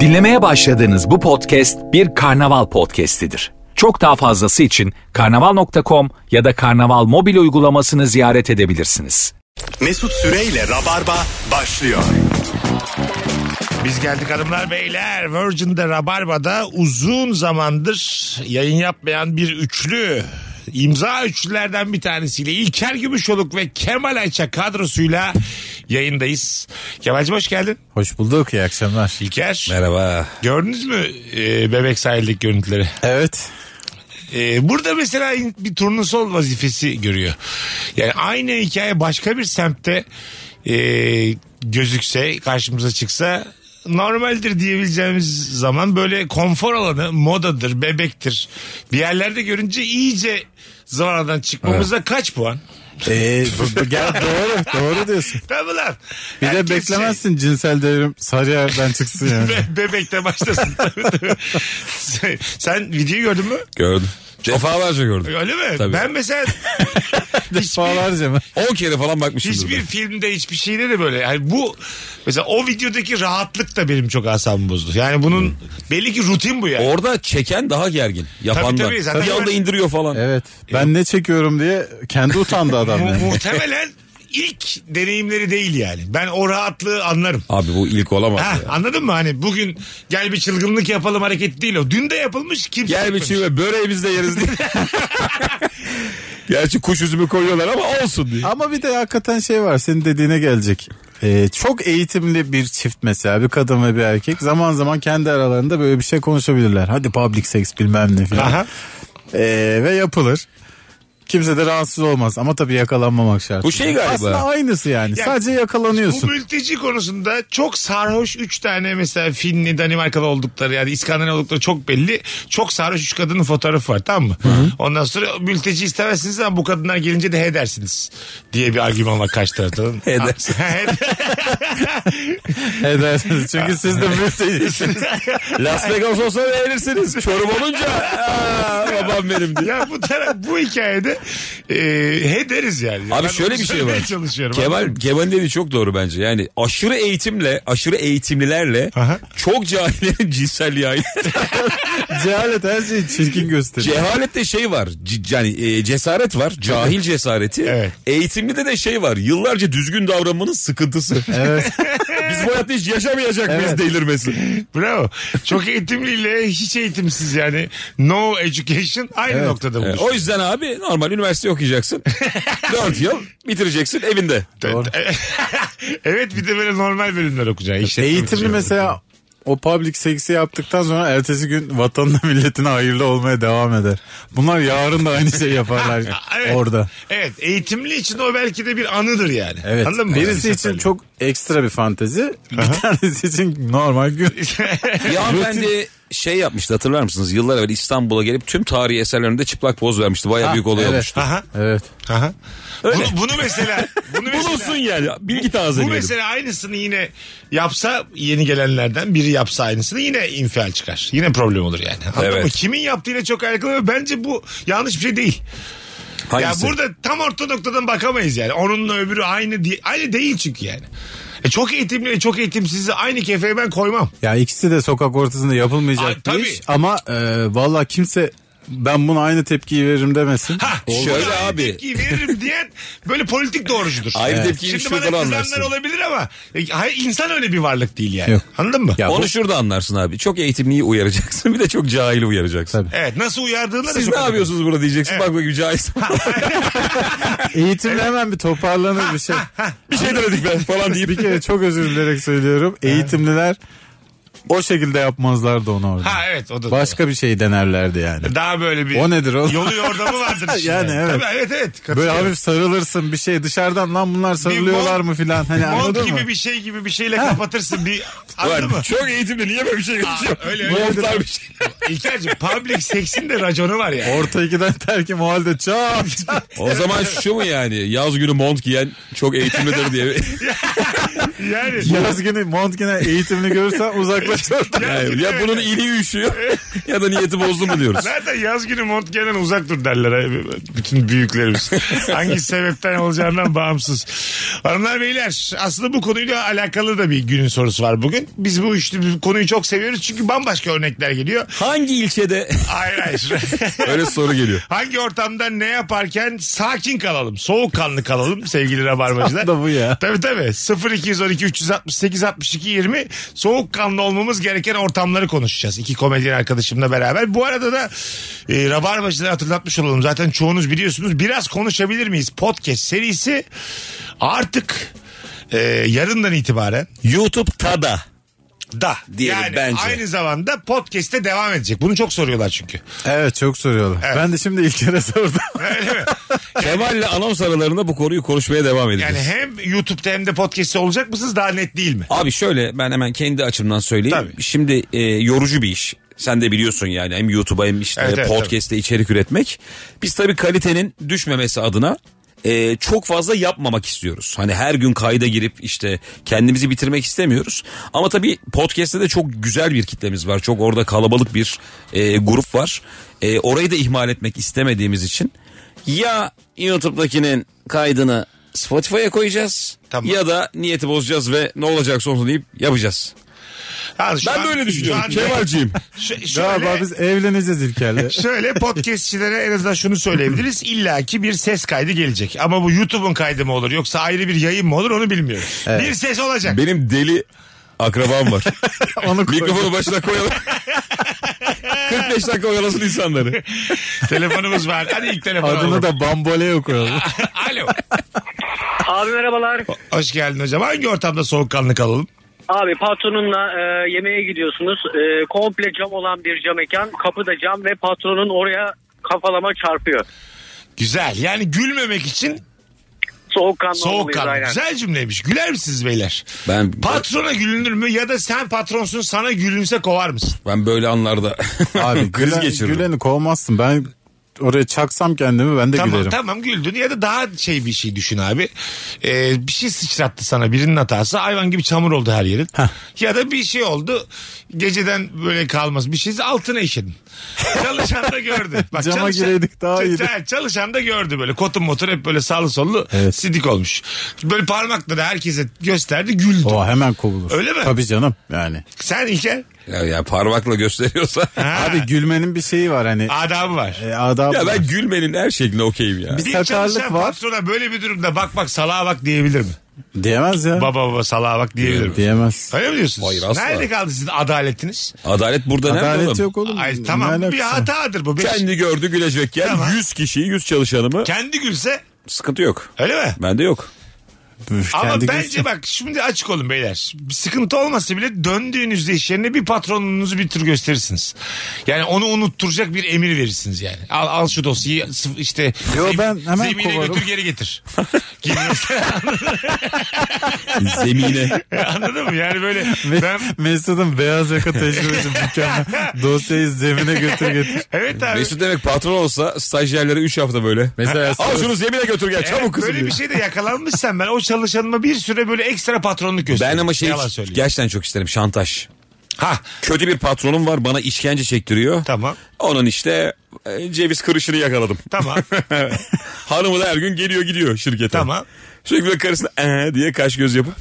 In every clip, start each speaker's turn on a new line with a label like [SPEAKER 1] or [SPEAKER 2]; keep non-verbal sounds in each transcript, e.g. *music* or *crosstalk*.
[SPEAKER 1] Dinlemeye başladığınız bu podcast bir karnaval podcastidir. Çok daha fazlası için karnaval.com ya da karnaval mobil uygulamasını ziyaret edebilirsiniz.
[SPEAKER 2] Mesut Süreyle Rabarba başlıyor.
[SPEAKER 3] Biz geldik hanımlar beyler. Virgin'de Rabarba'da uzun zamandır yayın yapmayan bir üçlü imza üçlülerden bir tanesiyle İlker Gümüşoluk ve Kemal Ayça kadrosuyla yayındayız. Kemal'cim hoş geldin.
[SPEAKER 4] Hoş bulduk iyi akşamlar.
[SPEAKER 3] İlker
[SPEAKER 4] Merhaba.
[SPEAKER 3] gördünüz mü e, bebek sahildeki görüntüleri?
[SPEAKER 4] Evet.
[SPEAKER 3] E, burada mesela bir turnusol vazifesi görüyor. Yani aynı hikaye başka bir semtte e, gözükse, karşımıza çıksa normaldir diyebileceğimiz zaman böyle konfor alanı modadır, bebektir. Bir yerlerde görünce iyice zıvanadan çıkmamıza kaç puan?
[SPEAKER 4] Ee, bu- bu- gel doğru doğru diyorsun.
[SPEAKER 3] Tabii lan.
[SPEAKER 4] Bir de
[SPEAKER 3] Herkes şey-
[SPEAKER 4] beklemezsin cinsel devrim Sarıyer'den
[SPEAKER 2] *laughs*
[SPEAKER 4] çıksın
[SPEAKER 3] *laughs*
[SPEAKER 4] yani.
[SPEAKER 3] Be- bebekte
[SPEAKER 4] *laughs*
[SPEAKER 3] başlasın. Tabii, tabii. Sen, sen videoyu gördün mü?
[SPEAKER 5] Gördüm. Defalarca gördüm.
[SPEAKER 3] Öyle mi?
[SPEAKER 5] Tabii.
[SPEAKER 3] Ben
[SPEAKER 4] *laughs*
[SPEAKER 3] mesela hiçbir,
[SPEAKER 4] Defalarca mı?
[SPEAKER 5] 10 kere falan bakmışımdır.
[SPEAKER 3] hiçbir
[SPEAKER 5] ben.
[SPEAKER 3] filmde hiçbir şeyde de böyle. Yani bu mesela o videodaki rahatlık da benim çok asabımı bozdu. Yani bunun belli ki rutin bu yani.
[SPEAKER 5] Orada çeken daha gergin. Yapandan.
[SPEAKER 3] tabii, zaten
[SPEAKER 5] bir anda
[SPEAKER 3] ben-
[SPEAKER 5] indiriyor falan.
[SPEAKER 4] Evet. Ben ne çekiyorum diye kendi utandı adam *laughs*
[SPEAKER 3] Mu-
[SPEAKER 4] yani.
[SPEAKER 5] *laughs*
[SPEAKER 3] muhtemelen ilk deneyimleri değil yani. Ben o rahatlığı anlarım.
[SPEAKER 5] Abi bu ilk olamaz.
[SPEAKER 3] Ha,
[SPEAKER 5] ya.
[SPEAKER 3] anladın mı? Hani bugün gel bir çılgınlık yapalım hareket değil o. Dün de yapılmış kimse
[SPEAKER 5] Gel bir
[SPEAKER 3] yapmamış.
[SPEAKER 5] şey ve böreği biz de
[SPEAKER 3] *laughs*
[SPEAKER 5] yeriz diye. Gerçi kuş üzümü koyuyorlar ama olsun diye.
[SPEAKER 4] Ama bir de hakikaten şey var senin dediğine gelecek. Ee, çok eğitimli bir çift mesela bir kadın ve bir erkek zaman zaman kendi aralarında böyle bir şey konuşabilirler. Hadi public sex bilmem ne filan.
[SPEAKER 3] Aha.
[SPEAKER 4] Ee, ve yapılır. Kimse de rahatsız olmaz ama tabii yakalanmamak şart.
[SPEAKER 5] Bu şey galiba.
[SPEAKER 4] Aslında aynısı yani.
[SPEAKER 3] Ya,
[SPEAKER 4] Sadece
[SPEAKER 3] Bu
[SPEAKER 4] yakalanıyorsun.
[SPEAKER 3] mülteci konusunda çok sarhoş 3 tane mesela Finli Danimarkalı oldukları yani İskandinav oldukları çok belli. Çok sarhoş 3 kadının fotoğrafı var tamam mı? Ondan sonra mülteci istemezsiniz ama bu kadınlar gelince de he dersiniz diye bir argüman var karşı taraftan.
[SPEAKER 5] *laughs* He dersiniz.
[SPEAKER 4] *laughs* Edersiniz. Çünkü siz *laughs* de mültecisiniz.
[SPEAKER 5] Las Vegas olsa beğenirsiniz. Çorum olunca "Aa, babam benim diye.
[SPEAKER 3] ya bu taraf, bu hikayede e, he deriz yani.
[SPEAKER 5] Abi
[SPEAKER 3] Ben
[SPEAKER 5] şöyle
[SPEAKER 3] onu
[SPEAKER 5] bir şey
[SPEAKER 3] söylemeye
[SPEAKER 5] var.
[SPEAKER 3] Çalışıyorum.
[SPEAKER 5] Kemal, Kemal'in dediği çok doğru bence. Yani aşırı eğitimle, aşırı eğitimlilerle
[SPEAKER 3] Aha.
[SPEAKER 5] çok cahillerin *laughs* cinselliği aynı.
[SPEAKER 4] Cehalet her şeyi çirkin gösteriyor.
[SPEAKER 5] Cehalette şey var. c- yani e, cesaret var. Cahil cesareti.
[SPEAKER 3] Evet.
[SPEAKER 5] Eğitimde de şey var. Yıllarca düzgün davranmanın sıkıntısı.
[SPEAKER 4] Evet.
[SPEAKER 5] *laughs* Biz bu hayatta hiç yaşamayacak mıyız delirmesi?
[SPEAKER 3] Bravo. Çok eğitimliyle hiç eğitimsiz yani. No education aynı noktada
[SPEAKER 5] Evet,
[SPEAKER 3] buluşuyor.
[SPEAKER 5] E, o yüzden abi normal
[SPEAKER 3] *laughs*
[SPEAKER 5] üniversite okuyacaksın. 4 yıl bitireceksin evinde.
[SPEAKER 3] evet bir de böyle normal bölümler okuyacaksın. İşletme şey
[SPEAKER 4] Eğitimli
[SPEAKER 3] okuyacaksın.
[SPEAKER 4] mesela o public seksi yaptıktan sonra ertesi gün vatanına *laughs* milletine hayırlı olmaya devam eder. Bunlar yarın da aynı şeyi *laughs* yaparlar
[SPEAKER 3] Evet.
[SPEAKER 4] orada.
[SPEAKER 3] Evet eğitimli için o belki de bir anıdır yani.
[SPEAKER 4] Evet. şey
[SPEAKER 3] Anladın mı?
[SPEAKER 4] Birisi
[SPEAKER 3] Yani
[SPEAKER 4] için
[SPEAKER 3] seferlik.
[SPEAKER 4] çok ekstra bir fantezi, bir tanesi için normal gün.
[SPEAKER 5] Bir hanımefendi şey yapmıştı hatırlar mısınız? Yıllar evvel İstanbul'a gelip tüm tarihi eserlerinde çıplak poz vermişti. Bayağı büyük olay
[SPEAKER 4] evet.
[SPEAKER 5] olmuştu.
[SPEAKER 3] Aha,
[SPEAKER 4] *laughs* Evet.
[SPEAKER 3] aha. Bunu, bunu mesela bunu
[SPEAKER 5] Bulunsun
[SPEAKER 3] mesela,
[SPEAKER 5] yani. Bilgi
[SPEAKER 3] bu
[SPEAKER 5] tazeleyelim.
[SPEAKER 3] mesela aynısını yine yapsa yeni gelenlerden biri yapsa aynısını yine infial çıkar. Yine problem olur yani. Anladın
[SPEAKER 5] Evet.
[SPEAKER 3] mı? Kimin yaptığıyla çok alakalı ve bence bu yanlış bir şey değil.
[SPEAKER 5] Hangisi?
[SPEAKER 3] Ya burada tam orta noktadan bakamayız yani. Onunla öbürü aynı değil, aynı değil çünkü yani. E çok eğitimli, çok eğitimsizi aynı kefeye ben koymam.
[SPEAKER 4] Ya ikisi de sokak ortasında yapılmayacak
[SPEAKER 3] Ay,
[SPEAKER 4] bir
[SPEAKER 3] tabii.
[SPEAKER 4] iş ama e, valla kimse ben buna aynı tepkiyi veririm demesin.
[SPEAKER 3] Ha,
[SPEAKER 5] Olmaz.
[SPEAKER 3] şöyle
[SPEAKER 5] Şöyle
[SPEAKER 3] abi.
[SPEAKER 5] abi.
[SPEAKER 3] Tepkiyi veririm diyen böyle politik doğrucudur.
[SPEAKER 5] Ayrı tepkiyi
[SPEAKER 3] Şimdi
[SPEAKER 5] şuradan
[SPEAKER 3] bana
[SPEAKER 5] anlarsın.
[SPEAKER 3] kızanlar olabilir ama e, hayır, insan öyle bir varlık değil yani.
[SPEAKER 4] Yok.
[SPEAKER 3] Anladın mı?
[SPEAKER 4] Ya bu-
[SPEAKER 5] Onu şurada anlarsın abi. Çok eğitimliyi uyaracaksın bir de çok cahili uyaracaksın.
[SPEAKER 4] Tabii.
[SPEAKER 3] Evet nasıl uyardığına da
[SPEAKER 5] Siz
[SPEAKER 3] çok
[SPEAKER 5] ne
[SPEAKER 3] önemli.
[SPEAKER 5] yapıyorsunuz burada diyeceksin. Bak bakayım cahil.
[SPEAKER 4] Eğitimle hemen bir toparlanır
[SPEAKER 3] *laughs*
[SPEAKER 4] bir şey.
[SPEAKER 5] bir şey demedik ben falan
[SPEAKER 4] bir
[SPEAKER 5] deyip.
[SPEAKER 4] kere çok özür dilerek söylüyorum. Eğitimliler o şekilde yapmazlardı onu orada.
[SPEAKER 3] Ha evet o da.
[SPEAKER 4] Başka bir şey denerlerdi yani.
[SPEAKER 3] Daha böyle bir.
[SPEAKER 4] O nedir o?
[SPEAKER 3] Yolu yordamı
[SPEAKER 4] *laughs*
[SPEAKER 3] vardır işin
[SPEAKER 4] Yani evet.
[SPEAKER 3] Tabii, evet evet.
[SPEAKER 4] Böyle
[SPEAKER 3] katılıyorum.
[SPEAKER 4] hafif sarılırsın bir şey dışarıdan lan bunlar sarılıyorlar
[SPEAKER 3] mont-
[SPEAKER 4] mı filan hani
[SPEAKER 3] Mont
[SPEAKER 4] anladın
[SPEAKER 3] gibi
[SPEAKER 4] mı?
[SPEAKER 3] bir şey gibi bir şeyle kapatırsın bir anladın mı?
[SPEAKER 5] Çok eğitimli niye böyle bir şey konuşuyor?
[SPEAKER 3] öyle, öyle.
[SPEAKER 5] Montlar bir şey.
[SPEAKER 3] İlker'cim public seksin de raconu var ya.
[SPEAKER 4] Orta ikiden terkim o
[SPEAKER 3] *laughs*
[SPEAKER 4] halde çat çat.
[SPEAKER 5] O zaman şu mu yani yaz günü mont giyen
[SPEAKER 3] *laughs*
[SPEAKER 5] çok eğitimlidir diye.
[SPEAKER 3] Yani
[SPEAKER 4] Yaz günü mont yine eğitimli görürsen
[SPEAKER 3] *laughs*
[SPEAKER 5] Yani ya bunun ili üşüyor ya da niyeti bozdu mu diyoruz.
[SPEAKER 3] Zaten yaz günü mont giyenden uzak dur derler he, bütün büyüklerimiz. Hangi sebepten olacağından bağımsız. Hanımlar beyler aslında bu konuyla alakalı da bir günün sorusu var bugün. Biz bu üçlü bu konuyu çok seviyoruz çünkü bambaşka örnekler geliyor.
[SPEAKER 5] Hangi ilçede?
[SPEAKER 3] Hayır hayır.
[SPEAKER 5] Öyle soru geliyor.
[SPEAKER 3] Hangi ortamda ne yaparken sakin kalalım, soğukkanlı kalalım sevgili rabarbacılar.
[SPEAKER 4] Tam da bu ya.
[SPEAKER 3] Tabii tabii. 0212 368 62 20 soğukkanlı olmamız gereken ortamları konuşacağız. İki komedyen arkadaşımla beraber. Bu arada da e, rabarbacıları hatırlatmış olalım. Zaten çoğunuz biliyorsunuz. Biraz konuşabilir miyiz? Podcast serisi artık e, yarından itibaren
[SPEAKER 5] *laughs* YouTube Tada.
[SPEAKER 3] da
[SPEAKER 5] Diyelim
[SPEAKER 3] yani
[SPEAKER 5] bence.
[SPEAKER 3] aynı zamanda podcast'te devam edecek. Bunu çok soruyorlar çünkü.
[SPEAKER 4] Evet çok soruyorlar.
[SPEAKER 3] Evet.
[SPEAKER 4] Ben de şimdi ilk kere sordum.
[SPEAKER 5] Kemal'le anons aralarında bu konuyu konuşmaya devam edeceğiz.
[SPEAKER 3] Yani hem YouTube'da hem de podcast'te olacak mısınız? Daha net değil mi?
[SPEAKER 5] Abi şöyle ben hemen kendi açımdan söyleyeyim.
[SPEAKER 3] Tabii.
[SPEAKER 5] Şimdi e, yorucu bir iş. Sen de biliyorsun yani hem YouTube'a hem işte
[SPEAKER 3] Evet, evet,
[SPEAKER 5] podcast'te içerik üretmek. Biz tabii kalitenin düşmemesi adına e, çok fazla yapmamak istiyoruz. Hani her gün kayda girip işte kendimizi bitirmek istemiyoruz. Ama tabii podcast'te de çok güzel bir kitlemiz var. Çok orada kalabalık bir e, grup var. E, orayı da ihmal etmek istemediğimiz için ya YouTube'dakinin kaydını Spotify'a koyacağız
[SPEAKER 3] Tamam.
[SPEAKER 5] ya da niyeti bozacağız ve ne olacaksa olsun deyip yapacağız.
[SPEAKER 3] Ha, şu
[SPEAKER 5] Ben
[SPEAKER 3] an-
[SPEAKER 5] böyle düşünüyorum.
[SPEAKER 3] şu an-
[SPEAKER 5] Kemal'ciğim.
[SPEAKER 3] Ş-
[SPEAKER 4] Galiba
[SPEAKER 3] şöyle,
[SPEAKER 4] biz evleneceğiz İlker'le.
[SPEAKER 3] *laughs* şöyle podcastçilere en azından şunu söyleyebiliriz. İlla ki bir ses kaydı gelecek. Ama bu YouTube'un kaydı mı olur yoksa ayrı bir yayın mı olur onu bilmiyoruz. Bir ses olacak.
[SPEAKER 5] Benim deli akrabam
[SPEAKER 4] *laughs*
[SPEAKER 5] var.
[SPEAKER 4] Onu koy.
[SPEAKER 5] Mikrofonu başına koyalım. 45 dakika oyalasın insanları.
[SPEAKER 3] *laughs* Telefonumuz var. Hadi ilk telefon alalım.
[SPEAKER 4] Adını da bamboleo koyalım.
[SPEAKER 3] Alo.
[SPEAKER 6] Abi merhabalar.
[SPEAKER 3] Hoş geldin hocam. Hangi ortamda soğukkanlı kalalım?
[SPEAKER 6] Abi patronunla e, yemeğe gidiyorsunuz. E, komple cam olan bir cam mekan. Kapı da cam ve patronun oraya kafalama çarpıyor.
[SPEAKER 3] Güzel. Yani gülmemek için
[SPEAKER 6] Soğukkanlı olmalıyız
[SPEAKER 3] soğukkanlı.
[SPEAKER 6] aynen.
[SPEAKER 3] Güzel cümleymiş. Güler misiniz beyler?
[SPEAKER 5] Ben
[SPEAKER 3] Patrona gülünür mü ya da sen patronsun sana gülünse kovar mısın?
[SPEAKER 5] ben böyle anlarda
[SPEAKER 3] *laughs*
[SPEAKER 5] *laughs*
[SPEAKER 4] Abi
[SPEAKER 5] kriz
[SPEAKER 4] gülen,
[SPEAKER 5] geçiririm.
[SPEAKER 4] güleni kovmazsın. Ben oraya çaksam kendimi ben de
[SPEAKER 3] Tamam
[SPEAKER 4] gülerim.
[SPEAKER 3] tamam güldün ya da daha şey bir şey düşün abi. Ee, bir şey sıçrattı sana birinin hatası hayvan gibi çamur oldu her yerin. Ya da bir şey oldu geceden böyle kalmaz bir şey altına işedin. Çalışan da
[SPEAKER 4] *laughs*
[SPEAKER 3] gördü. Bak,
[SPEAKER 4] Cama gireydik daha
[SPEAKER 3] Ç-
[SPEAKER 4] iyiydi.
[SPEAKER 3] ç- Çalışan da gördü böyle kotun motor hep böyle sağlı sollu
[SPEAKER 4] Evet.
[SPEAKER 3] sidik olmuş. Böyle parmakla da herkese gösterdi güldü.
[SPEAKER 4] O hemen kovulur.
[SPEAKER 3] Öyle mi?
[SPEAKER 4] Tabii canım yani.
[SPEAKER 3] Sen İlker
[SPEAKER 5] Ya, ya parmakla gösteriyorsa.
[SPEAKER 3] Ha.
[SPEAKER 4] Abi gülmenin bir şeyi var hani.
[SPEAKER 3] adabı var.
[SPEAKER 4] e, adabı
[SPEAKER 5] ya
[SPEAKER 4] var.
[SPEAKER 5] ben gülmenin her şekline okeyim ya.
[SPEAKER 4] Bir
[SPEAKER 3] Bir
[SPEAKER 4] sakarlık
[SPEAKER 3] çalışan
[SPEAKER 4] var.
[SPEAKER 3] patrona böyle bir durumda bak bak salağa bak diyebilir mi?
[SPEAKER 4] Diyemez ya.
[SPEAKER 3] Baba baba salağa bak diyebilir mi?
[SPEAKER 4] Diyemez.
[SPEAKER 3] Öyle mi diyorsunuz?
[SPEAKER 5] Hayır, asla.
[SPEAKER 3] Nerede kaldı sizin adaletiniz?
[SPEAKER 5] Adalet burada nerede
[SPEAKER 4] Adalet
[SPEAKER 5] oğlum?
[SPEAKER 4] yok oğlum.
[SPEAKER 3] Ay,
[SPEAKER 4] Ne
[SPEAKER 3] tamam bir
[SPEAKER 4] alakası var?
[SPEAKER 3] hatadır bu. Beş- Kendi,
[SPEAKER 5] Kendi gördü gülecek yer.
[SPEAKER 3] Tamam.
[SPEAKER 5] 100 kişiyi 100 çalışanımı
[SPEAKER 3] gülse
[SPEAKER 5] sıkıntı yok.
[SPEAKER 3] öyle mi?
[SPEAKER 5] Bende
[SPEAKER 4] *laughs*
[SPEAKER 5] yok.
[SPEAKER 4] Üf,
[SPEAKER 3] Ama
[SPEAKER 4] kendi
[SPEAKER 3] bence
[SPEAKER 4] gülsün.
[SPEAKER 3] bak şimdi açık olun beyler. Bir sıkıntı olmasa bile döndüğünüzde iş yerine bir patronunuzu bir tür gösterirsiniz. Yani onu unutturacak bir emir verirsiniz yani. Al, al şu dosyayı sıf- işte
[SPEAKER 4] Yo,
[SPEAKER 3] zem-
[SPEAKER 4] ben hemen
[SPEAKER 3] zemine
[SPEAKER 4] kovarım.
[SPEAKER 3] götür geri getir. *laughs* Gibi mesela,
[SPEAKER 5] Zemine.
[SPEAKER 3] Anladın mı? Yani böyle
[SPEAKER 4] Me-
[SPEAKER 3] ben
[SPEAKER 4] Mesut'un beyaz
[SPEAKER 3] *laughs*
[SPEAKER 4] yaka tecrübesi mükemmel. Dosyayı zemine götür getir.
[SPEAKER 3] evet abi.
[SPEAKER 5] Mesut demek patron olsa stajyerlere 3 hafta böyle.
[SPEAKER 4] Mesela
[SPEAKER 5] Al şunu zemine götür gel
[SPEAKER 3] Evet,
[SPEAKER 5] çabuk kızım.
[SPEAKER 3] böyle
[SPEAKER 5] diyor.
[SPEAKER 3] bir şey şeyde yakalanmışsan ben o çalışanıma bir süre böyle ekstra patronluk gösteririm.
[SPEAKER 5] Ben ama şey
[SPEAKER 3] Yalan söyleyeyim.
[SPEAKER 5] gerçekten çok isterim şantaj.
[SPEAKER 3] Ha
[SPEAKER 5] Kötü bir patronum var bana işkence çektiriyor.
[SPEAKER 3] Tamam.
[SPEAKER 5] Onun işte e, ceviz kırışını yakaladım. *laughs*
[SPEAKER 3] tamam
[SPEAKER 5] Hanımı da her gün geliyor gidiyor şirkete.
[SPEAKER 3] tamam.
[SPEAKER 5] Sürekli böyle karısına ee diye kaş göz yapıp.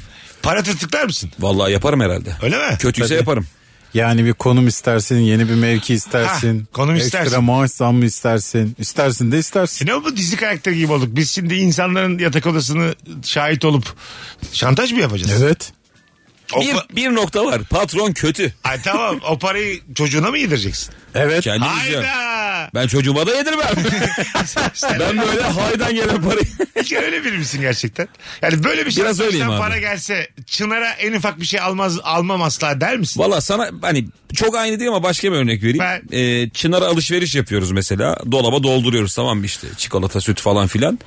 [SPEAKER 3] Para tırtıklar mısın?
[SPEAKER 5] Vallahi yaparım herhalde.
[SPEAKER 3] Öyle mi?
[SPEAKER 5] Kötüyse yaparım.
[SPEAKER 4] Yani bir konum istersin, yeni bir mevki istersin.
[SPEAKER 3] Ha, konum
[SPEAKER 4] Ekstra
[SPEAKER 3] istersin.
[SPEAKER 4] maaş zammı istersin. İstersin de istersin.
[SPEAKER 3] Ne bu dizi karakteri gibi olduk. Biz şimdi insanların yatak odasını şahit olup şantaj mı yapacağız?
[SPEAKER 4] Evet.
[SPEAKER 3] O
[SPEAKER 5] Bir,
[SPEAKER 3] pa-
[SPEAKER 5] bir nokta var patron kötü.
[SPEAKER 3] Ay tamam o parayı çocuğuna mı yedireceksin?
[SPEAKER 4] Evet.
[SPEAKER 5] Kendimiz yiyor.
[SPEAKER 3] Hayda.
[SPEAKER 5] Ben çocuğuma da yedirmem. *laughs* ben böyle haydan gelen parayı.
[SPEAKER 3] Hiç öyle biri misin gerçekten? Yani böyle bir şey
[SPEAKER 5] Biraz öyleyim abi.
[SPEAKER 3] para gelse Çınar'a en ufak bir şey almaz almam asla der misin?
[SPEAKER 5] Valla sana hani çok aynı değil ama başka bir örnek vereyim.
[SPEAKER 3] Ben-
[SPEAKER 5] Ee, Çınar'a alışveriş yapıyoruz mesela. Dolaba dolduruyoruz tamam mı işte çikolata süt falan filan.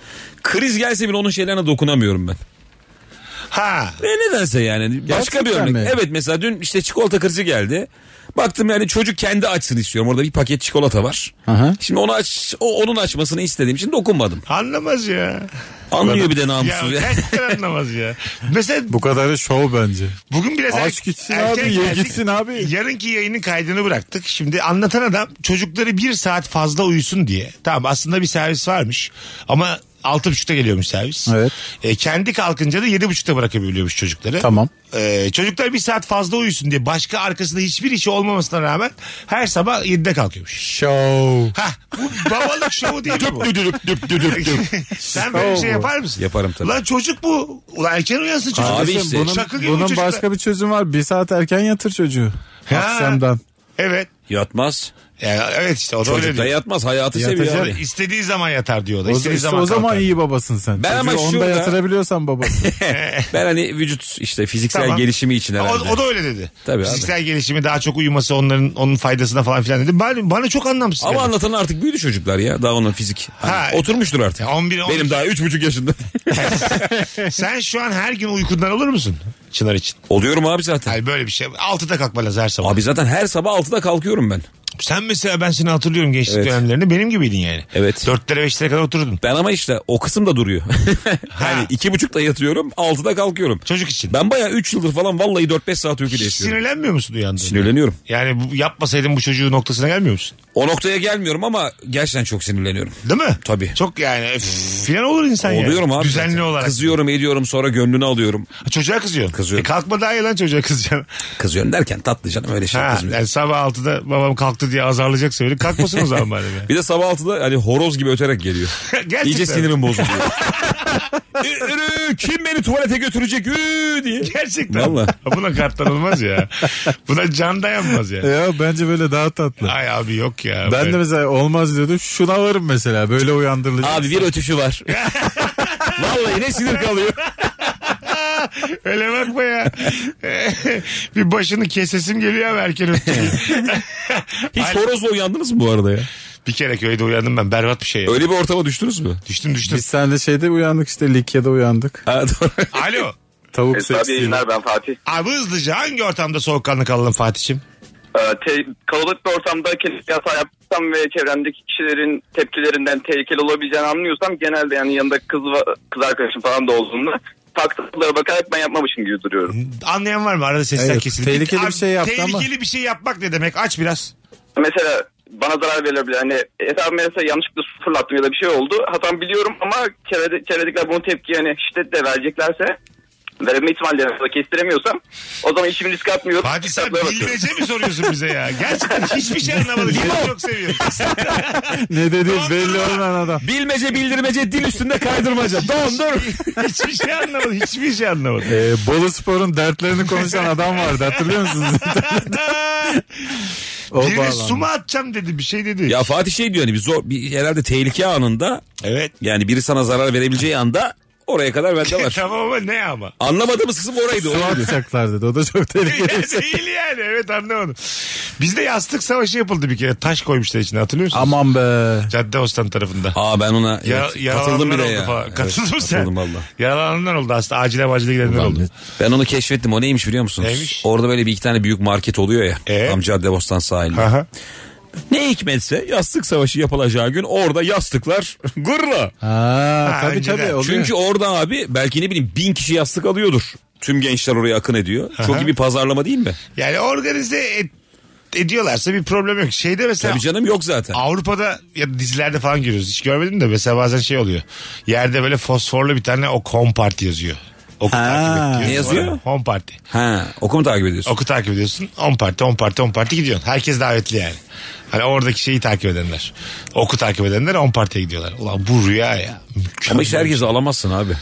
[SPEAKER 5] Kriz gelse bile onun şeylerine dokunamıyorum ben.
[SPEAKER 3] Ha.
[SPEAKER 5] E nedense yani. Başka bir
[SPEAKER 4] Gerçekten
[SPEAKER 5] örnek.
[SPEAKER 4] mi?
[SPEAKER 5] Evet mesela dün işte çikolata krizi geldi. Baktım yani çocuk kendi açsın istiyorum. Orada bir paket çikolata var.
[SPEAKER 4] Aha.
[SPEAKER 5] Şimdi onu aç, o, onun açmasını istediğim için dokunmadım.
[SPEAKER 3] Anlamaz ya.
[SPEAKER 5] Anlıyor bir de namussuz
[SPEAKER 3] Ya
[SPEAKER 5] ya.
[SPEAKER 3] gerçekten anlamaz ya. Mesela
[SPEAKER 4] Bu kadarı şov bence.
[SPEAKER 3] bugün biraz
[SPEAKER 4] Aç
[SPEAKER 3] er-
[SPEAKER 4] gitsin
[SPEAKER 3] erken
[SPEAKER 4] abi, ye
[SPEAKER 3] geldik.
[SPEAKER 4] gitsin abi.
[SPEAKER 3] Yarınki yayının kaydını bıraktık. Şimdi anlatan adam çocukları bir saat fazla uyusun diye. Tamam aslında bir servis varmış ama altı buçukta geliyormuş servis.
[SPEAKER 4] Evet.
[SPEAKER 3] E, kendi kalkınca da yedi buçukta bırakabiliyormuş çocukları.
[SPEAKER 4] Tamam.
[SPEAKER 3] E, çocuklar bir saat fazla uyusun diye başka arkasında hiçbir işi olmamasına rağmen her sabah yedide kalkıyormuş.
[SPEAKER 4] Şov.
[SPEAKER 3] Hah bu babalık şovu değil mi bu? *laughs* Sen böyle bir şey
[SPEAKER 4] Şov bu.
[SPEAKER 3] yapar mısın?
[SPEAKER 5] Yaparım tabii.
[SPEAKER 3] Lan çocuk bu. Ulan erken uyansın çocuk.
[SPEAKER 5] Abi
[SPEAKER 3] Sen
[SPEAKER 5] işte.
[SPEAKER 4] Bunun,
[SPEAKER 3] şaka gibi bu
[SPEAKER 4] bunun
[SPEAKER 3] çocuklar.
[SPEAKER 4] başka bir çözüm var. Bir saat erken yatır çocuğu.
[SPEAKER 3] Ha.
[SPEAKER 4] Akşamdan.
[SPEAKER 3] Evet.
[SPEAKER 5] *laughs* Yatmaz.
[SPEAKER 3] Ya, evet işte o da öyle
[SPEAKER 5] Çocuk da
[SPEAKER 3] diyor.
[SPEAKER 5] yatmaz. Hayatı
[SPEAKER 4] Yatacak.
[SPEAKER 5] seviyor. abi.
[SPEAKER 4] yatmıyor.
[SPEAKER 3] İstediği zaman yatar diyor o da.
[SPEAKER 4] O,
[SPEAKER 3] İstediği
[SPEAKER 4] işte
[SPEAKER 3] zaman
[SPEAKER 4] o zaman
[SPEAKER 3] kalkar.
[SPEAKER 4] iyi babasın sen.
[SPEAKER 5] Ben ama
[SPEAKER 4] Çocuğu onda
[SPEAKER 5] şurada-
[SPEAKER 4] yatırabiliyorsan babasın.
[SPEAKER 5] Ben hani vücut işte fiziksel
[SPEAKER 3] Tamam.
[SPEAKER 5] gelişimi için
[SPEAKER 3] Ama
[SPEAKER 5] herhalde.
[SPEAKER 3] O, o da öyle dedi.
[SPEAKER 5] Tabii abi.
[SPEAKER 3] Fiziksel gelişimi daha çok uyuması onların onun faydasına falan filan dedi. Ben, bana çok anlamsız.
[SPEAKER 5] Ama
[SPEAKER 3] geldi.
[SPEAKER 5] anlatan artık büyüdü çocuklar ya. Daha onun fizik. Hani
[SPEAKER 3] Ha.
[SPEAKER 5] oturmuştur artık.
[SPEAKER 3] Ya 11, 12.
[SPEAKER 5] Benim daha üç buçuk yaşında.
[SPEAKER 3] *laughs* Sen şu an her gün uykundan olur musun? Çınar için.
[SPEAKER 5] Oluyorum abi zaten.
[SPEAKER 3] Yani böyle bir şey. Altıda kalkman lazım her sabah.
[SPEAKER 5] Abi zaten her sabah altıda kalkıyorum ben.
[SPEAKER 3] Sen mesela ben seni hatırlıyorum gençlik
[SPEAKER 5] Evet.
[SPEAKER 3] dönemlerinde. Benim gibiydin yani.
[SPEAKER 5] Evet.
[SPEAKER 3] Dörtlere beşlere kadar otururdun.
[SPEAKER 5] Ben ama işte o kısım da duruyor.
[SPEAKER 3] Ha.
[SPEAKER 5] *laughs* yani iki buçukta yatıyorum altıda kalkıyorum.
[SPEAKER 3] Çocuk için.
[SPEAKER 5] Ben bayağı 3 yıldır falan vallahi 4-5 saat uyku
[SPEAKER 3] Hiç
[SPEAKER 5] yaşıyorum.
[SPEAKER 3] sinirlenmiyor musun uyandığında?
[SPEAKER 5] Sinirleniyorum.
[SPEAKER 3] Yani bu, yapmasaydın bu çocuğu noktasına gelmiyor musun?
[SPEAKER 5] O noktaya gelmiyorum ama gerçekten çok sinirleniyorum.
[SPEAKER 3] Değil mi?
[SPEAKER 5] Tabii.
[SPEAKER 3] Çok yani öf, filan olur insan yani.
[SPEAKER 5] Oluyorum abi.
[SPEAKER 3] Düzenli
[SPEAKER 5] zaten.
[SPEAKER 3] olarak.
[SPEAKER 5] Kızıyorum ediyorum sonra gönlünü alıyorum.
[SPEAKER 3] Ha, Çocuğa kızıyorsun.
[SPEAKER 5] Kızıyorum.
[SPEAKER 3] E kalkma daha iyi lan çocuğa
[SPEAKER 4] *laughs*
[SPEAKER 3] kızacaksın.
[SPEAKER 5] Kızıyorum derken tatlı canım öyle şey
[SPEAKER 3] Ha,
[SPEAKER 5] kızmıyorum.
[SPEAKER 3] yani sabah 6'da babam kalktı diye azarlayacaksa öyle kalkmasın o zaman bari. be.
[SPEAKER 4] *laughs*
[SPEAKER 5] Bir de sabah altıda hani horoz gibi öterek geliyor.
[SPEAKER 3] Gerçekten. *laughs*
[SPEAKER 5] İyice sinirim bozuluyor. *laughs* Ü- ürü, kim beni tuvalete götürecek ü diye.
[SPEAKER 3] Gerçekten. *laughs*
[SPEAKER 5] Vallahi.
[SPEAKER 3] Buna katlanılmaz
[SPEAKER 4] *laughs*
[SPEAKER 3] ya. Buna can dayanmaz ya.
[SPEAKER 4] ya bence böyle daha tatlı.
[SPEAKER 3] Ay abi yok ya.
[SPEAKER 4] Ben de
[SPEAKER 3] Böyle-
[SPEAKER 4] mesela olmaz diyordum. Şuna varım mesela. Böyle uyandırılacak.
[SPEAKER 5] Abi bir ötüşü *laughs* var. vallahi ne sinir kalıyor.
[SPEAKER 3] Öyle bakma ya. *laughs* bir başını kesesim geliyor abi erken öptüm.
[SPEAKER 4] *laughs*
[SPEAKER 5] Hiç horozla uyandınız mı bu arada ya?
[SPEAKER 3] bir kere köyde uyandım ben berbat bir şey. ya.
[SPEAKER 5] Öyle bir ortama düştünüz mü?
[SPEAKER 3] Düştüm düştüm.
[SPEAKER 4] *laughs* Biz senle şeyde uyandık işte Likya'da uyandık.
[SPEAKER 5] Ha, doğru.
[SPEAKER 3] Alo.
[SPEAKER 4] Tavuk
[SPEAKER 7] Esra
[SPEAKER 4] seksi.
[SPEAKER 7] yayınlar ben Fatih.
[SPEAKER 3] Abi hızlıca hangi ortamda soğukkanlı kalalım Fatih'im?
[SPEAKER 7] Ee, te- kalabalık bir ortamda kesinlikle hata yaptıysam ve çevremdeki kişilerin tepkilerinden tehlikeli olabileceğini anlıyorsam genelde yani yanında kız va- kız arkadaşım falan da olduğunda taktıklara bakarak ben yapmamışım gibi duruyorum.
[SPEAKER 3] Anlayan var mı? Arada sesler
[SPEAKER 4] Evet,
[SPEAKER 3] kesildi.
[SPEAKER 4] tehlikeli
[SPEAKER 3] Abi,
[SPEAKER 4] bir şey yaptı ama.
[SPEAKER 3] Tehlikeli bir şey yapmak ne demek? Aç biraz.
[SPEAKER 7] Mesela bana zarar verilebilir. Hani etrafıma mesela yanlışlıkla su fırlattım ya da bir şey oldu. Hatam biliyorum ama çevrede- çevredekiler bunu tepki yani şiddetle vereceklerse verme ihtimalleri arasında kestiremiyorsam o zaman işimi riske atmıyorum.
[SPEAKER 3] Fatih sen
[SPEAKER 7] Kitaplara bakıyorum.
[SPEAKER 3] bilmece mi soruyorsun bize ya? Gerçekten hiçbir şey anlamadım. Seni çok seviyorum.
[SPEAKER 4] Ne dediği belli olmayan adam.
[SPEAKER 5] Bilmece bildirmece dil üstünde kaydırmaca. Don dur.
[SPEAKER 3] hiçbir şey anlamadım. Hiçbir şey anlamadım.
[SPEAKER 4] Ee, Bolu Spor'un dertlerini konuşan adam vardı hatırlıyor musunuz? O
[SPEAKER 3] Biri
[SPEAKER 4] bağlandı.
[SPEAKER 3] su mu atacağım dedi. Bir şey dedi.
[SPEAKER 5] *laughs* Ya Fatih şey diyor hani bir zor bir herhalde tehlike anında
[SPEAKER 3] Evet.
[SPEAKER 5] yani biri sana zarar verebileceği anda oraya kadar bende var.
[SPEAKER 3] *laughs*
[SPEAKER 5] *laughs*
[SPEAKER 3] tamam ama ne ama? *laughs*
[SPEAKER 5] Anlamadığımız kısım oraydı.
[SPEAKER 4] Su
[SPEAKER 5] oraydı.
[SPEAKER 4] atacaklar dedi. O da çok tehlikeli.
[SPEAKER 3] Değil yani. Evet anlamadım. Bizde yastık savaşı yapıldı bir kere. Taş koymuşlar içine hatırlıyor musunuz?
[SPEAKER 4] Aman be.
[SPEAKER 3] Cadde Ostan tarafında.
[SPEAKER 5] Aa ben ona evet,
[SPEAKER 3] Ya,
[SPEAKER 5] katıldım
[SPEAKER 3] yaralananlar
[SPEAKER 5] bile
[SPEAKER 3] oldu
[SPEAKER 5] ya.
[SPEAKER 3] falan.
[SPEAKER 5] Evet,
[SPEAKER 3] Katıldın mı sen?
[SPEAKER 5] Katıldım valla.
[SPEAKER 3] Yaralananlar oldu aslında. Acile acile gidenler oldu.
[SPEAKER 5] Ben onu keşfettim. O neymiş biliyor musunuz?
[SPEAKER 3] Neymiş?
[SPEAKER 5] Orada böyle bir iki tane büyük market oluyor ya.
[SPEAKER 3] Ee?
[SPEAKER 5] Tam Caddebostan sahilinde.
[SPEAKER 3] Aha.
[SPEAKER 5] Ne hikmetse yastık savaşı yapılacağı gün orada yastıklar gırla.
[SPEAKER 4] Ha, tabii
[SPEAKER 3] önceden.
[SPEAKER 4] tabii oluyor.
[SPEAKER 5] Çünkü orada abi belki ne bileyim bin kişi yastık alıyordur. Tüm gençler oraya akın ediyor. Çok iyi bir pazarlama değil mi?
[SPEAKER 3] Yani organize et- ediyorlarsa bir problem yok. Şeyde mesela
[SPEAKER 5] Tabii canım yok zaten.
[SPEAKER 3] Avrupa'da ya da dizilerde falan görüyoruz. Hiç görmedim de mesela bazen şey oluyor. Yerde böyle fosforlu bir tane o kom parti yazıyor. Oku
[SPEAKER 4] Ha.
[SPEAKER 3] takip et diyor.
[SPEAKER 5] Ne yazıyor?
[SPEAKER 3] Sonra Home party.
[SPEAKER 5] Ha, okumu takip ediyorsun.
[SPEAKER 3] Oku takip ediyorsun. On parti, on parti, on parti gidiyorsun. Herkes davetli yani. Hani oradaki şeyi takip edenler. Oku takip edenler on partiye gidiyorlar. Ulan bu rüya ya. Mükemmel.
[SPEAKER 5] Ama işte herkesi alamazsın abi.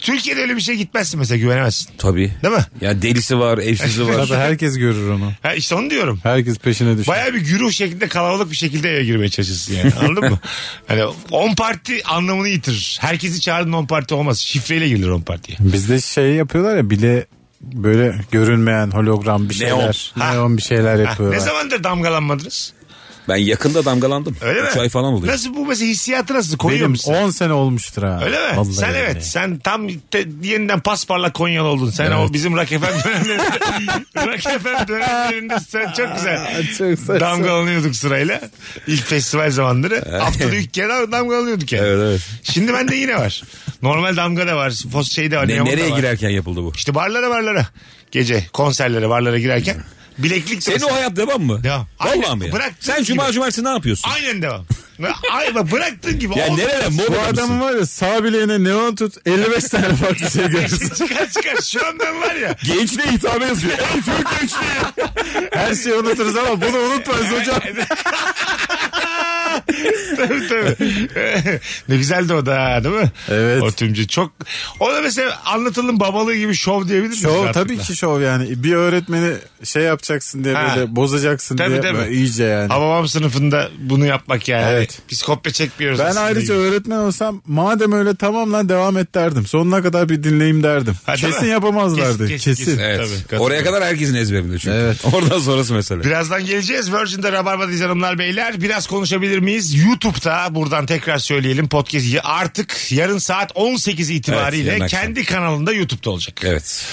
[SPEAKER 3] Türkiye'de öyle bir şey gitmezsin mesela güvenemezsin.
[SPEAKER 5] Tabii.
[SPEAKER 3] Değil mi?
[SPEAKER 5] Ya delisi var, evsizi
[SPEAKER 4] Tabii
[SPEAKER 5] var.
[SPEAKER 4] herkes görür onu.
[SPEAKER 3] Ha işte onu diyorum.
[SPEAKER 4] Herkes peşine
[SPEAKER 5] Şey.
[SPEAKER 4] düşer.
[SPEAKER 3] Baya bir güruh şeklinde kalabalık bir şekilde eve girmeye çalışırsın
[SPEAKER 5] *laughs*
[SPEAKER 3] yani anladın mı? Hani 10 parti anlamını yitirir. Herkesi çağırdın 10 parti olmaz. Şifreyle girilir 10 partiye.
[SPEAKER 4] Bizde şey yapıyorlar ya bile böyle görünmeyen hologram bir şeyler. Neon,
[SPEAKER 3] Ha.
[SPEAKER 4] bir şeyler
[SPEAKER 3] Ha, ne
[SPEAKER 4] yapıyorlar.
[SPEAKER 3] zamandır damgalanmadınız?
[SPEAKER 5] Ben yakında damgalandım.
[SPEAKER 3] Öyle mi?
[SPEAKER 5] Üç ay falan oluyor.
[SPEAKER 3] Nasıl bu mesela hissiyatı nasıl koyuyor
[SPEAKER 4] Benim
[SPEAKER 3] musun?
[SPEAKER 4] 10 sene olmuştur ha.
[SPEAKER 3] Öyle mi?
[SPEAKER 4] Vallahi
[SPEAKER 3] sen
[SPEAKER 4] yani.
[SPEAKER 3] evet. Sen tam te- yeniden pasparlak Konyalı oldun. Sen o bizim Rock FM dönemlerinde. *laughs* Rock FM dönemlerinde sen çok güzel.
[SPEAKER 4] Çok saçma.
[SPEAKER 3] damgalanıyorduk sırayla. İlk festival zamanları. Haftada ilk kere damgalanıyorduk yani.
[SPEAKER 5] Evet, evet.
[SPEAKER 3] Şimdi bende yine var. Normal damga da var. Fos şey de var.
[SPEAKER 5] Ne,
[SPEAKER 3] neon da
[SPEAKER 5] nereye
[SPEAKER 3] var.
[SPEAKER 5] girerken yapıldı bu?
[SPEAKER 3] İşte barlara barlara. Gece konserlere barlara girerken. Bileklik de
[SPEAKER 5] Senin o
[SPEAKER 3] mesela-
[SPEAKER 5] hayat devam mı?
[SPEAKER 3] Devam.
[SPEAKER 5] Vallahi
[SPEAKER 3] Aynen,
[SPEAKER 5] mi ya?
[SPEAKER 3] bıraktığın
[SPEAKER 5] Sen
[SPEAKER 3] gibi.
[SPEAKER 5] cuma cumartesi ne yapıyorsun?
[SPEAKER 3] Aynen devam. Ay bak bıraktığın gibi.
[SPEAKER 5] ya
[SPEAKER 3] oldu.
[SPEAKER 5] nereye?
[SPEAKER 4] Bu
[SPEAKER 5] Moda
[SPEAKER 4] adam var ya sağ bileğine neon tut 55 tane farklı
[SPEAKER 3] *laughs*
[SPEAKER 4] şey görürsün.
[SPEAKER 3] çıkar çıkar. Şu an ben var ya.
[SPEAKER 5] Gençliğe hitap yazıyor. Ey Türk gençliği.
[SPEAKER 4] Her şeyi unuturuz ama bunu unutmayız hocam.
[SPEAKER 3] tabii tabii. *laughs* ne güzeldi o da ha, değil mi?
[SPEAKER 4] Evet.
[SPEAKER 3] O tümcü çok. O da mesela anlatılın babalığı gibi şov diyebilir miyiz?
[SPEAKER 4] Şov
[SPEAKER 3] rahatlıkla?
[SPEAKER 4] tabii ki şov yani. Bir öğretmeni şey yapacaksın diye
[SPEAKER 3] Ha.
[SPEAKER 4] böyle bozacaksın
[SPEAKER 3] Tabii,
[SPEAKER 4] diye
[SPEAKER 3] tabii.
[SPEAKER 4] böyle iyice yani.
[SPEAKER 3] Hababam sınıfında bunu yapmak yani.
[SPEAKER 4] Evet.
[SPEAKER 3] Biz kopya çekmiyoruz.
[SPEAKER 4] ben
[SPEAKER 3] aslında
[SPEAKER 4] ayrıca
[SPEAKER 3] gibi.
[SPEAKER 4] öğretmen olsam madem öyle tamam lan devam et derdim. Sonuna kadar bir dinleyeyim derdim.
[SPEAKER 3] Ha, değil
[SPEAKER 4] kesin
[SPEAKER 3] mi?
[SPEAKER 4] yapamazlardı.
[SPEAKER 3] Kesin,
[SPEAKER 4] Kesin.
[SPEAKER 3] kesin, kesin.
[SPEAKER 5] Evet.
[SPEAKER 3] Tabii, katılıyorum.
[SPEAKER 5] Oraya kadar herkesin ezberinde çünkü.
[SPEAKER 4] Evet.
[SPEAKER 5] *laughs* Oradan sonrası
[SPEAKER 3] *laughs*
[SPEAKER 5] mesele.
[SPEAKER 3] Birazdan geleceğiz. Virgin'de Rabarba'dayız hanımlar beyler. Biraz konuşabilir miyiz? YouTube'da buradan tekrar söyleyelim. Podcast artık yarın saat 18 itibariyle
[SPEAKER 5] yarın akşam.
[SPEAKER 3] kendi kanalında YouTube'da olacak.
[SPEAKER 5] Evet.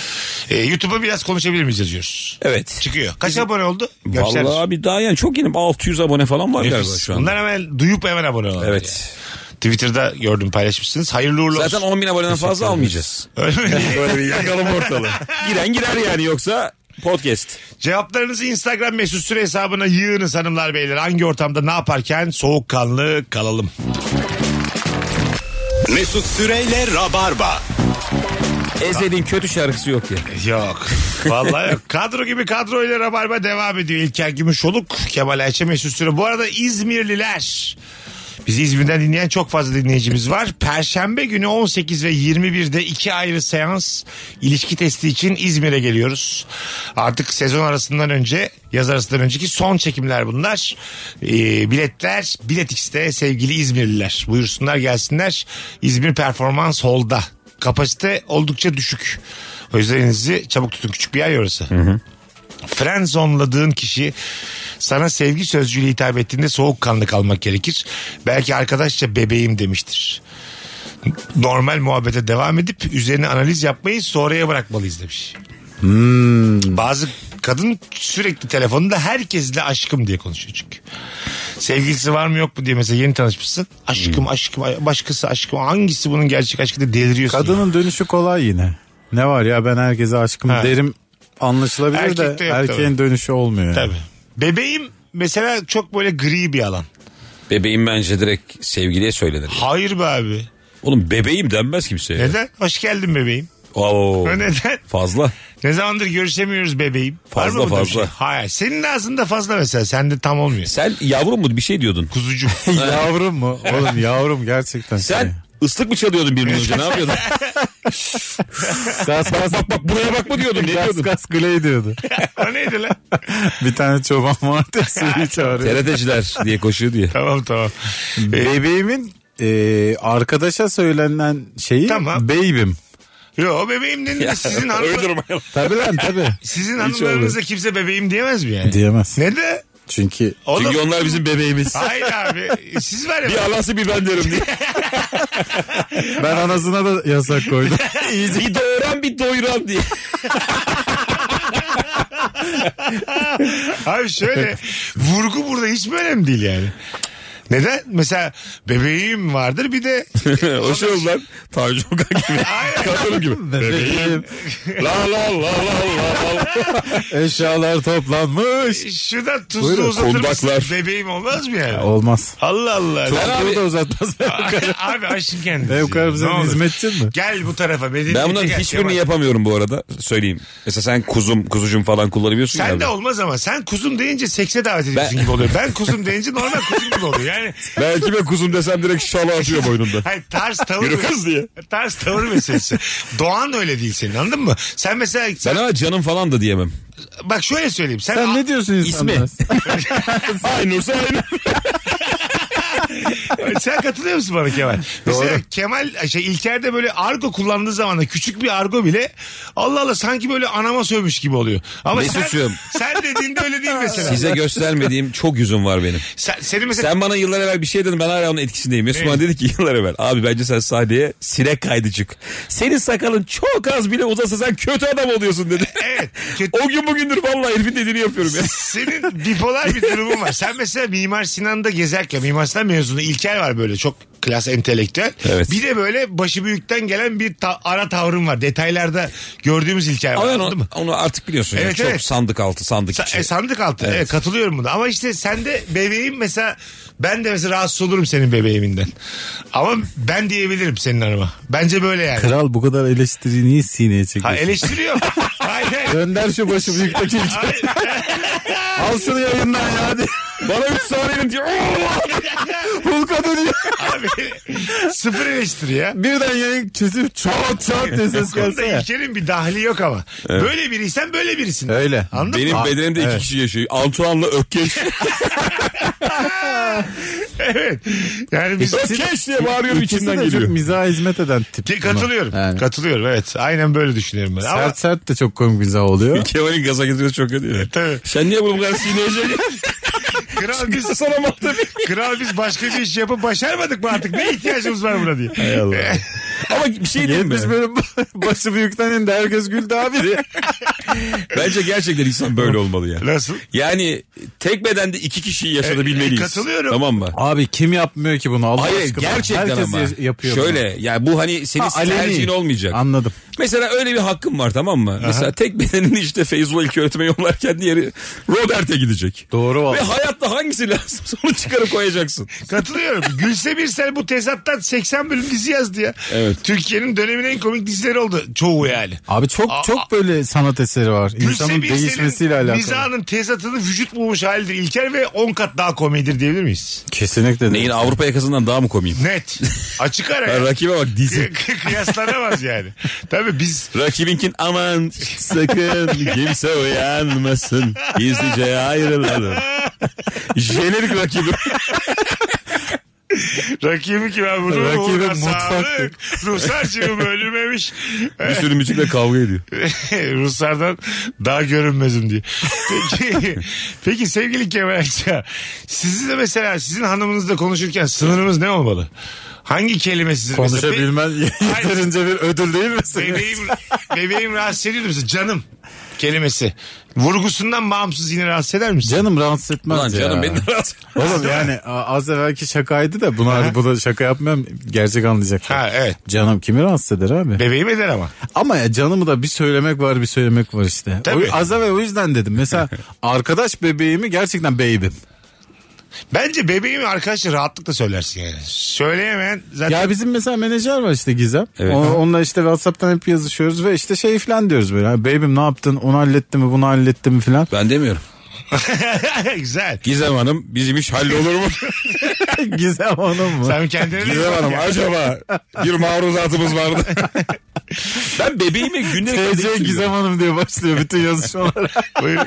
[SPEAKER 3] Ee, YouTube'a biraz konuşabilir miyiz yazıyoruz.
[SPEAKER 5] Evet.
[SPEAKER 3] Çıkıyor. Kaç abone oldu? Gökçer.
[SPEAKER 5] Vallahi abi daha yani çok yeni 600 abone falan var galiba şu anda.
[SPEAKER 3] Bunlar hemen duyup hemen abone olalım.
[SPEAKER 5] Evet.
[SPEAKER 3] Twitter'da gördüm paylaşmışsınız. Hayırlı uğurlu
[SPEAKER 5] Zaten
[SPEAKER 3] olsun.
[SPEAKER 5] 10 bin aboneden fazla almayacağız.
[SPEAKER 3] Öyle mi?
[SPEAKER 5] *laughs* Böyle bir yakalım ortalığı. Giren girer yani yoksa podcast.
[SPEAKER 3] *laughs* Cevaplarınızı Instagram mesut süre hesabına yığınız hanımlar beyler. Hangi ortamda ne yaparken soğukkanlı kalalım.
[SPEAKER 2] Mesut Süreyle Rabarba.
[SPEAKER 5] Ezed'in kötü şarkısı yok ya.
[SPEAKER 3] Yok. Vallahi yok. Kadro gibi kadroyla Rabarba devam ediyor. İlker Gümüşoluk, Kemal Ayça Mesut Süre. Bu arada İzmirliler. Bizi İzmir'den dinleyen çok fazla dinleyicimiz var. Perşembe günü 18 ve 21'de iki ayrı seans ilişki testi için İzmir'e geliyoruz. Artık sezon arasından önce, yaz arasından önceki son çekimler bunlar. Ee, biletler Bilet X'te sevgili İzmirliler. Buyursunlar gelsinler. İzmir Performans Hall'da. Kapasite oldukça düşük. O yüzden elinizi çabuk tutun. Küçük bir yer ya orası. Frenzonladığın kişi sana sevgi sözcüğüyle hitap ettiğinde soğukkanlı kalmak gerekir. Belki arkadaşça bebeğim demiştir. Normal muhabbete devam edip üzerine analiz yapmayı sonraya bırakmalıyız demiş. Bazı kadın sürekli telefonunda herkesle aşkım diye konuşuyor çünkü. Sevgilisi var mı yok mu diye mesela yeni tanışmışsın. Aşkım aşkım başkası aşkım hangisi bunun gerçek aşkı diye deliriyorsun. ya.
[SPEAKER 4] Kadının dönüşü kolay yine. Ne var ya ben herkese aşkım
[SPEAKER 3] Ha.
[SPEAKER 4] derim anlaşılabilir
[SPEAKER 3] Erkekte
[SPEAKER 4] de
[SPEAKER 3] yok
[SPEAKER 4] erkeğin dönüşü olmuyor. yani.
[SPEAKER 3] Tabii. Bebeğim mesela çok böyle gri bir alan.
[SPEAKER 5] Bebeğim bence direkt sevgiliye söylenir.
[SPEAKER 3] Hayır be abi.
[SPEAKER 5] Oğlum bebeğim denmez kimseye.
[SPEAKER 3] Neden? Hoş geldin bebeğim.
[SPEAKER 5] Oo.
[SPEAKER 3] Neden?
[SPEAKER 5] Fazla.
[SPEAKER 3] Ne zamandır görüşemiyoruz bebeğim. Var mı
[SPEAKER 5] Fazla,
[SPEAKER 3] bunda bir
[SPEAKER 5] fazla.
[SPEAKER 3] Şey? Hayır. Senin ağzında fazla mesela. Sende tam olmuyor.
[SPEAKER 5] Sen yavrum mu bir şey diyordun. *laughs*
[SPEAKER 3] Kuzucuk. *laughs*
[SPEAKER 4] yavrum mu? Oğlum yavrum gerçekten.
[SPEAKER 5] Sen ıslık mı çalıyordun bir gün önce ne *laughs* yapıyordun?
[SPEAKER 4] Gaz gaz
[SPEAKER 5] bak bak buraya bakma diyordun ne
[SPEAKER 4] gaz
[SPEAKER 5] diyordun?
[SPEAKER 4] gaz gley diyordu.
[SPEAKER 3] o neydi lan?
[SPEAKER 4] *laughs*
[SPEAKER 3] *laughs*
[SPEAKER 4] Bir tane çoban vardı suyu çağırıyor.
[SPEAKER 5] TRT'ciler diye koşuyor diye.
[SPEAKER 3] tamam tamam. Ee,
[SPEAKER 4] Bebeğimin e, arkadaşa söylenen şeyi
[SPEAKER 3] Tamam.
[SPEAKER 4] beybim.
[SPEAKER 3] yo bebeğim denildi. Sizin, hanım,
[SPEAKER 5] Uydurmayalım.
[SPEAKER 4] Tabii lan tabii.
[SPEAKER 3] sizin hanımlarınıza kimse bebeğim diyemez mi yani?
[SPEAKER 4] Diyemez.
[SPEAKER 3] Ne de?
[SPEAKER 4] Çünkü
[SPEAKER 3] Oğlum-
[SPEAKER 5] Çünkü onlar bizim bebeğimiz.
[SPEAKER 3] Hayır abi.
[SPEAKER 5] *laughs*
[SPEAKER 3] Siz var ya.
[SPEAKER 5] bir alası bir ben derim *laughs* diye.
[SPEAKER 4] ben anasına da yasak koydum.
[SPEAKER 5] bir doğuran bir doyuran diye.
[SPEAKER 3] Abi şöyle.
[SPEAKER 5] *laughs*
[SPEAKER 3] vurgu burada hiç mi önemli değil yani? Neden? Mesela bebeğim vardır bir de
[SPEAKER 5] *laughs* o şey oldu lan. Tanju Okan gibi. Kadın gibi. Bebeğim. *laughs* la la la la la la.
[SPEAKER 4] Eşyalar toplanmış.
[SPEAKER 3] şuradan tuzlu
[SPEAKER 4] Buyurun,
[SPEAKER 3] uzatır mısın?
[SPEAKER 5] kundaklar.
[SPEAKER 3] Bebeğim olmaz mı yani?
[SPEAKER 4] Olmaz.
[SPEAKER 3] Allah Allah.
[SPEAKER 4] Ben
[SPEAKER 5] abi-
[SPEAKER 4] da uzatmaz.
[SPEAKER 3] Abi, *laughs* abi aşın kendisi.
[SPEAKER 4] Ev karım
[SPEAKER 3] Ne
[SPEAKER 4] senin
[SPEAKER 3] olur.
[SPEAKER 4] hizmetçin mi?
[SPEAKER 3] Gel bu tarafa. Beni
[SPEAKER 5] Ben bunların
[SPEAKER 3] gel,
[SPEAKER 5] hiçbirini
[SPEAKER 3] Kemal.
[SPEAKER 5] yapamıyorum bu arada. Söyleyeyim. Mesela sen kuzum, kuzucum falan kullanabiliyorsun ya.
[SPEAKER 3] Sen
[SPEAKER 5] abi.
[SPEAKER 3] de olmaz ama sen kuzum deyince sekse davet ediyorsun gibi oluyor. Ben kuzum deyince normal kuzum gibi oluyor. Yani
[SPEAKER 5] Belki ben kuzum desem direkt şala atıyor boynunda.
[SPEAKER 3] hayır tarz tavır.
[SPEAKER 5] Yürü kız diye.
[SPEAKER 3] Tarz tavır meselesi. Doğan öyle değil senin anladın mı? Sen mesela
[SPEAKER 5] Ben ama canım falan da diyemem.
[SPEAKER 3] bak şöyle söyleyeyim. Sen,
[SPEAKER 4] Sen ne diyorsun insanlara?
[SPEAKER 5] Ay Nursa
[SPEAKER 3] Sen katılıyor musun bana Kemal? Mesela Kemal şey İlker de böyle argo kullandığı zaman da küçük bir argo bile Allah Allah sanki böyle anama sövmüş gibi oluyor. Ama sen,
[SPEAKER 5] Mesut'cum.
[SPEAKER 3] sen dediğinde öyle değil mesela.
[SPEAKER 5] Size göstermediğim çok yüzüm var benim.
[SPEAKER 3] Sen, senin mesela
[SPEAKER 5] Sen bana yıllar evvel bir şey dedin ben hala onun etkisindeyim. Mesut
[SPEAKER 3] Evet.
[SPEAKER 5] bana dedi ki yıllar evvel abi bence sen sahneye sinek kaydı çık. Senin sakalın çok az bile uzasa sen kötü adam oluyorsun dedi.
[SPEAKER 3] *laughs* Evet, kötü-
[SPEAKER 5] o gün bugündür vallahi herifin dediğini yapıyorum ya.
[SPEAKER 3] Senin bipolar bir durumun var. Sen mesela Mimar Sinan'da gezerken Mimar Sinan mezunu İlker var böyle çok klas entelektüel.
[SPEAKER 5] Evet.
[SPEAKER 3] Bir de böyle başı büyükten gelen bir ta- ara tavrın var. Detaylarda gördüğümüz İlker var.
[SPEAKER 5] Ama ben
[SPEAKER 3] Anladın mı?
[SPEAKER 5] onu, onu artık biliyorsun
[SPEAKER 3] Evet,
[SPEAKER 5] ya. Çok
[SPEAKER 3] evet.
[SPEAKER 5] sandık altı sandık
[SPEAKER 3] Sa-
[SPEAKER 5] içi.
[SPEAKER 4] Şey-
[SPEAKER 3] e, sandık altı. Evet. katılıyorum buna. Ama işte sen de bebeğim mesela ben de mesela rahatsız olurum senin bebeğiminden. Ama ben diyebilirim senin hanıma. Bence böyle yani.
[SPEAKER 4] Kral bu kadar eleştiriyi niye sineye
[SPEAKER 3] Ha,
[SPEAKER 4] çekiyorsun? *laughs*
[SPEAKER 3] eleştiriyor. hayır, hayır.
[SPEAKER 4] Gönder şu başı büyükteki ilk. Al şunu yayından ya hadi.
[SPEAKER 5] Bana üç saniyenin diyor.
[SPEAKER 3] *laughs*
[SPEAKER 4] Hulka dönüyor.
[SPEAKER 3] Abi, sıfır eleştiri ya.
[SPEAKER 4] Birden yayın kesip çat çat diye ses
[SPEAKER 3] Bu konuda
[SPEAKER 4] gelse ya.
[SPEAKER 3] İlker'in bir dahli yok ama. Böyle biriysen böyle birisin.
[SPEAKER 4] Öyle.
[SPEAKER 3] Anladın
[SPEAKER 5] Benim
[SPEAKER 3] mı?
[SPEAKER 5] bedenimde iki kişi yaşıyor. Antoine'la Ökkeş.
[SPEAKER 3] *laughs* evet. Yani biz
[SPEAKER 5] Ökkeş diye bağırıyorum
[SPEAKER 4] İkisi
[SPEAKER 5] içinden
[SPEAKER 4] de
[SPEAKER 5] geliyor.
[SPEAKER 4] çok mizaha hizmet eden tip.
[SPEAKER 3] Ki- Şey, katılıyorum.
[SPEAKER 4] Yani.
[SPEAKER 3] Katılıyorum evet. Aynen böyle düşünüyorum ben. Ama
[SPEAKER 4] Sert sert de çok komik mizah oluyor.
[SPEAKER 5] Kemal'in gaza getiriyor çok kötü.
[SPEAKER 3] Tabii.
[SPEAKER 5] Sen niye bunu bu kadar sinirleneceksin?
[SPEAKER 3] kral biz
[SPEAKER 5] Sana mantığı bir-
[SPEAKER 3] kral biz başka bir iş yapıp başarmadık mı artık? Ne ihtiyacımız var buna diye. Hay
[SPEAKER 4] Allah.
[SPEAKER 5] Ama bir şey diyeyim mi?
[SPEAKER 4] 70 bölüm *laughs* başı büyükten indi herkes güldü abi diye.
[SPEAKER 5] Bence gerçekten insan böyle olmalı ya.
[SPEAKER 3] Nasıl?
[SPEAKER 5] Yani tek bedende iki kişiyi yaşatabilmeliyiz.
[SPEAKER 3] E, katılıyorum.
[SPEAKER 5] Tamam mı?
[SPEAKER 4] Abi kim yapmıyor ki bunu Allah
[SPEAKER 5] Hayır
[SPEAKER 4] aşkına?
[SPEAKER 5] gerçekten
[SPEAKER 4] Herkes
[SPEAKER 5] ama.
[SPEAKER 4] ya- yapıyor
[SPEAKER 5] Şöyle yani bu hani
[SPEAKER 4] bunu.
[SPEAKER 5] senin
[SPEAKER 4] Ha, aleni.
[SPEAKER 5] tercihin olmayacak.
[SPEAKER 4] Anladım.
[SPEAKER 5] Mesela öyle bir hakkım var tamam mı? Mesela tek bedenin işte Feyzullah ilk öğretime yollarken diğeri Robert'e gidecek.
[SPEAKER 4] Doğru
[SPEAKER 5] Ve
[SPEAKER 4] valla.
[SPEAKER 5] hayatta hangisi lazım *laughs* onu çıkarıp koyacaksın.
[SPEAKER 3] Katılıyorum. Gülse Birsel bu tezattan 80 bölüm dizi yazdı ya.
[SPEAKER 5] Evet.
[SPEAKER 3] Türkiye'nin dönemin en komik dizileri oldu çoğu yani.
[SPEAKER 4] Abi çok
[SPEAKER 3] Aa,
[SPEAKER 4] çok böyle sanat eseri var. İnsanın
[SPEAKER 3] Gülse
[SPEAKER 4] değişmesiyle
[SPEAKER 3] Birsel'in
[SPEAKER 4] alakalı.
[SPEAKER 3] mizahının tezatını vücut bulmuş halidir İlker ve 10 kat daha komedidir diyebilir miyiz?
[SPEAKER 4] Kesinlikle.
[SPEAKER 5] Neyin
[SPEAKER 4] değil.
[SPEAKER 5] Avrupa yakasından daha mı komiyim?
[SPEAKER 3] Net. Açık
[SPEAKER 4] *laughs*
[SPEAKER 3] ara. ya.
[SPEAKER 5] Rakibe bak dizi.
[SPEAKER 3] Kı- Kıyaslanamaz yani. Tabii biz
[SPEAKER 5] Rakibinkin aman sakın kimse uyanmasın. Gizlice ayrılalım. Jenerik rakibi.
[SPEAKER 3] rakibi ki ben bunu
[SPEAKER 4] Rakibi
[SPEAKER 3] Rakibi
[SPEAKER 4] mutfaktı.
[SPEAKER 3] sağlık. Ruslarcığım ölmemiş.
[SPEAKER 5] Bir sürü müzikle kavga ediyor.
[SPEAKER 3] *laughs* Ruslardan daha görünmezim diye.
[SPEAKER 5] *laughs*
[SPEAKER 3] Peki, peki sevgili Kemal Ayça. Sizi de mesela sizin hanımınızla konuşurken sınırımız ne olmalı? Hangi kelime sizin?
[SPEAKER 4] Konuşabilmen *laughs* yeterince bir ödül değil mi
[SPEAKER 3] Be-
[SPEAKER 4] senin?
[SPEAKER 3] bebeğim, bebeğim rahatsız ediyor musun? Canım kelimesi. Vurgusundan bağımsız yine rahatsız eder misin?
[SPEAKER 4] Canım rahatsız etmez
[SPEAKER 5] Lan
[SPEAKER 4] ya.
[SPEAKER 5] canım beni de rahatsız.
[SPEAKER 4] *laughs* Oğlum yani a- az evvelki şakaydı da bunlar bu da şaka yapmam gerçek anlayacaklar.
[SPEAKER 3] Ha evet.
[SPEAKER 4] Canım kimi rahatsız eder abi?
[SPEAKER 3] Bebeğim eder ama.
[SPEAKER 4] Ama ya canımı da bir söylemek var bir söylemek var işte.
[SPEAKER 3] Tabii.
[SPEAKER 4] O, az evvel o yüzden dedim.
[SPEAKER 5] *laughs*
[SPEAKER 4] Mesela arkadaş bebeğimi gerçekten beybim.
[SPEAKER 3] Bence bebeğimi arkadaşlar rahatlıkla söylersin yani. Söyleyemeyen zaten
[SPEAKER 4] Ya bizim mesela menajer var işte Gizem.
[SPEAKER 5] Evet.
[SPEAKER 4] O- onunla işte Whatsapp'tan hep yazışıyoruz ve işte şey falan diyoruz böyle. "Ha, Beybim ne yaptın? Onu hallettin mi? Bunu hallettin
[SPEAKER 3] *laughs*
[SPEAKER 4] mi falan. *laughs*
[SPEAKER 5] Ben demiyorum.
[SPEAKER 3] güzel.
[SPEAKER 5] Gizem Hanım bizim iş hallolur mu?
[SPEAKER 4] Gizem onun mu? *laughs*
[SPEAKER 3] Sen kendine de
[SPEAKER 5] Gizem
[SPEAKER 3] bak
[SPEAKER 5] Hanım
[SPEAKER 3] ya.
[SPEAKER 5] acaba bir maruzatımız vardı. ben bebeğimi gündelik
[SPEAKER 4] TC
[SPEAKER 5] adresim
[SPEAKER 4] Gizem
[SPEAKER 5] yok.
[SPEAKER 4] Hanım diye başlıyor bütün
[SPEAKER 3] *laughs*
[SPEAKER 4] yazışmalar.
[SPEAKER 3] Buyur.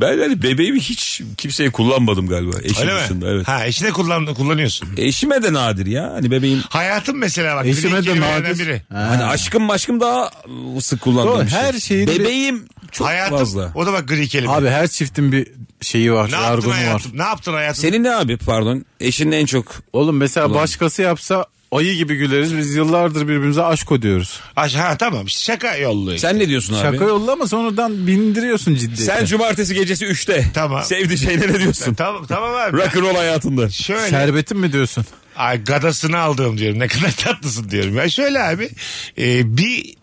[SPEAKER 5] Ben yani bebeğimi hiç kimseye kullanmadım galiba. Eşim
[SPEAKER 3] Öyle mi?
[SPEAKER 5] dışında evet.
[SPEAKER 3] Ha eşine kullan, kullanıyorsun.
[SPEAKER 5] Eşime de nadir ya. Hani bebeğim
[SPEAKER 3] Hayatım mesela bak.
[SPEAKER 4] Eşime
[SPEAKER 3] klinik
[SPEAKER 4] de
[SPEAKER 3] kelimelerden
[SPEAKER 4] nadir.
[SPEAKER 3] biri.
[SPEAKER 5] hani aşkım aşkım daha ıı, sık kullandığım
[SPEAKER 4] Doğru,
[SPEAKER 5] bir şey.
[SPEAKER 4] her şeyin bir-
[SPEAKER 5] Bebeğim çok
[SPEAKER 3] Hayatım.
[SPEAKER 5] fazla.
[SPEAKER 3] O da bak gri kelime.
[SPEAKER 4] Abi her çiftin bir şeyi var.
[SPEAKER 3] ne yaptın
[SPEAKER 4] jargonu var.
[SPEAKER 3] hayatım? Ne yaptın hayatım?
[SPEAKER 5] Senin ne abi pardon? Eşin en çok
[SPEAKER 4] Oğlum mesela başkası yapsa ayı gibi güleriz. Biz yıllardır birbirimize aşko diyoruz.
[SPEAKER 3] Aş- ha tamam işte şaka yolluyor.
[SPEAKER 5] sen ne diyorsun abi?
[SPEAKER 4] Şaka yolla ama sonradan bindiriyorsun ciddiyete.
[SPEAKER 5] Sen cumartesi gecesi 3'te
[SPEAKER 3] Tamam.
[SPEAKER 5] sevdiği şeyine ne
[SPEAKER 3] *laughs*
[SPEAKER 5] diyorsun?
[SPEAKER 3] Tamam tamam abi.
[SPEAKER 5] Rock'n'roll hayatında.
[SPEAKER 3] Şöyle.
[SPEAKER 4] Şerbetin mi diyorsun?
[SPEAKER 3] Ay gadasını aldım diyorum. Ne kadar tatlısın diyorum. Ya şöyle abi. e, bir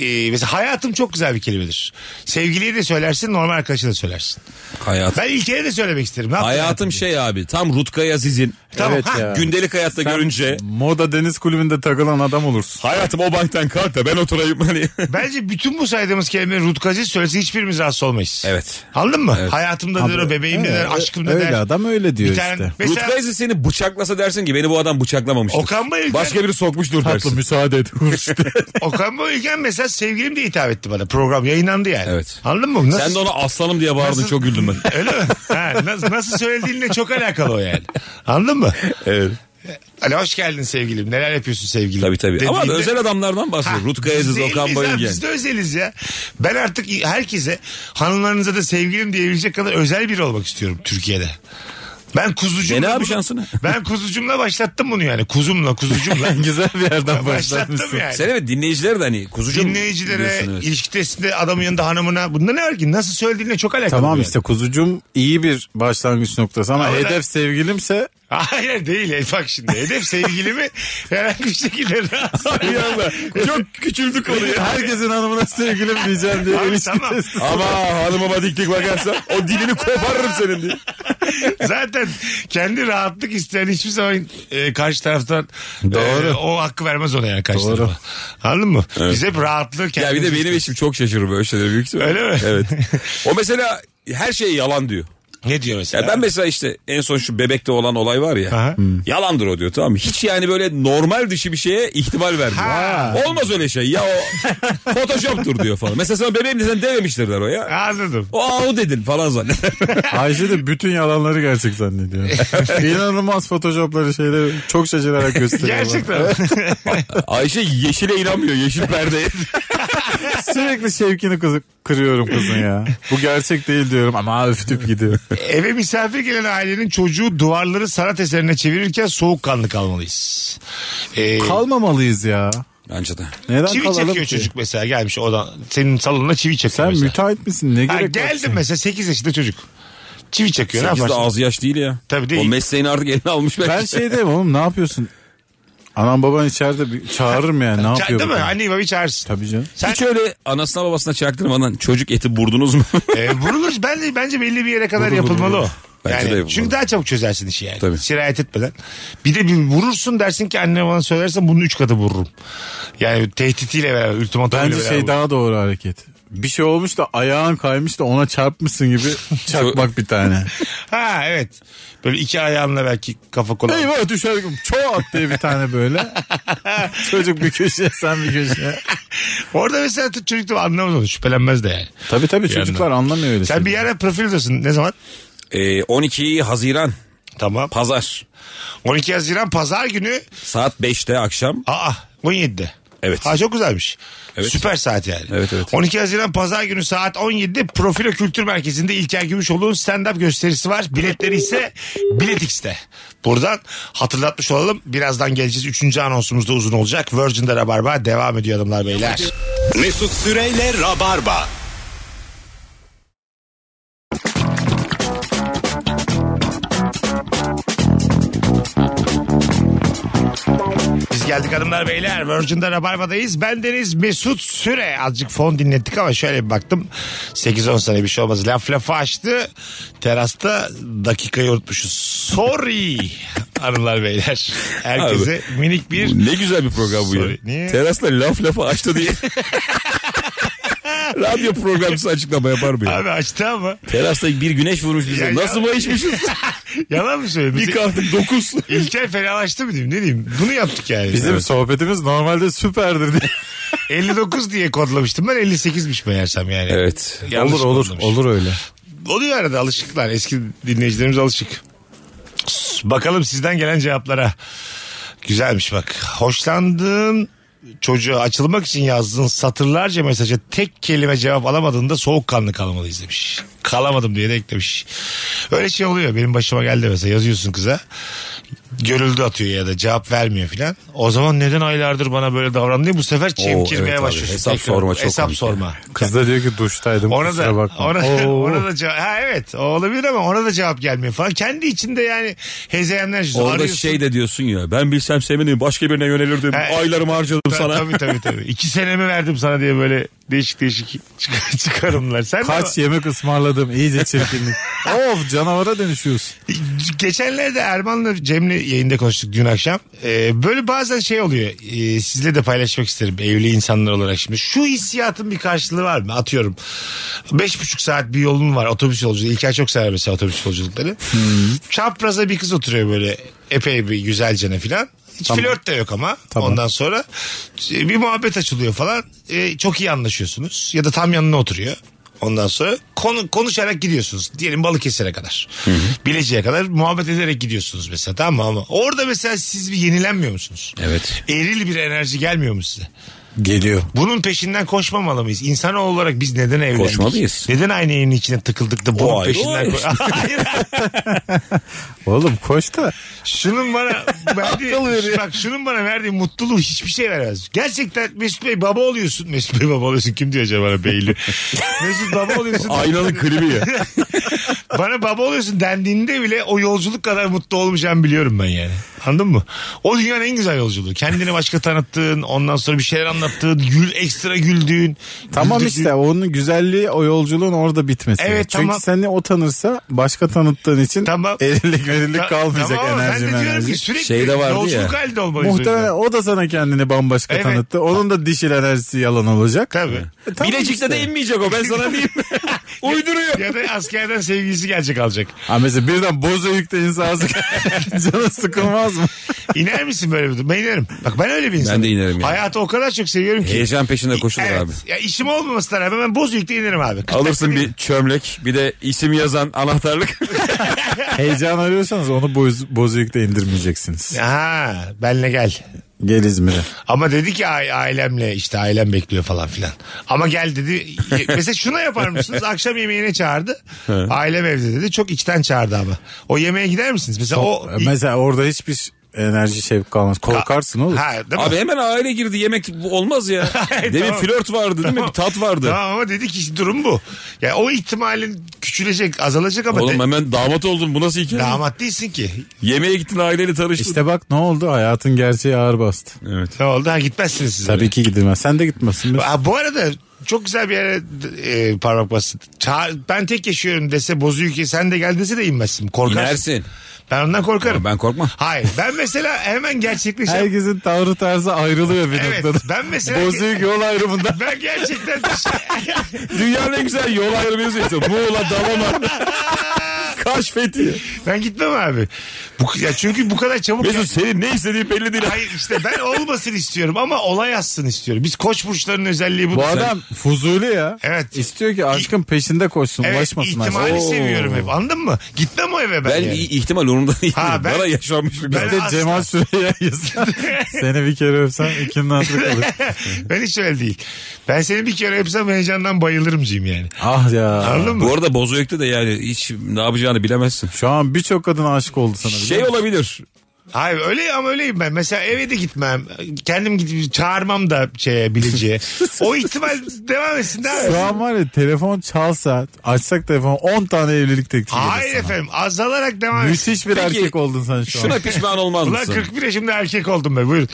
[SPEAKER 3] e, mesela hayatım çok güzel bir kelimedir. Sevgiliye de söylersin, normal arkadaşa da söylersin.
[SPEAKER 5] Hayatım.
[SPEAKER 3] Ben ilkeye de söylemek isterim. Ne yaptın
[SPEAKER 5] Hayatım şey abi tam Rutkay Aziz'in
[SPEAKER 3] Tamam.
[SPEAKER 4] Evet
[SPEAKER 3] ha,
[SPEAKER 4] ya.
[SPEAKER 5] gündelik hayatta görünce
[SPEAKER 4] Moda deniz kulübünde takılan adam olursun.
[SPEAKER 5] hayatım o banktan kalk da ben oturayım hani. *laughs*
[SPEAKER 3] Bence bütün bu saydığımız kelimeleri Rutkacı söylese hiçbirimiz rahatsız olmayız.
[SPEAKER 5] Evet.
[SPEAKER 3] Anladın mı? Hayatımda der o, bebeğimde
[SPEAKER 4] Evet,
[SPEAKER 3] der, aşkımda
[SPEAKER 4] öyle
[SPEAKER 3] der.
[SPEAKER 4] adam öyle diyor
[SPEAKER 3] Bir tane,
[SPEAKER 4] işte.
[SPEAKER 3] mesela
[SPEAKER 5] Rutkay Aziz seni bıçaklasa dersin ki beni bu adam bıçaklamamıştır.
[SPEAKER 3] Okan Bayülgen.
[SPEAKER 5] Başka biri sokmuştur
[SPEAKER 3] *laughs*
[SPEAKER 5] dersin.
[SPEAKER 4] müsaade et.
[SPEAKER 3] Okan Bayülgen mesela Hatta sevgilim diye hitap etti bana. Program yayınlandı yani.
[SPEAKER 5] Evet.
[SPEAKER 3] Anladın mı? Nasıl,
[SPEAKER 5] Sen de ona aslanım diye bağırdın
[SPEAKER 3] Nasıl-
[SPEAKER 5] çok
[SPEAKER 3] *laughs*
[SPEAKER 5] güldüm ben.
[SPEAKER 3] Öyle mi? Ha, nasıl, nasıl söylediğinle çok alakalı o yani. Anladın mı?
[SPEAKER 5] evet.
[SPEAKER 3] Hani hoş geldin sevgilim. Neler yapıyorsun sevgilim?
[SPEAKER 5] Tabii tabii. Ama
[SPEAKER 3] Dediğinde-
[SPEAKER 5] özel adamlardan bahsediyor. Rutkay Aziz,
[SPEAKER 3] Değil
[SPEAKER 5] Okan
[SPEAKER 3] miyiz abi?
[SPEAKER 5] Bayülgen.
[SPEAKER 3] Biz de özeliz ya. Ben artık herkese hanımlarınıza da sevgilim diyebilecek kadar özel biri olmak istiyorum Türkiye'de. Ben kuzucumla
[SPEAKER 5] Dene abi
[SPEAKER 3] bunu-
[SPEAKER 5] şansını.
[SPEAKER 3] *laughs* Ben kuzucumla başlattım bunu yani. Kuzumla
[SPEAKER 5] *laughs*
[SPEAKER 3] kuzucumla.
[SPEAKER 4] Güzel bir yerden
[SPEAKER 3] başlattım
[SPEAKER 4] başlatmışsın.
[SPEAKER 3] yani.
[SPEAKER 5] Sen evet dinleyiciler de hani kuzucu
[SPEAKER 3] Dinleyicilere,
[SPEAKER 5] diyorsun, evet.
[SPEAKER 3] ilişki testinde adamın yanında hanımına. Bunda ne var ki? Nasıl söylediğine çok alakalı. bu
[SPEAKER 4] Tamam
[SPEAKER 3] yani. *laughs*
[SPEAKER 4] işte kuzucum iyi bir başlangıç noktası ama
[SPEAKER 3] Ama ben-
[SPEAKER 4] hedef sevgilimse
[SPEAKER 3] Hayır değil. Bak şimdi hedef
[SPEAKER 5] *laughs*
[SPEAKER 3] sevgilimi herhangi bir şekilde rahatsız.
[SPEAKER 5] Çok küçüldük
[SPEAKER 4] herkesin
[SPEAKER 3] *laughs*
[SPEAKER 4] hanımına sevgilim diyeceğim diye
[SPEAKER 3] Abi
[SPEAKER 4] ilişki
[SPEAKER 3] tamam.
[SPEAKER 4] testi.
[SPEAKER 5] Ama hanımıma dik dik bakarsan o dilini koparırım senin diye.
[SPEAKER 3] *laughs* Zaten kendi rahatlık isteyen hiçbir zaman e, karşı taraftan
[SPEAKER 4] Doğru.
[SPEAKER 3] e, o hakkı vermez ona yani karşı
[SPEAKER 4] Doğru.
[SPEAKER 3] tarafa. Anladın mı? Biz hep rahatlığı
[SPEAKER 5] Ya bir de
[SPEAKER 3] kendimiz-
[SPEAKER 5] benim eşim çok şaşırır böyle şeylere büyük ihtimalle.
[SPEAKER 3] Öyle mi? *laughs*
[SPEAKER 5] Evet. O mesela her şey yalan diyor.
[SPEAKER 3] Ne diyor
[SPEAKER 5] Ya
[SPEAKER 3] mesela?
[SPEAKER 5] ben mesela işte en son şu bebekte olan olay var ya. Hmm.
[SPEAKER 3] Aha. Hmm.
[SPEAKER 5] Yalandır o diyor tamam mı? Hiç yani böyle normal dışı bir şeye ihtimal vermiyor.
[SPEAKER 3] Ha.
[SPEAKER 5] Olmaz öyle şey
[SPEAKER 3] *laughs*
[SPEAKER 5] ya o photoshop'tur diyor falan. Mesela sana bebeğim desen dememiştir der o ya.
[SPEAKER 3] Anladım.
[SPEAKER 5] O aa, o dedin falan zanneder.
[SPEAKER 3] *laughs*
[SPEAKER 4] Ayşe de bütün yalanları gerçek zannediyor. İnanılmaz photoshopları şeyleri çok şaşırarak gösteriyor.
[SPEAKER 3] Gerçekten.
[SPEAKER 5] Ayşe yeşile inanmıyor yeşil perdeye.
[SPEAKER 4] Sürekli şevkini kızı- kırıyorum kızın ya. Bu gerçek değil diyorum ama üf tüp gidiyor.
[SPEAKER 3] Eve misafir gelen ailenin çocuğu duvarları sanat eserine çevirirken soğukkanlı kalmalıyız. Ee,
[SPEAKER 4] Kalmamalıyız ya.
[SPEAKER 5] Bence de.
[SPEAKER 4] Neden
[SPEAKER 3] çivi
[SPEAKER 4] kalalım
[SPEAKER 3] çekiyor
[SPEAKER 4] ki?
[SPEAKER 3] çocuk mesela gelmiş odan. Senin salonuna çivi çekiyor
[SPEAKER 4] Sen
[SPEAKER 3] mesela.
[SPEAKER 4] müteahhit misin? Ne
[SPEAKER 3] Ha,
[SPEAKER 4] gerek var
[SPEAKER 3] geldim
[SPEAKER 4] ki?
[SPEAKER 3] mesela 8 yaşında çocuk. Çivi çekiyor ne
[SPEAKER 5] Sekiz de
[SPEAKER 3] yaparsın?
[SPEAKER 5] ağzı yaş değil ya.
[SPEAKER 3] Tabii değil.
[SPEAKER 5] O mesleğini artık eline almış belki.
[SPEAKER 4] Ben şey diyeyim oğlum ne yapıyorsun? Anam baban içeride bir çağırırım yani ne
[SPEAKER 3] Ça-
[SPEAKER 4] yapıyor?
[SPEAKER 3] Değil mi?
[SPEAKER 4] bu
[SPEAKER 3] Hani-
[SPEAKER 4] kadın?
[SPEAKER 3] Anneyi babayı çağırsın.
[SPEAKER 4] Tabii canım.
[SPEAKER 3] Sen-
[SPEAKER 5] Hiç öyle anasına babasına çaktırmadan çocuk eti burdunuz mu? *laughs*
[SPEAKER 3] E, vurulur. Ben, bence belli bir yere kadar yapılmalı o.
[SPEAKER 5] Bence
[SPEAKER 3] Yani,
[SPEAKER 5] de yapılmalı.
[SPEAKER 3] Çünkü daha çabuk çözersin işi yani.
[SPEAKER 5] Tabii.
[SPEAKER 3] Sirayet etmeden. Bir de bir vurursun dersin ki anne bana söylersen bunun üç katı vururum. Yani tehditiyle beraber, ultimatomuyla
[SPEAKER 4] Bence
[SPEAKER 3] beraber.
[SPEAKER 4] şey daha doğru hareket. Bir şey olmuş da ayağın kaymış da ona çarpmışsın gibi *laughs* çakmak bir tane.
[SPEAKER 3] Ha evet. Böyle iki ayağınla belki kafa kola.
[SPEAKER 4] Eyvah düşer çoğu at diye bir
[SPEAKER 3] *laughs*
[SPEAKER 4] tane böyle. Çocuk bir köşeye sen bir köşeye.
[SPEAKER 3] Orada mesela t- çocuk da anlamaz onu. Şüphelenmez de yani.
[SPEAKER 4] Tabii tabii çocuklar anlamıyor öyle
[SPEAKER 3] Sen bir yere profildasın. Ne zaman?
[SPEAKER 5] Ee, 12 Haziran
[SPEAKER 3] Tamam.
[SPEAKER 5] pazar
[SPEAKER 3] 12 Haziran pazar günü.
[SPEAKER 5] saat 5'te akşam.
[SPEAKER 3] Aa 17'de.
[SPEAKER 5] Evet.
[SPEAKER 3] Ha çok güzelmiş.
[SPEAKER 5] Evet.
[SPEAKER 3] Süper saat yani.
[SPEAKER 5] Evet, evet.
[SPEAKER 3] 12 Haziran Pazar günü saat 17'de Profilo Kültür Merkezi'nde İlker Gümüşoğlu'nun stand-up gösterisi var. Biletleri ise Biletix'te. Buradan hatırlatmış olalım. Birazdan geleceğiz. Üçüncü anonsumuz da uzun olacak. Virgin'de Rabarba devam ediyor hanımlar beyler.
[SPEAKER 2] Mesut Süreyle Rabarba.
[SPEAKER 3] Biz geldik hanımlar beyler. Virgin'de Rabarba'dayız. Ben Deniz Mesut Süre. Azıcık fon dinlettik ama şöyle bir baktım. 8-10 sene bir şey olmaz. Laf lafı açtı. Terasta dakikayı unutmuşuz. Sorry *laughs* hanımlar beyler. Herkese minik bir...
[SPEAKER 5] Ne güzel bir program bu ya.
[SPEAKER 3] Sorry, niye?
[SPEAKER 5] Terasta laf lafa açtı diye. Radyo programcısı açıklama yapar mı ya?
[SPEAKER 3] *laughs* Abi açtı ama.
[SPEAKER 5] Terasta bir güneş vurmuş bize.
[SPEAKER 3] Ya- *laughs*
[SPEAKER 5] Nasıl bayışmışız?
[SPEAKER 3] Yalan mı söylüyorsun?
[SPEAKER 5] bir
[SPEAKER 3] *laughs*
[SPEAKER 5] kalktık dokuz.
[SPEAKER 3] İlker fenalaştı mı diyeyim ne diyeyim? Bunu yaptık yani.
[SPEAKER 4] Bizim sohbetimiz normalde süperdir diye.
[SPEAKER 3] 59 diye kodlamıştım ben 58'miş meğersem yani.
[SPEAKER 5] Evet.
[SPEAKER 3] Yanlış
[SPEAKER 4] olur olur
[SPEAKER 3] kodlamış.
[SPEAKER 4] olur öyle.
[SPEAKER 3] Oluyor arada alışıklar. Eski dinleyicilerimiz alışık. Bakalım sizden gelen cevaplara. Güzelmiş bak. Hoşlandığın çocuğa açılmak için yazdığın satırlarca mesaja tek kelime cevap alamadığında soğukkanlı kalmalıyız demiş. Kalamadım diye de eklemiş. Öyle şey oluyor. Benim başıma geldi mesela yazıyorsun kıza. Görüldü atıyor ya da cevap vermiyor filan. O zaman neden aylardır bana böyle davrandı diye bu sefer çemkirmeye
[SPEAKER 5] evet abi.
[SPEAKER 3] başlıyorsun.
[SPEAKER 5] Hesap
[SPEAKER 3] Tekrar
[SPEAKER 5] sorma çok
[SPEAKER 3] Hesap
[SPEAKER 5] komik
[SPEAKER 3] sorma.
[SPEAKER 4] Kız da diyor ki duştaydım
[SPEAKER 3] Ona da,
[SPEAKER 4] kusura bakma.
[SPEAKER 3] ona,
[SPEAKER 4] Oo.
[SPEAKER 3] ona da cevap. Ha evet o olabilir ama ona da cevap gelmiyor falan. Kendi içinde yani hezeyanlar yüzü.
[SPEAKER 5] Orada
[SPEAKER 3] Arıyorsun.
[SPEAKER 5] şey de diyorsun ya. Ben bilsem sevmedim. Başka birine yönelirdim.
[SPEAKER 3] He.
[SPEAKER 5] Aylarımı harcadım
[SPEAKER 3] Ta-
[SPEAKER 5] sana.
[SPEAKER 3] Tabii tabii tabii. İki senemi verdim sana diye böyle değişik değişik çık- *laughs* çıkarımlar. Sen de-
[SPEAKER 4] Kaç yemek ısmarladım
[SPEAKER 3] *laughs*
[SPEAKER 4] iyice çirkinlik. of canavara dönüşüyorsun.
[SPEAKER 3] Geçenlerde Erman'la Cem'le yayında konuştuk dün akşam. Ee, böyle bazen şey oluyor. Ee, sizle de paylaşmak isterim evli insanlar olarak şimdi. Şu hissiyatın bir karşılığı var mı? Atıyorum. Beş buçuk saat bir yolun var otobüs yolculuğu. İlker çok sever
[SPEAKER 4] Hmm.
[SPEAKER 3] mesela otobüs yolculukları. Çapraza bir kız oturuyor böyle epey bir güzelcene filan. Hiç
[SPEAKER 4] Tamam.
[SPEAKER 3] flört de yok ama.
[SPEAKER 4] Tamam.
[SPEAKER 3] Ondan sonra e, bir muhabbet açılıyor falan. E, çok iyi anlaşıyorsunuz. Ya da tam yanına oturuyor. Ondan sonra konu, konuşarak gidiyorsunuz. Diyelim Balıkesir'e kadar. Bileceğe kadar muhabbet ederek gidiyorsunuz mesela tamam mı? Ama orada mesela siz bir yenilenmiyor musunuz?
[SPEAKER 5] Evet.
[SPEAKER 3] Eril bir enerji gelmiyor mu size?
[SPEAKER 4] Geliyor.
[SPEAKER 3] Bunun peşinden koşmamalı mıyız? İnsanoğlu olarak biz neden evlendik?
[SPEAKER 5] Koşmalıyız.
[SPEAKER 3] Neden aynı evin içine tıkıldık da bunun
[SPEAKER 5] O ayrı,
[SPEAKER 3] peşinden
[SPEAKER 5] o
[SPEAKER 3] koş... *laughs* Hayır.
[SPEAKER 4] Oğlum koş da.
[SPEAKER 3] Şunun bana
[SPEAKER 4] *laughs* Akıl
[SPEAKER 3] verdiği,
[SPEAKER 4] veriyor.
[SPEAKER 3] bak şunun bana verdiği mutluluğu hiçbir şey veremez. Gerçekten Mesut Bey baba oluyorsun. Mesut Bey baba oluyorsun. Kim diyor acaba bana
[SPEAKER 4] *laughs*
[SPEAKER 3] beyli? Mesut baba oluyorsun.
[SPEAKER 5] Aynanın klibi ya.
[SPEAKER 3] *laughs* Bana baba oluyorsun dendiğinde bile o yolculuk kadar mutlu olmayacağımı biliyorum ben yani. Anladın mı? O dünyanın en güzel yolculuğu. Kendini başka tanıttığın, ondan sonra bir şeyler anlattığın, gül ekstra güldüğün.
[SPEAKER 4] Tamam
[SPEAKER 3] güldürdüğün-
[SPEAKER 4] işte onun güzelliği o yolculuğun orada bitmesi.
[SPEAKER 3] Evet,
[SPEAKER 4] Çünkü
[SPEAKER 3] tamam.
[SPEAKER 4] seni o tanırsa başka tanıttığın için
[SPEAKER 3] Tamam.
[SPEAKER 4] erilik verilik
[SPEAKER 3] Ta-
[SPEAKER 4] kalmayacak
[SPEAKER 3] tamam,
[SPEAKER 4] enerji
[SPEAKER 3] Ben de diyorum
[SPEAKER 4] enerji.
[SPEAKER 3] ki sürekli
[SPEAKER 5] Şeyde vardı
[SPEAKER 3] yolculuk
[SPEAKER 5] ya.
[SPEAKER 3] halinde olmalıyız. o yüzden.
[SPEAKER 4] Muhtemelen o da sana kendini bambaşka
[SPEAKER 3] Evet.
[SPEAKER 4] tanıttı. Onun da dişil enerjisi yalan olacak.
[SPEAKER 3] Tabii.
[SPEAKER 4] E, tamam
[SPEAKER 5] Bilecik'te
[SPEAKER 4] işte.
[SPEAKER 5] de inmeyecek o ben
[SPEAKER 3] *laughs*
[SPEAKER 5] sana diyeyim. *laughs* Uyduruyor.
[SPEAKER 3] Ya da askerden sevgilisi gelecek alacak.
[SPEAKER 4] Ha mesela birden boza yükte ağzı *laughs* canı
[SPEAKER 3] *laughs*
[SPEAKER 4] sıkılmaz mı?
[SPEAKER 3] İner misin böyle bir Ben inerim. Bak ben öyle bir insanım.
[SPEAKER 5] de inerim yani.
[SPEAKER 3] Hayatı o kadar çok seviyorum ki.
[SPEAKER 5] Heyecan peşinde koşulur
[SPEAKER 3] Evet.
[SPEAKER 5] abi.
[SPEAKER 3] Ya işim olmamasına rağmen ben Bozüyük'te inerim abi. Kırk dakika
[SPEAKER 5] Alırsın
[SPEAKER 3] değil.
[SPEAKER 5] bir çömlek bir de isim yazan
[SPEAKER 3] *laughs*
[SPEAKER 5] anahtarlık.
[SPEAKER 4] Heyecan arıyorsanız onu boz, boza yükte indirmeyeceksiniz.
[SPEAKER 3] Ha, benle gel.
[SPEAKER 4] Gel İzmir'e.
[SPEAKER 3] Ama dedi ki "Ay- ailemle işte ailem bekliyor falan filan. Ama gel dedi. *laughs* Mesela şuna yapar mısınız? Akşam yemeğine çağırdı. Ailem evde dedi. Çok içten çağırdı ama. O yemeğe gider misiniz? Mesela o...
[SPEAKER 4] E, Mesela orada hiçbir enerji şevk kalmaz. Korkarsın oğlum.
[SPEAKER 3] Ha, değil mi?
[SPEAKER 5] abi hemen aile girdi yemek
[SPEAKER 3] *laughs*
[SPEAKER 5] olmaz ya. Demin
[SPEAKER 3] Tamam.
[SPEAKER 5] flört vardı değil mi? Bir tat vardı.
[SPEAKER 3] Tamam ama dedi ki işte durum bu. Yani o ihtimalin küçülecek, azalacak ama
[SPEAKER 5] Oğlum
[SPEAKER 3] de-
[SPEAKER 5] hemen damat oldun bu nasıl hikaye?
[SPEAKER 3] damat değilsin ki.
[SPEAKER 5] Yemeğe gittin aileyle tanıştın.
[SPEAKER 4] İşte bak ne oldu hayatın gerçeği ağır bastı.
[SPEAKER 3] Ne oldu? Ha gitmezsiniz siz.
[SPEAKER 4] Tabii ki gidilmez. Sen de gitmesin. Mesut.
[SPEAKER 3] Ha, bu arada çok güzel bir yere e, parmak bastın. Çağır, ben tek yaşıyorum dese Bozüyük'e sen de gel dese de inmezsin. Korkarsın.
[SPEAKER 5] İnersin.
[SPEAKER 3] Ben ondan korkarım.
[SPEAKER 5] Ben korkmam.
[SPEAKER 3] Hayır ben mesela hemen gerçekleşen...
[SPEAKER 4] Herkesin tavrı tarzı ayrılıyor bir
[SPEAKER 3] Evet
[SPEAKER 4] noktada. *laughs*
[SPEAKER 3] ben mesela...
[SPEAKER 4] Bozuyuk yol ayrımında.
[SPEAKER 3] *laughs* Ben gerçekten...
[SPEAKER 5] Dünyanın en güzel yol ayrımı yazıyor işte. Muğla,
[SPEAKER 3] *laughs*
[SPEAKER 5] Dalaman, Kaş, Fethiye.
[SPEAKER 3] ben gitmem abi. Bu, ya çünkü bu kadar çabuk...
[SPEAKER 5] Mesut senin ne istediğin belli değil.
[SPEAKER 3] Hayır işte ben olmasın istiyorum ama olay yazsın istiyorum. Biz koç burçlarının özelliği bu.
[SPEAKER 4] Bu adam fuzuli ya.
[SPEAKER 3] Evet.
[SPEAKER 4] İstiyor ki aşkın peşinde koşsun.
[SPEAKER 3] Evet
[SPEAKER 4] ulaşmasın aşka.
[SPEAKER 3] ihtimali
[SPEAKER 4] Oo.
[SPEAKER 3] seviyorum hep. Anladın mı? Gitmem o eve ben,
[SPEAKER 5] Ben
[SPEAKER 3] yani.
[SPEAKER 5] i- ihtimal onun da değil.
[SPEAKER 3] Ha, ben-
[SPEAKER 5] Bana yaşanmış bir şey.
[SPEAKER 3] Ben-
[SPEAKER 4] Bir de
[SPEAKER 3] Asla.
[SPEAKER 4] Cemal Süreyya
[SPEAKER 3] *laughs*
[SPEAKER 4] yazar. Seni bir kere öpsem ikinin hatırı kalır.
[SPEAKER 3] ben hiç öyle değil. Ben seni bir kere öpsem heyecandan bayılırımcıyım yani.
[SPEAKER 4] Ah ya.
[SPEAKER 3] Anladın mı?
[SPEAKER 5] Bu arada Bozüyük'te de yani hiç ne yapacağını bilemezsin.
[SPEAKER 4] Şu an birçok kadın aşık oldu sana. biliyor
[SPEAKER 5] Şey
[SPEAKER 4] musun?
[SPEAKER 5] olabilir.
[SPEAKER 3] Hayır öyle ama öyleyim ben. Mesela eve de gitmem. Kendim gidip çağırmam da şeye
[SPEAKER 5] *laughs*
[SPEAKER 3] bileceği. o ihtimal devam etsin. Devam etsin.
[SPEAKER 4] Şu an var ya telefon çalsa açsak telefonu 10 tane evlilik teklifi gelir
[SPEAKER 3] Hayır
[SPEAKER 4] sana.
[SPEAKER 3] efendim azalarak devam etsin.
[SPEAKER 4] Müthiş bir
[SPEAKER 5] Peki,
[SPEAKER 4] erkek oldun sen şu an.
[SPEAKER 5] Şuna pişman olmaz
[SPEAKER 3] Ulan
[SPEAKER 5] mısın?
[SPEAKER 3] 41 yaşımda erkek oldum be buyurun.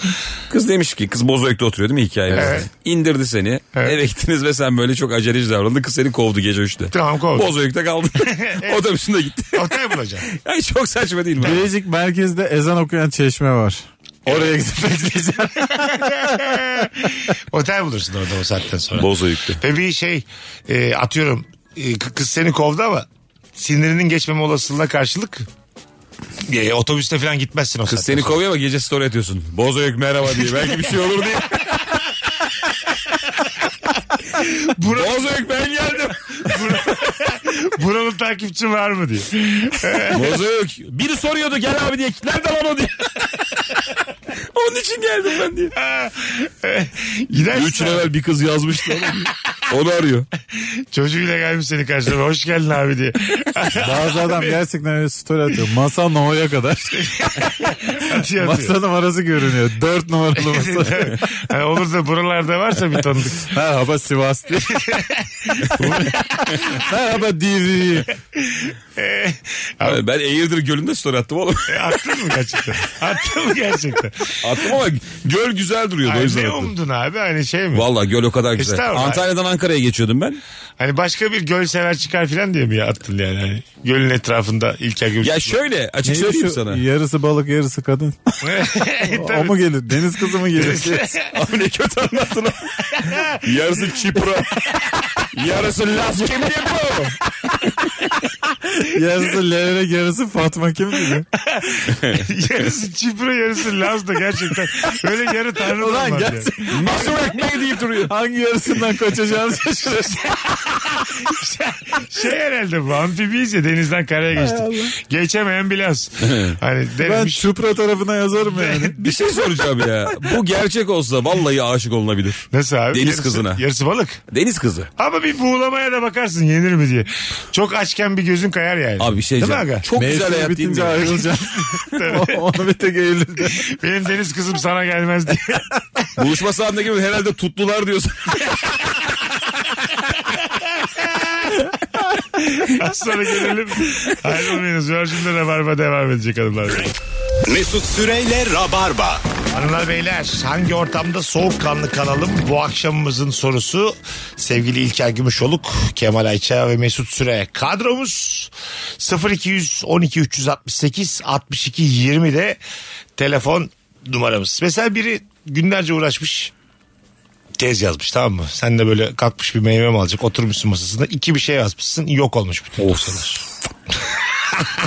[SPEAKER 5] Kız demiş ki kız Bozüyük'te oturuyor değil mi hikaye?
[SPEAKER 3] Evet.
[SPEAKER 5] İndirdi seni.
[SPEAKER 3] Evet.
[SPEAKER 5] Eve gittiniz ve sen böyle çok aceleci davrandın. Kız seni kovdu gece 3'te.
[SPEAKER 3] Tamam, kovdu. *laughs*
[SPEAKER 5] Bozüyük'te kaldın. *laughs* Otobüsünde gitti.
[SPEAKER 3] Otel
[SPEAKER 5] *laughs*
[SPEAKER 3] bulacağım.
[SPEAKER 5] Yani çok saçma değil mi?
[SPEAKER 4] Bilecik merkezde ezan okuyan çeşme
[SPEAKER 5] *laughs*
[SPEAKER 4] var. Oraya gidip bekleyeceğim.
[SPEAKER 3] Otel bulursun orada o saatten sonra.
[SPEAKER 5] Bozüyük'te.
[SPEAKER 3] Ve bir şey e, atıyorum e, k- kız seni kovdu ama sinirinin geçmeme olasılığına karşılık e, otobüste falan gitmezsin o
[SPEAKER 5] Kız seni kovuyor ama gece story atıyorsun. Bozüyük merhaba diye. Belki bir şey
[SPEAKER 3] *laughs*
[SPEAKER 5] olur diye. Bozüyük ben geldim.
[SPEAKER 3] Buranın takipçi var mı diye.
[SPEAKER 5] Bozüyük. Biri soruyordu gel abi diye. Nerede lan o diye. *laughs* Onun için geldim ben diye.
[SPEAKER 3] E, *laughs* Gidersin.
[SPEAKER 5] Üç yıl evvel bir
[SPEAKER 3] *laughs*
[SPEAKER 5] kız yazmıştı ona. Onu arıyor.
[SPEAKER 3] Çocuğuyla gelmiş seni karşılama. Hoş geldin abi diye.
[SPEAKER 4] Bazı adam gerçekten öyle story atıyor. Masa no'ya
[SPEAKER 5] *laughs*
[SPEAKER 4] kadar.
[SPEAKER 5] Şey
[SPEAKER 3] Atıyor, atıyor. *laughs*
[SPEAKER 4] Masa numarası görünüyor. Dört numaralı
[SPEAKER 5] *laughs*
[SPEAKER 4] masa.
[SPEAKER 3] Tabii. Hani olur da buralarda varsa bir tanıdık.
[SPEAKER 4] Merhaba Sivas diye. Merhaba
[SPEAKER 5] *laughs* Şey
[SPEAKER 4] Divri.
[SPEAKER 3] E,
[SPEAKER 5] Abi ben Eğirdir Gölü'nde story attım oğlum.
[SPEAKER 3] attın mı gerçekten? Attın mı gerçekten?
[SPEAKER 5] *laughs* attım ama göl güzel duruyordu o
[SPEAKER 3] Ay,
[SPEAKER 5] yüzden
[SPEAKER 3] ne
[SPEAKER 5] attım.
[SPEAKER 3] umdun abi? Hani şey mi?
[SPEAKER 5] Valla göl o kadar güzel.
[SPEAKER 3] Estağfurullah.
[SPEAKER 5] Antalya'dan Ankara'ya geçiyordum ben.
[SPEAKER 3] Hani başka bir göl sever çıkar filan diye mi ya attın yani? Hani gölün etrafında İlker gibi.
[SPEAKER 5] Ya şöyle açık
[SPEAKER 4] Neydi
[SPEAKER 5] söyleyeyim
[SPEAKER 4] şu
[SPEAKER 5] *laughs* sana.
[SPEAKER 4] Şey Yarısı balık yarısı kadın.
[SPEAKER 3] *laughs* E,
[SPEAKER 4] o mu gelir? Deniz kızı
[SPEAKER 5] *laughs*
[SPEAKER 4] mı
[SPEAKER 5] Şey.
[SPEAKER 4] gelir?
[SPEAKER 5] Abi ne kötü anlattın. *laughs* lan. Yarısı Çipro. Yarısı Las Kimlipo.
[SPEAKER 4] Yarısı levrek yarısı Fatma kim bilir?
[SPEAKER 3] yarısı Çipro yarısı Laz'da gerçekten. Böyle yarı tanrı
[SPEAKER 4] Ulan
[SPEAKER 3] bunlar ya.
[SPEAKER 4] gerçekten. Hangi
[SPEAKER 5] *laughs*
[SPEAKER 4] yarısından kaçacağını şaşırırsın.
[SPEAKER 3] Şey herhalde bu amfibiyiz ya denizden karaya geçtik. Geçemeyen biraz.
[SPEAKER 5] *laughs*
[SPEAKER 3] hani
[SPEAKER 4] Ben
[SPEAKER 3] denemiş.
[SPEAKER 4] Çupra tarafına yazarım yani.
[SPEAKER 5] Bir şey soracağım ya. Bu gerçek olsa vallahi aşık olunabilir.
[SPEAKER 3] Nasıl abi?
[SPEAKER 5] Deniz
[SPEAKER 3] Yarısı-
[SPEAKER 5] kızına.
[SPEAKER 3] Yarısı balık.
[SPEAKER 5] Deniz kızı.
[SPEAKER 3] Ama bir buğulamaya da bakarsın yenir mi diye. Çok açken bir gözün kayar yani.
[SPEAKER 5] Abi bir şey
[SPEAKER 3] Değil mi
[SPEAKER 5] diyeceğim.
[SPEAKER 3] aga?
[SPEAKER 5] Çok güzel
[SPEAKER 4] Mevsim
[SPEAKER 5] hayat değil mi? *laughs*
[SPEAKER 4] bitince ayrılacaksın. *laughs* Onu bir tek Eylül'de.
[SPEAKER 3] Benim deniz kızım sana gelmez diye. *laughs*
[SPEAKER 5] Buluşma saatinde gibi herhalde tuttular diyorsun.
[SPEAKER 3] Az sonra gelelim. Ayrılmayınız. Virgin'de Rabarba devam edecek hanımlar. beyler.
[SPEAKER 2] Mesut Süreyle Rabarba.
[SPEAKER 3] Hanımlar beyler hangi ortamda soğukkanlı kalalım? Bu akşamımızın sorusu sevgili İlker Gümüşoluk, Kemal Ayça ve Mesut Süre. Kadromuz 0212 368 62 20 de telefon numaramız. Mesela biri günlerce uğraşmış tez yazmış tamam mı? Sen de böyle kalkmış bir meyve mi alacak oturmuşsun masasında iki bir şey yazmışsın yok olmuş bütün dosyalar.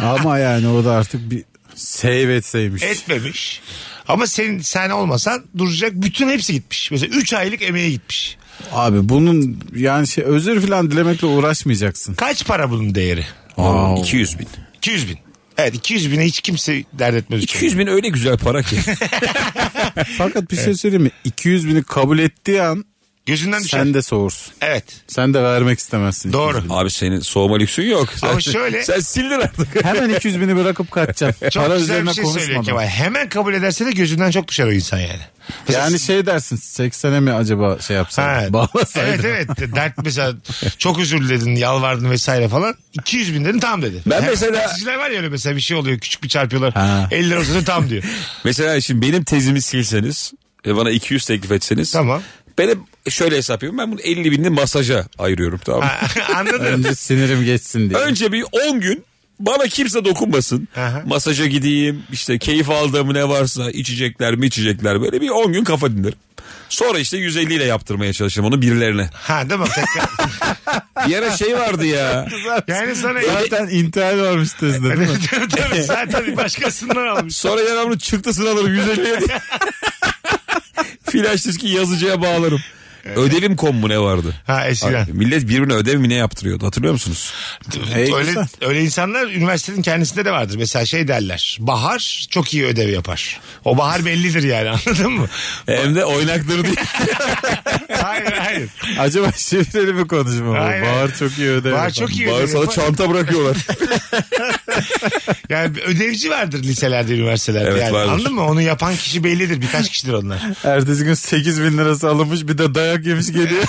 [SPEAKER 4] Ama yani o da artık bir save etseymiş.
[SPEAKER 3] etmemiş. Ama sen sen olmasan duracak bütün hepsi gitmiş. Mesela 3 aylık emeğe gitmiş.
[SPEAKER 4] Abi bunun yani şey özür falan dilemekle uğraşmayacaksın.
[SPEAKER 3] Kaç para bunun değeri?
[SPEAKER 5] Aa, 200 bin.
[SPEAKER 3] 200 bin. Evet 200 bine hiç kimse dert etmez.
[SPEAKER 5] 200 bin öyle güzel para *laughs* ki.
[SPEAKER 4] Fakat bir şey söyleyeyim mi? 200 bini kabul ettiği an
[SPEAKER 3] Gözünden düşer.
[SPEAKER 4] sen de soğursun.
[SPEAKER 3] Evet
[SPEAKER 4] Sen de vermek istemezsin.
[SPEAKER 3] şey- doğru.
[SPEAKER 5] Abi senin soğuma lüksün yok. Sen,
[SPEAKER 3] Ama şöyle-
[SPEAKER 5] Sen sildin artık.
[SPEAKER 4] Hemen 200 bini bırakıp kaçacaksın.
[SPEAKER 3] Çok
[SPEAKER 4] Para
[SPEAKER 3] güzel
[SPEAKER 4] üzerine
[SPEAKER 3] bir şey söylüyor
[SPEAKER 4] konuşmadan.
[SPEAKER 3] Kemal. Hemen kabul ederse de gözünden çok düşer o insan yani. Mesela-
[SPEAKER 4] Yani şey dersin 80'e mi acaba şey
[SPEAKER 3] Ha,
[SPEAKER 4] yapsaydım? Bağlasaydım.
[SPEAKER 3] Evet evet dert mesela çok özür diledin yalvardın vesaire falan 200 bin dedin tam dedi.
[SPEAKER 5] Ben
[SPEAKER 3] Hemen-
[SPEAKER 5] mesela-
[SPEAKER 3] Taksiciler var ya öyle mesela bir şey oluyor küçük bir çarpıyorlar.
[SPEAKER 4] Ha.
[SPEAKER 3] 50 lira olsa da tam diyor.
[SPEAKER 5] Mesela şimdi benim tezimi silseniz e, bana 200 teklif etseniz.
[SPEAKER 3] Tamam.
[SPEAKER 5] Ben hep şöyle hesap yapıyorum. Ben bunu 50 binini masaja ayırıyorum tamam mı?
[SPEAKER 3] *laughs* Anladın mı?
[SPEAKER 4] Önce sinirim geçsin diye.
[SPEAKER 5] Önce bir 10 gün bana kimse dokunmasın.
[SPEAKER 3] Aha.
[SPEAKER 5] Masaja gideyim işte keyif aldığım ne varsa içecekler mi içecekler böyle bir 10 gün kafa dinlerim. Sonra işte 150 ile yaptırmaya çalışırım onu birilerine.
[SPEAKER 3] Ha değil mi?
[SPEAKER 4] *laughs*
[SPEAKER 3] Tekrar-
[SPEAKER 5] Bir ara şey vardı ya.
[SPEAKER 3] Yani sana
[SPEAKER 4] Zaten intihar varmış tezde değil mi?
[SPEAKER 3] *laughs* tabii, tabii, zaten bir başkasından almış.
[SPEAKER 5] Sonra yanımda çıktısını alırım 150 diye. *laughs* Flash diski yazıcıya bağlarım. Ödevim kom mu ne vardı?
[SPEAKER 3] Ha eskiden.
[SPEAKER 5] Abi, millet birbirine ödev mi ne yaptırıyordu hatırlıyor musunuz?
[SPEAKER 4] Hey,
[SPEAKER 3] öyle,
[SPEAKER 4] güzel.
[SPEAKER 3] öyle insanlar üniversitenin kendisinde de vardır. Mesela şey derler. Bahar çok iyi ödev yapar. O bahar bellidir yani *laughs* anladın mı?
[SPEAKER 5] Hem de oynaktır diye.
[SPEAKER 3] Hayır hayır.
[SPEAKER 4] Acaba şifreli bir konuşma mı?
[SPEAKER 3] Aynen.
[SPEAKER 4] Bahar çok iyi ödev.
[SPEAKER 3] Bahar
[SPEAKER 4] yapan.
[SPEAKER 3] çok iyi
[SPEAKER 5] Bari
[SPEAKER 3] ödev
[SPEAKER 5] sana
[SPEAKER 3] yapar. *laughs*
[SPEAKER 5] çanta bırakıyorlar.
[SPEAKER 3] Yani bir ödevci vardır liselerde, üniversitelerde.
[SPEAKER 5] Evet,
[SPEAKER 3] yani,
[SPEAKER 5] vardır.
[SPEAKER 3] Anladın mı? Onu yapan kişi bellidir. Birkaç kişidir onlar.
[SPEAKER 4] Ertesi gün 8 bin lirası alınmış bir de dayak yemiş geliyor.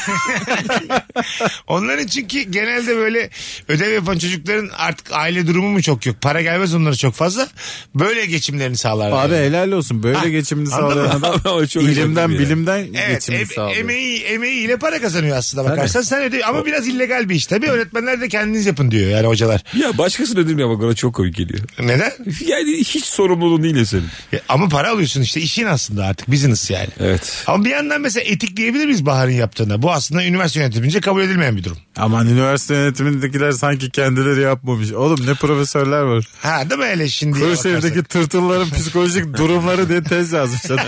[SPEAKER 3] Onların çünkü genelde böyle ödev yapan çocukların artık aile durumu mu çok yok? Para gelmez onlara çok fazla. Böyle geçimlerini sağlarlar.
[SPEAKER 4] Abi
[SPEAKER 3] Yani.
[SPEAKER 4] helal olsun. Böyle geçimini sağlayan adam
[SPEAKER 5] *laughs* Ama *laughs* çok
[SPEAKER 4] ilimden
[SPEAKER 5] üzüldüm ya.
[SPEAKER 4] bilimden
[SPEAKER 3] Evet
[SPEAKER 4] geçimini
[SPEAKER 3] em-
[SPEAKER 4] sağlıyor.
[SPEAKER 3] emeği, emeğiyle para kazanıyor aslında bakarsan sen öde ama biraz illegal bir iş tabii öğretmenler de kendiniz yapın diyor yani hocalar.
[SPEAKER 5] Ya başkasının ödevini bak bana çok komik geliyor.
[SPEAKER 3] Neden?
[SPEAKER 5] Yani hiç sorumluluğun değil ya senin.
[SPEAKER 3] Ya E, Ama para alıyorsun işte işin aslında artık business yani.
[SPEAKER 5] Evet.
[SPEAKER 3] Ama bir yandan mesela etik diyebilir miyiz Bahar'ın yaptığına? Bu aslında üniversite yönetimince kabul edilmeyen bir durum.
[SPEAKER 4] Aman üniversite yönetimindekiler sanki kendileri yapmamış. Oğlum ne profesörler var.
[SPEAKER 3] Ha değil mi hele şimdi?
[SPEAKER 4] Kurşehir'deki tırtılların psikolojik durumları diye tez yazmış adam.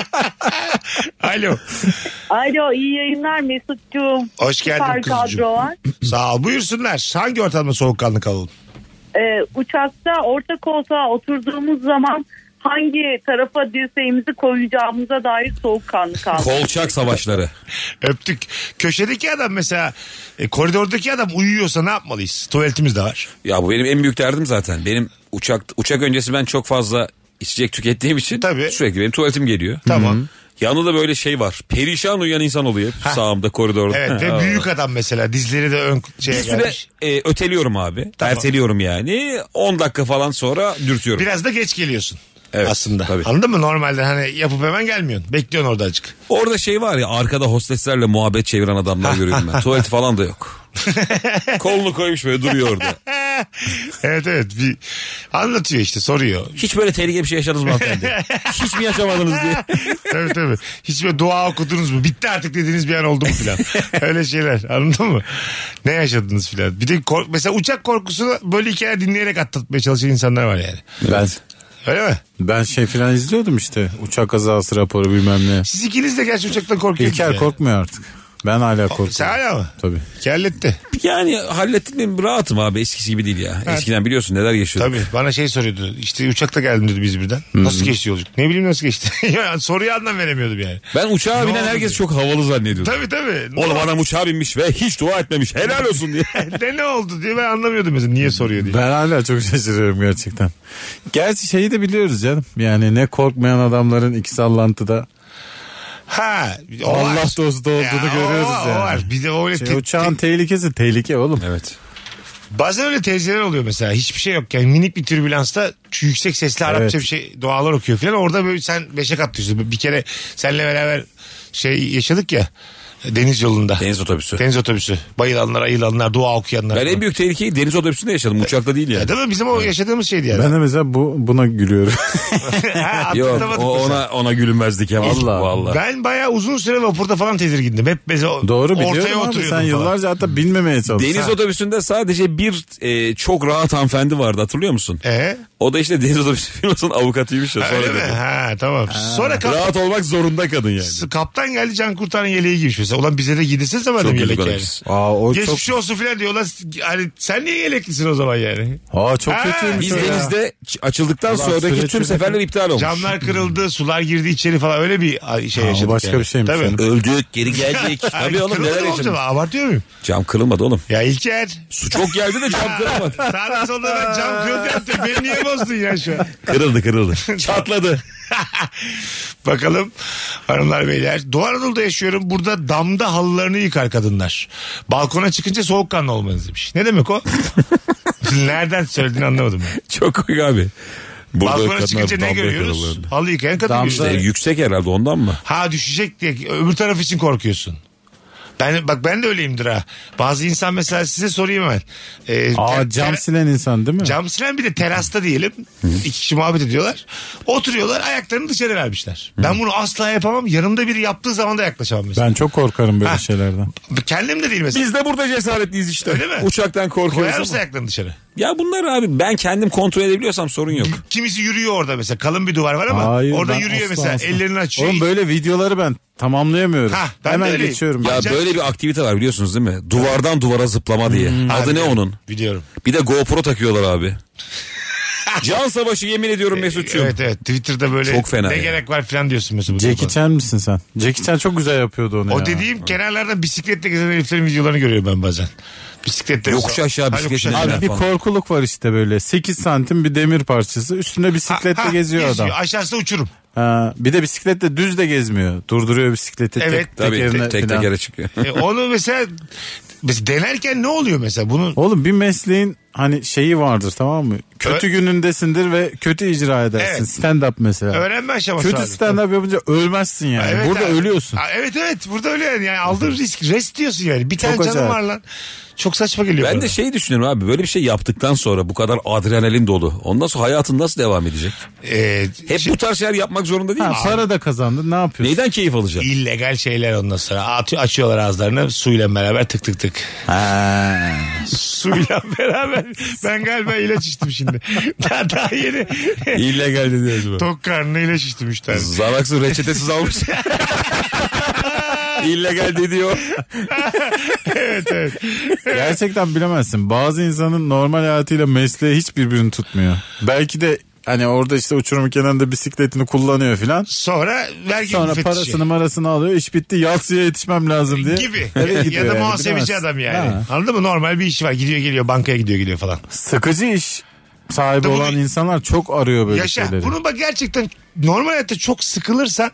[SPEAKER 3] *laughs* Alo.
[SPEAKER 8] Alo iyi yayınlar Mesut'cuğum.
[SPEAKER 3] Hoş geldin
[SPEAKER 8] Süper
[SPEAKER 3] kuzucuğum.
[SPEAKER 8] kadro var.
[SPEAKER 3] Sağ ol. Buyursunlar. Hangi ortamda soğukkanlı kalalım?
[SPEAKER 8] Ee, uçakta orta koltuğa oturduğumuz zaman hangi tarafa dirseğimizi koyacağımıza dair soğukkanlı kaldı.
[SPEAKER 5] Kolçak savaşları.
[SPEAKER 3] Öptük. Köşedeki adam mesela e, koridordaki adam uyuyorsa ne yapmalıyız? Tuvaletimiz de var.
[SPEAKER 5] Ya bu benim en büyük derdim zaten. Benim uçak uçak öncesi ben çok fazla içecek tükettiğim için
[SPEAKER 3] Tabii.
[SPEAKER 5] sürekli benim tuvaletim geliyor.
[SPEAKER 3] Tamam.
[SPEAKER 5] Yanında da böyle şey var. Perişan uyuyan insan oluyor hep sağımda koridorda.
[SPEAKER 3] Evet
[SPEAKER 5] *laughs*
[SPEAKER 3] ve büyük adam mesela dizleri de ön şey şeye
[SPEAKER 5] Bir süre
[SPEAKER 3] gelmiş.
[SPEAKER 5] e, öteliyorum abi. Erteliyorum yani. 10 dakika falan sonra dürtüyorum.
[SPEAKER 3] Biraz da geç geliyorsun.
[SPEAKER 5] Evet,
[SPEAKER 3] aslında.
[SPEAKER 5] tabii.
[SPEAKER 3] Anladın mı? Normalde hani yapıp hemen gelmiyorsun. Bekliyorsun orada azıcık.
[SPEAKER 5] Orada şey var ya arkada
[SPEAKER 3] *laughs*
[SPEAKER 5] hosteslerle muhabbet çeviren adamlar görüyorum ben. Tuvaleti falan da yok. Kolunu koymuş böyle duruyor orada.
[SPEAKER 3] evet evet. Bir anlatıyor işte soruyor.
[SPEAKER 5] Hiç böyle tehlikeli bir şey yaşadınız
[SPEAKER 3] *laughs*
[SPEAKER 5] mı hanımefendi? Hiç mi yaşamadınız diye.
[SPEAKER 3] tabii tabii. Hiç böyle dua okudunuz mu? Bitti artık dediğiniz bir an oldu mu
[SPEAKER 4] *laughs*
[SPEAKER 3] filan. Öyle şeyler anladın mı? Ne yaşadınız filan. Bir de kork- mesela uçak korkusunu böyle hikaye dinleyerek atlatmaya çalışan insanlar var yani.
[SPEAKER 4] Ben,
[SPEAKER 3] Öyle mi?
[SPEAKER 4] ben şey falan izliyordum işte. Uçak kazası raporu bilmem ne.
[SPEAKER 3] Siz ikiniz de gerçi uçaktan korkuyorsunuz.
[SPEAKER 4] İlker
[SPEAKER 3] yani.
[SPEAKER 4] korkmuyor artık. Ben hala korkuyorum.
[SPEAKER 3] Sen hala mı?
[SPEAKER 4] Tabii.
[SPEAKER 3] Kelletti.
[SPEAKER 5] Yani hallettim mi rahatım abi eskisi gibi değil ya. Eskiden biliyorsun neler yaşıyorduk.
[SPEAKER 3] Tabii bana şey soruyordu. İşte uçakta geldim dedi biz birden. Nasıl geçti yolculuk? Ne bileyim nasıl geçti. *laughs* yani soruyu anlam veremiyordum yani.
[SPEAKER 5] Ben uçağa
[SPEAKER 3] Ne
[SPEAKER 5] binen
[SPEAKER 3] oldu
[SPEAKER 5] herkes
[SPEAKER 3] diye.
[SPEAKER 5] çok havalı zannediyordu.
[SPEAKER 3] Tabii tabii.
[SPEAKER 5] Oğlum adam uçağa binmiş ve hiç dua etmemiş. Helal
[SPEAKER 3] *laughs*
[SPEAKER 5] olsun diye.
[SPEAKER 3] ne ne oldu diye ben anlamıyordum mesela niye soruyor diye.
[SPEAKER 4] Ben hala çok şaşırıyorum gerçekten. Gerçi şeyi de biliyoruz canım. Yani ne korkmayan adamların iki
[SPEAKER 3] *laughs*
[SPEAKER 4] sallantıda
[SPEAKER 3] Ha, o
[SPEAKER 4] Allah
[SPEAKER 3] var.
[SPEAKER 4] dostu olduğunu
[SPEAKER 3] Ya,
[SPEAKER 4] görüyoruz
[SPEAKER 3] o,
[SPEAKER 4] yani.
[SPEAKER 3] O var. Bir de o öyle
[SPEAKER 4] Şey,
[SPEAKER 3] te- te-
[SPEAKER 4] uçağın tehlikesi tehlike oğlum.
[SPEAKER 5] evet.
[SPEAKER 3] bazen öyle teyzeler oluyor mesela. Hiçbir şey yok. Yani minik bir türbülansta şu yüksek sesli Arapça
[SPEAKER 4] Evet.
[SPEAKER 3] bir şey dualar okuyor falan. Orada böyle sen beşe katlıyorsun. Bir kere seninle beraber şey yaşadık ya. Deniz yolunda.
[SPEAKER 5] Deniz otobüsü.
[SPEAKER 3] Deniz otobüsü. Bayılanlar, ayılanlar, dua okuyanlar.
[SPEAKER 5] Ben en büyük tehlikeyi deniz otobüsünde yaşadım. Uçakta değil
[SPEAKER 3] Ya *laughs*
[SPEAKER 5] yani.
[SPEAKER 3] değil mi? Bizim o yaşadığımız şeydi yani.
[SPEAKER 4] Ben de mesela bu, buna gülüyorum.
[SPEAKER 3] *laughs* Ha,
[SPEAKER 5] *laughs* Yok
[SPEAKER 3] atlatamadık
[SPEAKER 5] o-
[SPEAKER 3] mesela.
[SPEAKER 5] ona ona gülünmezdi Kemal.
[SPEAKER 4] Vallahi.
[SPEAKER 5] Vallahi.
[SPEAKER 3] Ben bayağı uzun süre vapurda falan tedirgindim. Hep mesela
[SPEAKER 4] Doğru
[SPEAKER 3] ortaya
[SPEAKER 4] biliyorum abi
[SPEAKER 3] oturuyordum
[SPEAKER 4] sen
[SPEAKER 3] falan.
[SPEAKER 4] yıllarca hatta binmemeye çalıştın.
[SPEAKER 5] Deniz otobüsünde sadece bir e, çok rahat hanımefendi vardı hatırlıyor musun?
[SPEAKER 3] Ee?
[SPEAKER 5] O da işte deniz otobüsü *laughs* firmasının avukatıymış ya
[SPEAKER 3] Ha,
[SPEAKER 5] sonra
[SPEAKER 3] Öyle mi?
[SPEAKER 5] dedi.
[SPEAKER 3] Ha tamam. Sonra kap-
[SPEAKER 5] Rahat olmak zorunda kadın yani.
[SPEAKER 3] kaptan geldi can kurtaran yeleği giymiş mesela. Ulan bize de giydirsin zaman
[SPEAKER 5] Çok
[SPEAKER 3] yelek
[SPEAKER 5] güzel
[SPEAKER 3] yani.
[SPEAKER 5] kadın.
[SPEAKER 4] Aa o çok,
[SPEAKER 3] Geçmiş olsun filan diyor. Ulan s- hani sen niye yeleklisin o zaman yani?
[SPEAKER 4] aa, çok
[SPEAKER 3] Ha,
[SPEAKER 4] kötüymüş
[SPEAKER 5] Biz
[SPEAKER 4] o ya.
[SPEAKER 5] denizde ç- açıldıktan
[SPEAKER 4] Ulan
[SPEAKER 5] sonraki
[SPEAKER 4] sürekli-
[SPEAKER 5] tüm seferler iptal olmuş.
[SPEAKER 3] Camlar kırıldı, sular girdi içeri falan öyle bir ay- şey
[SPEAKER 4] Ha, o
[SPEAKER 3] yaşadık.
[SPEAKER 4] başka
[SPEAKER 3] yani.
[SPEAKER 4] bir şeymiş
[SPEAKER 3] Tabii. *laughs*
[SPEAKER 4] yani.
[SPEAKER 5] Öldük geri geldik. Tabii oğlum
[SPEAKER 3] Kırıldı
[SPEAKER 5] neler
[SPEAKER 3] mı
[SPEAKER 5] yaşadık.
[SPEAKER 3] acaba? Abartıyor muyum?
[SPEAKER 5] Cam kırılmadı oğlum.
[SPEAKER 3] Ya İlker.
[SPEAKER 5] Su çok geldi de
[SPEAKER 3] *laughs*
[SPEAKER 5] cam kırılmadı.
[SPEAKER 3] Sağda solda ben cam kırıldı yaptım. Beni niye bozdun ya şu an? *laughs*
[SPEAKER 5] kırıldı kırıldı. *laughs* Çatladı.
[SPEAKER 3] Bakalım hanımlar beyler. Doğu Anadolu'da yaşıyorum. Burada damda halılarını yıkar kadınlar. Balkona çıkınca soğukkanlı olmanız demiş. Ne demek o? *laughs* Nereden söylediğini anlamadım ben.
[SPEAKER 5] Çok komik abi.
[SPEAKER 3] Balkona
[SPEAKER 5] kadınlar
[SPEAKER 3] çıkınca ne
[SPEAKER 5] damda
[SPEAKER 3] görüyoruz?
[SPEAKER 5] kırılırdı.
[SPEAKER 3] Halı yıkayan kadın
[SPEAKER 4] Damda-
[SPEAKER 5] İşte
[SPEAKER 3] görüyoruz.
[SPEAKER 5] yüksek herhalde ondan mı?
[SPEAKER 3] Ha düşecek diye öbür taraf için korkuyorsun. Ben bak ben de öyleyimdir ha. Bazı insan mesela size sorayım hemen. Ee,
[SPEAKER 4] Aa
[SPEAKER 3] ter-
[SPEAKER 4] cam
[SPEAKER 3] ter-
[SPEAKER 4] silen insan değil mi?
[SPEAKER 3] Cam silen bir de terasta diyelim. iki kişi muhabbet ediyorlar. Oturuyorlar ayaklarını dışarı vermişler. Ben bunu asla yapamam. Yanımda biri yaptığı zaman da yaklaşamam mesela.
[SPEAKER 4] Ben çok korkarım böyle
[SPEAKER 3] Ha.
[SPEAKER 4] şeylerden.
[SPEAKER 3] Kendim de değil mesela.
[SPEAKER 5] Biz de burada cesaretliyiz işte.
[SPEAKER 3] Öyle mi?
[SPEAKER 5] Uçaktan
[SPEAKER 3] Koyar
[SPEAKER 5] korkuyoruz.
[SPEAKER 3] mısın
[SPEAKER 5] ama-
[SPEAKER 3] ayaklarını dışarı?
[SPEAKER 5] Ya bunlar abi ben kendim kontrol edebiliyorsam sorun yok.
[SPEAKER 3] Kimisi yürüyor orada mesela. Kalın bir duvar var ama
[SPEAKER 4] Hayır,
[SPEAKER 3] orada
[SPEAKER 4] ben
[SPEAKER 3] yürüyor
[SPEAKER 4] asla,
[SPEAKER 3] mesela.
[SPEAKER 4] asla.
[SPEAKER 3] Ellerini açıyor.
[SPEAKER 4] Oğlum böyle videoları ben tamamlayamıyorum.
[SPEAKER 3] Ha, ben de
[SPEAKER 4] Hemen
[SPEAKER 3] öyleyim.
[SPEAKER 4] geçiyorum.
[SPEAKER 5] Ya
[SPEAKER 3] Acayip.
[SPEAKER 5] böyle bir aktivite var biliyorsunuz değil mi? Duvardan duvara zıplama diye.
[SPEAKER 4] Hmm,
[SPEAKER 5] Adı ne onun?
[SPEAKER 3] Biliyorum.
[SPEAKER 5] Bir de GoPro takıyorlar
[SPEAKER 4] *laughs*
[SPEAKER 5] abi. Can savaşı yemin ediyorum Mesut'cuğum.
[SPEAKER 3] Evet evet. Twitter'da böyle
[SPEAKER 5] Çok fena
[SPEAKER 3] ne
[SPEAKER 5] ya.
[SPEAKER 3] gerek var falan diyorsun mesela. bu
[SPEAKER 4] Jackie
[SPEAKER 3] durumda.
[SPEAKER 4] Chan misin sen? Jackie Chan çok güzel yapıyordu onu
[SPEAKER 3] O
[SPEAKER 4] ya.
[SPEAKER 3] dediğim kenarlarda bisikletle gezen heriflerin videolarını görüyorum ben bazen. Bisikletle.
[SPEAKER 5] Yokuş aşağı
[SPEAKER 3] Ha,
[SPEAKER 5] bisikletle.
[SPEAKER 3] yokuş aşağı.
[SPEAKER 4] Abi bir
[SPEAKER 5] falan.
[SPEAKER 4] korkuluk var işte böyle. 8 santim bir demir parçası. Üstünde bisikletle
[SPEAKER 3] Ha, ha,
[SPEAKER 4] geziyor adam.
[SPEAKER 3] Aşağısı uçurum.
[SPEAKER 4] Ha, bir de bisikletle düz de gezmiyor. Durduruyor bisikleti
[SPEAKER 3] Evet,
[SPEAKER 4] tek
[SPEAKER 5] Tabii
[SPEAKER 4] tekerine
[SPEAKER 5] tek, tek
[SPEAKER 4] falan.
[SPEAKER 5] tekere çıkıyor.
[SPEAKER 3] E, onu mesela, mesela denerken ne oluyor mesela bunun?
[SPEAKER 4] Oğlum bir mesleğin hani şeyi vardır tamam mı? Kötü
[SPEAKER 3] Ö-
[SPEAKER 4] günündesindir ve kötü icra edersin.
[SPEAKER 3] Evet.
[SPEAKER 4] Stand up mesela.
[SPEAKER 3] Öğrenme aşaması.
[SPEAKER 4] kötü
[SPEAKER 3] abi.
[SPEAKER 4] stand up yapınca ölmezsin yani.
[SPEAKER 3] Evet
[SPEAKER 4] Burada
[SPEAKER 3] abi.
[SPEAKER 4] ölüyorsun.
[SPEAKER 3] Ha, evet evet burada öyle yani. yani aldığın risk rest diyorsun yani. Bir tane
[SPEAKER 4] Çok
[SPEAKER 3] canım
[SPEAKER 4] acayip.
[SPEAKER 3] var lan. Çok saçma geliyor
[SPEAKER 5] Ben
[SPEAKER 3] bana.
[SPEAKER 5] de şey düşünüyorum abi böyle bir şey yaptıktan sonra bu kadar adrenalin dolu. Ondan sonra hayatın nasıl devam edecek?
[SPEAKER 3] Ee,
[SPEAKER 5] Hep
[SPEAKER 3] şey-
[SPEAKER 5] bu tarz şeyler yapmak zorunda değil
[SPEAKER 4] Ha,
[SPEAKER 5] misin?
[SPEAKER 4] para da kazandın. Ne yapıyorsun?
[SPEAKER 5] Neyden keyif alacak?
[SPEAKER 3] illegal şeyler ondan sonra. Atıyor, açıyorlar ağızlarını suyla beraber tık tık tık. suyla *laughs* beraber. Ben galiba ilaç içtim şimdi. Daha, daha
[SPEAKER 4] *laughs*
[SPEAKER 3] yeni.
[SPEAKER 5] İllegal dedi
[SPEAKER 3] Tok karnına ilaç içtim üç tane. *laughs*
[SPEAKER 5] Zaraksız reçetesiz almış. İllegal dedi o.
[SPEAKER 4] Gerçekten bilemezsin. Bazı insanın normal hayatıyla mesleği hiç birbirini tutmuyor. Belki de hani orada işte uçurumun kenarında bisikletini kullanıyor
[SPEAKER 3] Şey
[SPEAKER 4] filan.
[SPEAKER 3] Sonra vergi
[SPEAKER 4] Sonra
[SPEAKER 3] müfettişi.
[SPEAKER 4] parasını marasını alıyor. İş bitti. Yatsıya yetişmem lazım diye.
[SPEAKER 3] gibi.
[SPEAKER 4] Eve gidiyor
[SPEAKER 3] ya da
[SPEAKER 4] yani,
[SPEAKER 3] muhasebeci
[SPEAKER 4] bilemezsin.
[SPEAKER 3] adam yani.
[SPEAKER 4] Ha.
[SPEAKER 3] Anladın mı? Normal bir iş var. Gidiyor geliyor bankaya gidiyor geliyor falan.
[SPEAKER 4] Sıkıcı iş sahibi
[SPEAKER 3] Tabii
[SPEAKER 4] olan
[SPEAKER 3] bu-
[SPEAKER 4] insanlar çok arıyor böyle
[SPEAKER 3] Yaşa.
[SPEAKER 4] şeyleri.
[SPEAKER 3] Bunu bak gerçekten normal hayatta çok sıkılırsan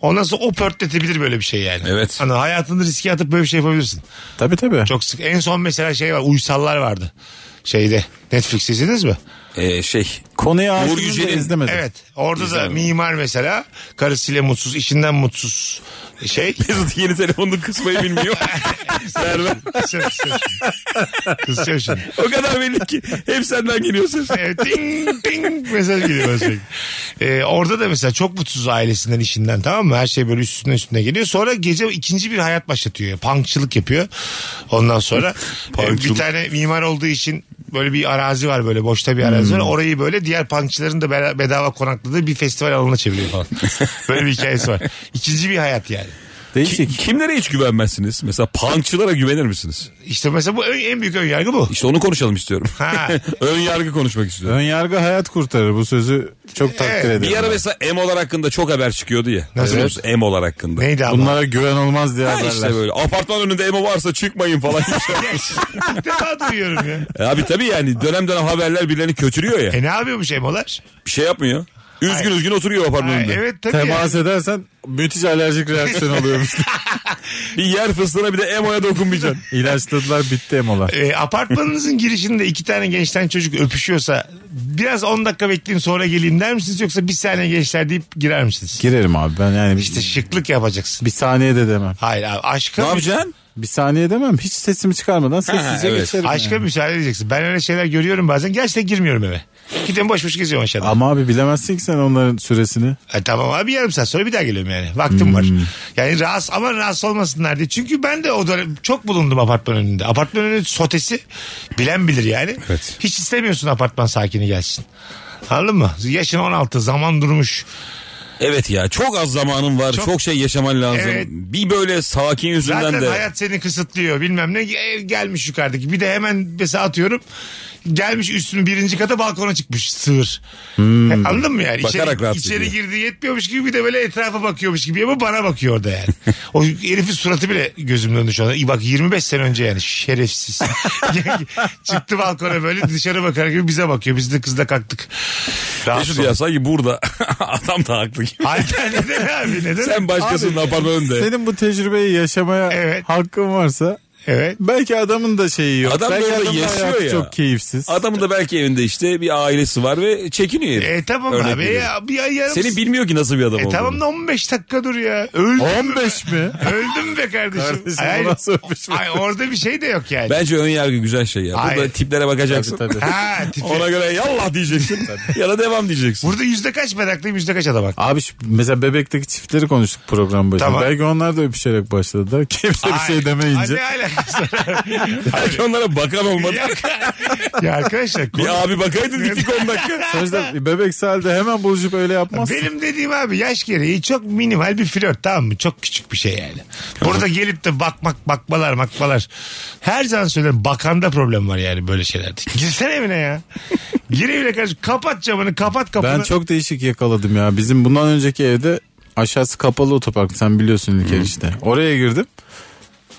[SPEAKER 3] ondan sonra o pörtletebilir böyle bir şey yani.
[SPEAKER 5] Evet.
[SPEAKER 3] Hani hayatını riske atıp böyle bir şey yapabilirsin.
[SPEAKER 4] Tabii tabii.
[SPEAKER 3] Çok sık. En son mesela şey var. Uysallar vardı. Şeyde. Netflix izlediniz mi?
[SPEAKER 5] Ee, şey *laughs*
[SPEAKER 4] Konuyu ağzını
[SPEAKER 5] Yücel'in-
[SPEAKER 4] izlemedim.
[SPEAKER 3] Evet. Orada da mimar mesela karısıyla mutsuz, işinden mutsuz. Şey.
[SPEAKER 5] Mesut yeni telefonunu kısmayı
[SPEAKER 4] *laughs*
[SPEAKER 5] bilmiyor. Berber.
[SPEAKER 3] Kısacağım şimdi. Kısacağım şimdi.
[SPEAKER 5] o kadar belli ki hep senden geliyor ses.
[SPEAKER 3] Evet, ting ting mesaj geliyor bana sürekli. Ee, orada da mesela çok mutsuz ailesinden işinden tamam mı? Her şey böyle üstüne üstüne geliyor. Sonra gece ikinci bir hayat başlatıyor. Punkçılık yapıyor. Ondan sonra e, bir
[SPEAKER 5] Punkçılık.
[SPEAKER 3] tane mimar olduğu için böyle bir arazi var böyle boşta bir arazi var. Orayı böyle diğer punkçıların da bela- bedava konakladığı bir festival alanına çeviriyor falan. böyle bir hikayesi var. İkinci bir hayat yani.
[SPEAKER 5] Ki-
[SPEAKER 4] Değişik.
[SPEAKER 5] kimlere hiç güvenmezsiniz? Mesela punkçılara güvenir misiniz?
[SPEAKER 3] İşte mesela bu ön- en büyük önyargı bu.
[SPEAKER 5] İşte onu konuşalım istiyorum.
[SPEAKER 3] Ha.
[SPEAKER 5] *laughs* Ön yargı konuşmak istiyorum.
[SPEAKER 4] Ön yargı hayat kurtarır. Bu sözü çok takdir
[SPEAKER 3] Evet, bir
[SPEAKER 4] ederim.
[SPEAKER 5] Bir ara mesela emolar hakkında çok haber çıkıyordu ya.
[SPEAKER 3] Nasıl?
[SPEAKER 5] Hatırlıyor musun? Emolar hakkında.
[SPEAKER 3] Neydi ama?
[SPEAKER 4] Bunlara güven olmaz diye
[SPEAKER 5] Ha
[SPEAKER 4] haberler.
[SPEAKER 5] işte böyle apartman önünde emo varsa
[SPEAKER 3] *laughs*
[SPEAKER 5] çıkmayın falan. E
[SPEAKER 3] İlk defa duyuyorum ya.
[SPEAKER 5] Abi tabii yani dönem dönem haberler birilerini kötürüyor ya.
[SPEAKER 3] E ne yapıyormuş emolar?
[SPEAKER 5] Bir şey yapmıyor. Üzgün üzgün oturuyor
[SPEAKER 3] Ha,
[SPEAKER 5] apartmanın önünde.
[SPEAKER 3] evet tabii.
[SPEAKER 4] Temas edersen müthiş alerjik reaksiyon oluyormuş.
[SPEAKER 5] *laughs* Bir yer fıstığına bir de emoya dokunmayacaksın.
[SPEAKER 4] *laughs* İlaçladılar bitti emolar.
[SPEAKER 3] E, apartmanınızın girişinde iki tane gençten çocuk öpüşüyorsa biraz 10 dakika bekleyin sonra geleyim der misiniz yoksa bir saniye gençler deyip girer misiniz?
[SPEAKER 4] Girerim abi ben yani
[SPEAKER 3] İşte şıklık yapacaksın.
[SPEAKER 4] bir saniye de demem.
[SPEAKER 3] Hayır abi aşka,
[SPEAKER 5] ne yapacaksın?
[SPEAKER 4] Bir saniye demem. Hiç sesimi çıkarmadan sessizce
[SPEAKER 5] evet.
[SPEAKER 4] geçerim.
[SPEAKER 3] aşka
[SPEAKER 4] yani.
[SPEAKER 3] müsaade edeceksin. Ben öyle şeyler görüyorum bazen gerçekten girmiyorum eve. Gidiyorum boş boş geziyorum aşağıda.
[SPEAKER 4] Ama abi bilemezsin ki sen onların süresini.
[SPEAKER 3] E, tamam abi yarım saat sonra bir daha geliyorum yani. Vaktim var. Yani rahatsız ama rahatsız olmasınlar diye. Çünkü ben de o dönem çok bulundum apartman önünde. Apartman önünün sotesi bilen bilir yani.
[SPEAKER 5] Evet.
[SPEAKER 3] Hiç istemiyorsun apartman sakini gelsin. Anladın mı? Yaşın 16 zaman durmuş.
[SPEAKER 5] Evet ya çok az zamanın var. Çok, şey yaşaman lazım.
[SPEAKER 3] Evet.
[SPEAKER 5] Bir böyle sakin yüzünden
[SPEAKER 3] Zaten
[SPEAKER 5] de.
[SPEAKER 3] hayat seni kısıtlıyor bilmem ne E, gelmiş yukarıdaki. Bir de hemen mesela atıyorum gelmiş üstünün birinci kata balkona çıkmış sığır. E, Anladın mı yani?
[SPEAKER 5] Hmm. Bakarak
[SPEAKER 3] içeri,
[SPEAKER 5] rahatsız
[SPEAKER 3] içeri
[SPEAKER 5] ediyor.
[SPEAKER 3] girdi yetmiyormuş gibi bir de böyle etrafa bakıyormuş gibi ama bana bakıyor orada yani.
[SPEAKER 5] *laughs*
[SPEAKER 3] o herifin suratı bile gözümün önünde şu anda. İyi Bak 25 sene önce yani şerefsiz. *laughs* Çıktı balkona böyle dışarı bakar gibi bize bakıyor. Biz de kızla kalktık. Rahatsız
[SPEAKER 5] Mesut ya sanki burada *laughs* adam da haklı. gibi.
[SPEAKER 3] Hayır neden abi neden?
[SPEAKER 5] Sen başkasının apartmanın önünde.
[SPEAKER 4] Senin bu tecrübeyi yaşamaya
[SPEAKER 3] Evet.
[SPEAKER 4] hakkın varsa
[SPEAKER 3] Evet.
[SPEAKER 4] belki adamın da şeyi yok.
[SPEAKER 5] Adam
[SPEAKER 4] belki
[SPEAKER 5] böyle
[SPEAKER 4] adamın
[SPEAKER 5] yaşıyor
[SPEAKER 4] hayatı
[SPEAKER 5] ya.
[SPEAKER 4] Çok keyifsiz.
[SPEAKER 5] Adamın da belki evinde işte bir ailesi var ve çekiniyor. herif.
[SPEAKER 3] E tamam
[SPEAKER 5] Örnek
[SPEAKER 3] abi
[SPEAKER 5] veriyorum.
[SPEAKER 3] ya, bir ay yarım
[SPEAKER 5] Seni bilmiyor ki nasıl bir adam
[SPEAKER 3] E
[SPEAKER 5] olduğunu.
[SPEAKER 3] tamam da 15 dakika dur ya. Öldüm.
[SPEAKER 4] 15
[SPEAKER 5] *laughs*
[SPEAKER 4] mi?
[SPEAKER 3] Öldüm be kardeşim.
[SPEAKER 4] Kardeşim,
[SPEAKER 3] Ay,
[SPEAKER 4] bu nasıl öpüş be?
[SPEAKER 3] ay, orada bir şey de yok yani.
[SPEAKER 5] Bence ön yargı güzel şey ya. Burada
[SPEAKER 3] Hayır.
[SPEAKER 5] tiplere bakacaksın.
[SPEAKER 4] Tabii, tabii.
[SPEAKER 3] Ha, tipi.
[SPEAKER 5] *laughs* Ona göre yallah diyeceksin *laughs* ya da devam diyeceksin.
[SPEAKER 3] Burada yüzde kaç meraklıyım yüzde kaç adam haklı.
[SPEAKER 4] Abi şu- mesela bebekteki çiftleri konuştuk program başında.
[SPEAKER 3] Tamam.
[SPEAKER 4] Belki onlar da öpüşerek başladılar. *laughs* Kimse bir
[SPEAKER 3] Ay,
[SPEAKER 4] şey demeyince.
[SPEAKER 3] Ne alakası var?
[SPEAKER 5] Belki onlara bakan olmadı.
[SPEAKER 3] ya, ya arkadaşlar. konu-
[SPEAKER 5] bir abi bakaydın bittik
[SPEAKER 3] *laughs*
[SPEAKER 5] 10 dakika.
[SPEAKER 4] Sonuçta bebekse halde hemen buluşup öyle yapmazsın.
[SPEAKER 3] Benim dediğim abi yaş gereği çok minimal bir flört tamam mı? Çok küçük bir şey yani. Burada gelip de bakmak bakmalar bakmalar. Her zaman söylerim bakanda problem var yani böyle şeylerde. Girsene evine ya. Gir evine kardeşim. Kapat camını kapat kapını.
[SPEAKER 4] Ben çok değişik yakaladım ya. Bizim bundan önceki evde aşağısı kapalı otopark. Sen biliyorsun İlker işte. Oraya girdim.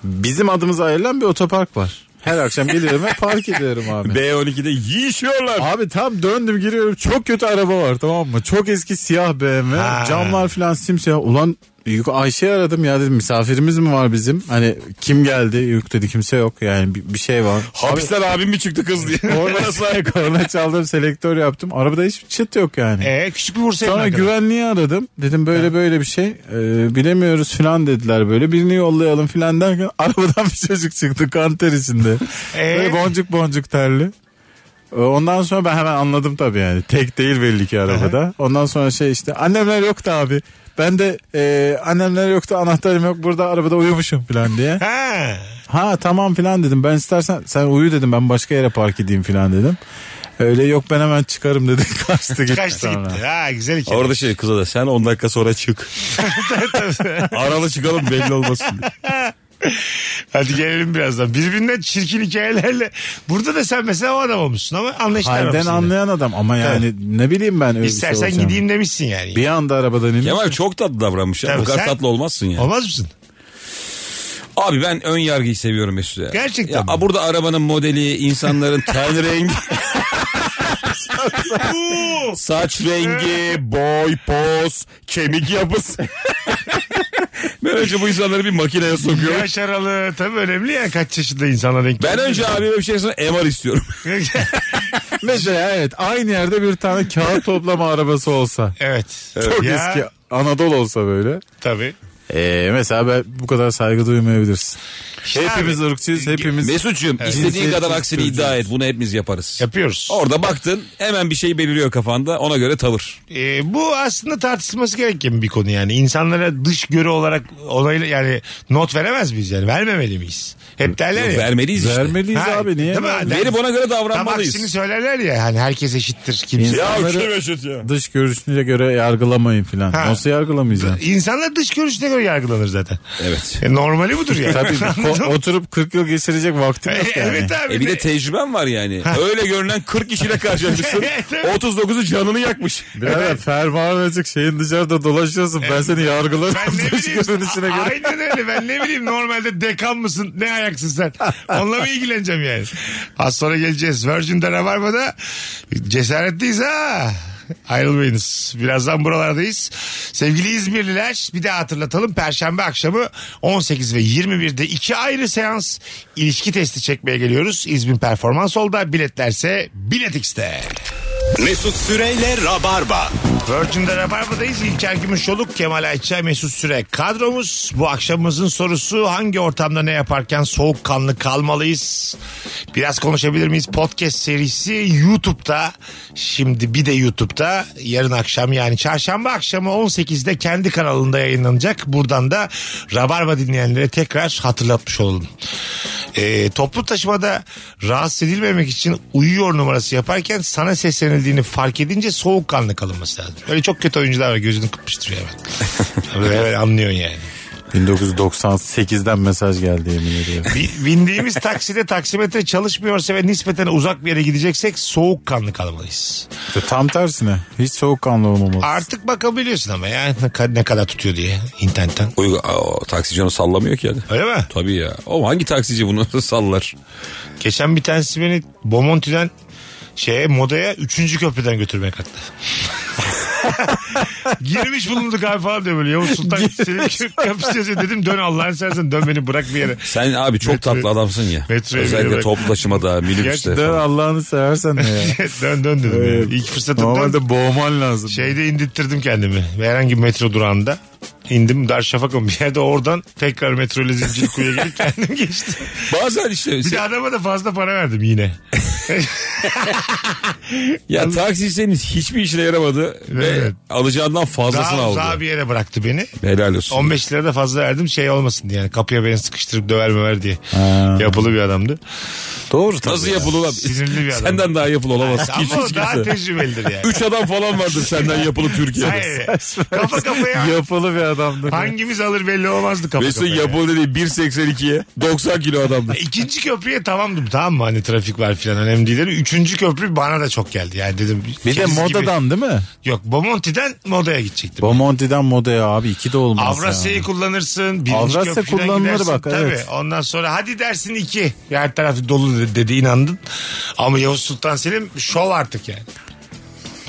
[SPEAKER 4] Bizim adımıza ayrılan bir otopark var. Her akşam geliyorum ve park ediyorum abi.
[SPEAKER 5] B12'de yiyişiyorlar.
[SPEAKER 4] Abi tam döndüm giriyorum çok kötü araba var tamam mı? Çok eski siyah BMW
[SPEAKER 3] Ha.
[SPEAKER 4] camlar falan simsiyah. Ulan Yük Ayşe'yi aradım ya dedim misafirimiz mi var bizim? Hani kim geldi? Yük dedi kimse yok yani bir, bir şey var.
[SPEAKER 5] Hapisten abim mi çıktı kız diye. *laughs*
[SPEAKER 4] Korna, korna çaldım selektör yaptım. Arabada hiç çıt yok yani.
[SPEAKER 3] Ee, küçük bir vursaydın.
[SPEAKER 4] Sonra
[SPEAKER 3] arkadan.
[SPEAKER 4] güvenliği aradım. Dedim böyle böyle bir şey. Ee, bilemiyoruz falan dediler böyle. Birini yollayalım falan derken *laughs* arabadan bir çocuk çıktı kanter içinde.
[SPEAKER 3] *laughs* Ee?
[SPEAKER 4] Böyle boncuk boncuk terli. Ee, Ondan sonra ben hemen anladım tabii yani. Tek değil belli ki arabada. Ondan sonra şey işte annemler yoktu abi. Ben de e, annemler yoktu anahtarım yok burada arabada uyumuşum falan diye.
[SPEAKER 3] *laughs* Ha.
[SPEAKER 4] Ha tamam filan dedim. Ben istersen sen uyu dedim ben başka yere park edeyim filan dedim. Öyle yok ben hemen çıkarım *laughs* dedi. Kaçtı gitti.
[SPEAKER 3] Kaçtı
[SPEAKER 4] sonra.
[SPEAKER 3] gitti. Ha güzel hikaye.
[SPEAKER 5] Orada şey kıza da sen 10 dakika
[SPEAKER 3] *laughs*
[SPEAKER 5] sonra çık. Aralı çıkalım belli olmasın.
[SPEAKER 3] *laughs*
[SPEAKER 5] diye.
[SPEAKER 3] Hadi gelelim birazdan. Birbirinden çirkin hikayelerle. Burada da sen mesela o adam olmuşsun ama anlayışlı
[SPEAKER 4] Halden
[SPEAKER 3] adamsın.
[SPEAKER 4] anlayan adam ama yani ne bileyim ben öyle bir şey
[SPEAKER 3] İstersen
[SPEAKER 4] olacağını.
[SPEAKER 3] gideyim demişsin yani.
[SPEAKER 4] Bir anda arabadan indim.
[SPEAKER 5] Kemal çok tatlı davranmış ya.
[SPEAKER 3] Tabii
[SPEAKER 5] Bu kadar
[SPEAKER 3] sen-
[SPEAKER 5] tatlı olmazsın ya.
[SPEAKER 3] Olmaz mısın?
[SPEAKER 5] Abi ben ön yargıyı seviyorum Mesut ya.
[SPEAKER 3] Gerçekten
[SPEAKER 5] Ya,
[SPEAKER 3] mi?
[SPEAKER 5] a, burada arabanın
[SPEAKER 3] *laughs*
[SPEAKER 5] modeli, insanların ten rengi. Saç rengi, boy, poz,
[SPEAKER 3] *laughs*
[SPEAKER 5] kemik yapısı. ben önce bu insanları bir makineye sokuyorum.
[SPEAKER 3] Yaş aralığı tabii önemli ya kaç yaşında insana denk *laughs*
[SPEAKER 5] Ben önce abime bir şey sonra MR istiyorum.
[SPEAKER 4] Mesela evet aynı yerde bir
[SPEAKER 3] *laughs*
[SPEAKER 4] tane kağıt toplama arabası olsa.
[SPEAKER 3] evet.
[SPEAKER 4] Çok
[SPEAKER 3] Ya,
[SPEAKER 4] eski Anadolu olsa böyle.
[SPEAKER 3] Tabii.
[SPEAKER 4] Ee, mesela ben bu kadar saygı duymayabilirsin.
[SPEAKER 3] İşte
[SPEAKER 4] hepimiz
[SPEAKER 3] abi, e,
[SPEAKER 4] ırkçıyız, hepimiz...
[SPEAKER 5] Mesut'cum istediğin
[SPEAKER 4] Cinsiyetçi
[SPEAKER 5] kadar aksini
[SPEAKER 4] çocuğuz.
[SPEAKER 5] iddia et. Bunu hepimiz yaparız.
[SPEAKER 3] Yapıyoruz.
[SPEAKER 5] Orada baktın hemen bir şey beliriyor kafanda ona göre tavır.
[SPEAKER 3] Ee, bu aslında tartışılması gereken bir konu yani. İnsanlara dış görü olarak olayla yani not veremez miyiz yani? Vermemeli miyiz? Hep derler ya.
[SPEAKER 5] Vermeliyiz işte.
[SPEAKER 4] Vermeliyiz
[SPEAKER 3] Ha,
[SPEAKER 4] abi niye?
[SPEAKER 3] değil mi?
[SPEAKER 4] vermeliyiz?
[SPEAKER 5] Verip ona göre
[SPEAKER 3] Tam
[SPEAKER 5] davranmalıyız.
[SPEAKER 3] aksini söylerler ya hani herkes eşittir kimse.
[SPEAKER 4] Ya İnsanları- kim Dış görüşüne göre yargılamayın filan.
[SPEAKER 3] Ha. *laughs*
[SPEAKER 4] Nasıl yargılamayacaksın?
[SPEAKER 3] İnsanlar dış görüşüne göre yargılanır zaten.
[SPEAKER 5] Evet.
[SPEAKER 3] E, normali budur yani. *laughs*
[SPEAKER 4] Tabii
[SPEAKER 3] Anladın
[SPEAKER 4] ko-
[SPEAKER 3] mı?
[SPEAKER 4] oturup 40 yıl geçirecek vaktim yok yani.
[SPEAKER 3] evet abi.
[SPEAKER 5] E bir de tecrüben var yani. Öyle görünen 40
[SPEAKER 3] *laughs*
[SPEAKER 5] kişiyle karşılaşmışsın. 39'u canını yakmış.
[SPEAKER 4] Birader fermuarın açık şeyin dışarıda dolaşıyorsun. Ben seni yargılarım.
[SPEAKER 3] Ben ne
[SPEAKER 4] *laughs* Dış
[SPEAKER 3] bileyim.
[SPEAKER 4] görünüşüne göre.
[SPEAKER 3] Aynen öyle. Ben ne bileyim normalde dekan mısın? Ne ayaksın sen? Onunla mı ilgileneceğim yani? Az sonra geleceğiz. Virgin'de Rabarba'da cesaretliyiz ha. Ayrılmayınız. Birazdan buralardayız. Sevgili İzmirliler bir de hatırlatalım. Perşembe akşamı 18 ve 21'de iki ayrı seans ilişki testi çekmeye geliyoruz. İzmir Performans Hall'da biletlerse Bilet X'te.
[SPEAKER 2] Mesut Süreyle Rabarba.
[SPEAKER 3] Virgin'de Rabarba'dayız. İlker Gümüşoluk, Kemal Ayça, Mesut Süre. Kadromuz bu akşamımızın sorusu hangi ortamda ne yaparken soğukkanlı kalmalıyız? Biraz konuşabilir miyiz? Podcast serisi YouTube'da. Şimdi bir de YouTube'da yarın akşam yani çarşamba akşamı 18'de kendi kanalında yayınlanacak. Buradan da Rabarba dinleyenlere tekrar hatırlatmış olalım. Ee, toplu taşımada rahatsız edilmemek için uyuyor numarası yaparken sana seslenildiğini fark edince soğukkanlı kalınması lazım. Öyle çok kötü oyuncular var gözünü kırpıştırıyor hemen. Böyle hemen anlıyorsun yani.
[SPEAKER 4] 1998'den mesaj geldi yemin ediyorum.
[SPEAKER 3] Bi- Bindiğimiz takside taksimetre çalışmıyorsa ve nispeten uzak bir yere gideceksek soğukkanlı kalmalıyız.
[SPEAKER 4] Tam tersine. Hiç soğukkanlı olmamalı.
[SPEAKER 3] Artık bakabiliyorsun ama ya ne ka- ne kadar tutuyor diye internetten.
[SPEAKER 5] Uygu, Aa, o taksici onu sallamıyor ki yani.
[SPEAKER 3] Öyle mi?
[SPEAKER 5] Tabii ya. O hangi taksici bunu *laughs* sallar?
[SPEAKER 3] Geçen bir tanesi beni Bomonti'den şeye modaya 3. köprüden götürmeye kalktı. Girmiş bulunduk abi falan diyor böyle. Yavuz Sultan senin kö- kapışıyorsun dedim dön Allah'ın sersen dön beni bırak bir yere. *laughs*
[SPEAKER 5] Sen abi çok
[SPEAKER 3] Metroya-
[SPEAKER 5] tatlı adamsın ya.
[SPEAKER 3] metroya
[SPEAKER 5] Özellikle
[SPEAKER 3] bile-
[SPEAKER 5] toplu taşımada, minibüste.
[SPEAKER 4] Dön
[SPEAKER 5] falan.
[SPEAKER 4] Allah'ını seversen de
[SPEAKER 3] *laughs*
[SPEAKER 4] ya.
[SPEAKER 3] dön dön dedim.
[SPEAKER 4] Evet.
[SPEAKER 3] Yani. İlk fırsatımda
[SPEAKER 4] Normalde boğman lazım.
[SPEAKER 3] şeyde indirttirdim kendimi. Herhangi bir metro durağında. indim Darüşşafaka'nın bir yerde oradan tekrar metro ile Zincirlikuya gelip kendim geçtim.
[SPEAKER 5] Bazen işte
[SPEAKER 3] Bir de adama da fazla para verdim yine.
[SPEAKER 5] ya taksi senin hiçbir işine yaramadı
[SPEAKER 3] Evet.
[SPEAKER 5] ve alacağından fazlasını
[SPEAKER 3] Daha
[SPEAKER 5] aldı.
[SPEAKER 3] uzağa bir yere bıraktı beni.
[SPEAKER 5] Helal olsun.
[SPEAKER 3] 15 lira da fazla verdim şey olmasın diye. Yani kapıya beni sıkıştırıp döver möver diye. Yapılı bir adamdı.
[SPEAKER 4] Doğru
[SPEAKER 5] Nasıl yapılı lan?
[SPEAKER 3] Sinirli bir adam.
[SPEAKER 5] Senden daha yapılı olamaz. ki hiç,
[SPEAKER 3] Ama
[SPEAKER 5] hiç
[SPEAKER 3] o daha
[SPEAKER 5] kimse.
[SPEAKER 3] tecrübelidir yani.
[SPEAKER 5] Üç adam falan vardır senden yapılı Türkiye'de.
[SPEAKER 3] Hayır. kafa kafaya
[SPEAKER 4] *laughs* Yapılı bir adamdı.
[SPEAKER 3] hangimiz alır belli olmazdı kafa
[SPEAKER 5] Mesela
[SPEAKER 3] kafaya.
[SPEAKER 5] yapılı dedi 1.82'ye 90 kilo adamdı.
[SPEAKER 3] İkinci köprüye tamamdım tamam mı hani trafik var filan önemli değil. Üçüncü köprü bana da çok geldi yani dedim.
[SPEAKER 4] Bir de
[SPEAKER 3] kendisi gibi-
[SPEAKER 4] modadan değil mi?
[SPEAKER 3] Yok Bomonti'den modaya gidecektim.
[SPEAKER 4] Bomonti'den modaya abi iki de olmaz
[SPEAKER 3] Avrasya'yı
[SPEAKER 4] ya.
[SPEAKER 3] kullanırsın. birinci
[SPEAKER 4] Avrasya
[SPEAKER 3] köprüden
[SPEAKER 4] kullanılır
[SPEAKER 3] gidersin.
[SPEAKER 4] bak,
[SPEAKER 3] Tabii.
[SPEAKER 4] evet.
[SPEAKER 3] Ondan sonra hadi dersin iki. Ya Her taraf dolu de- dedi inandın. Ama Yavuz Sultan Selim şov artık yani.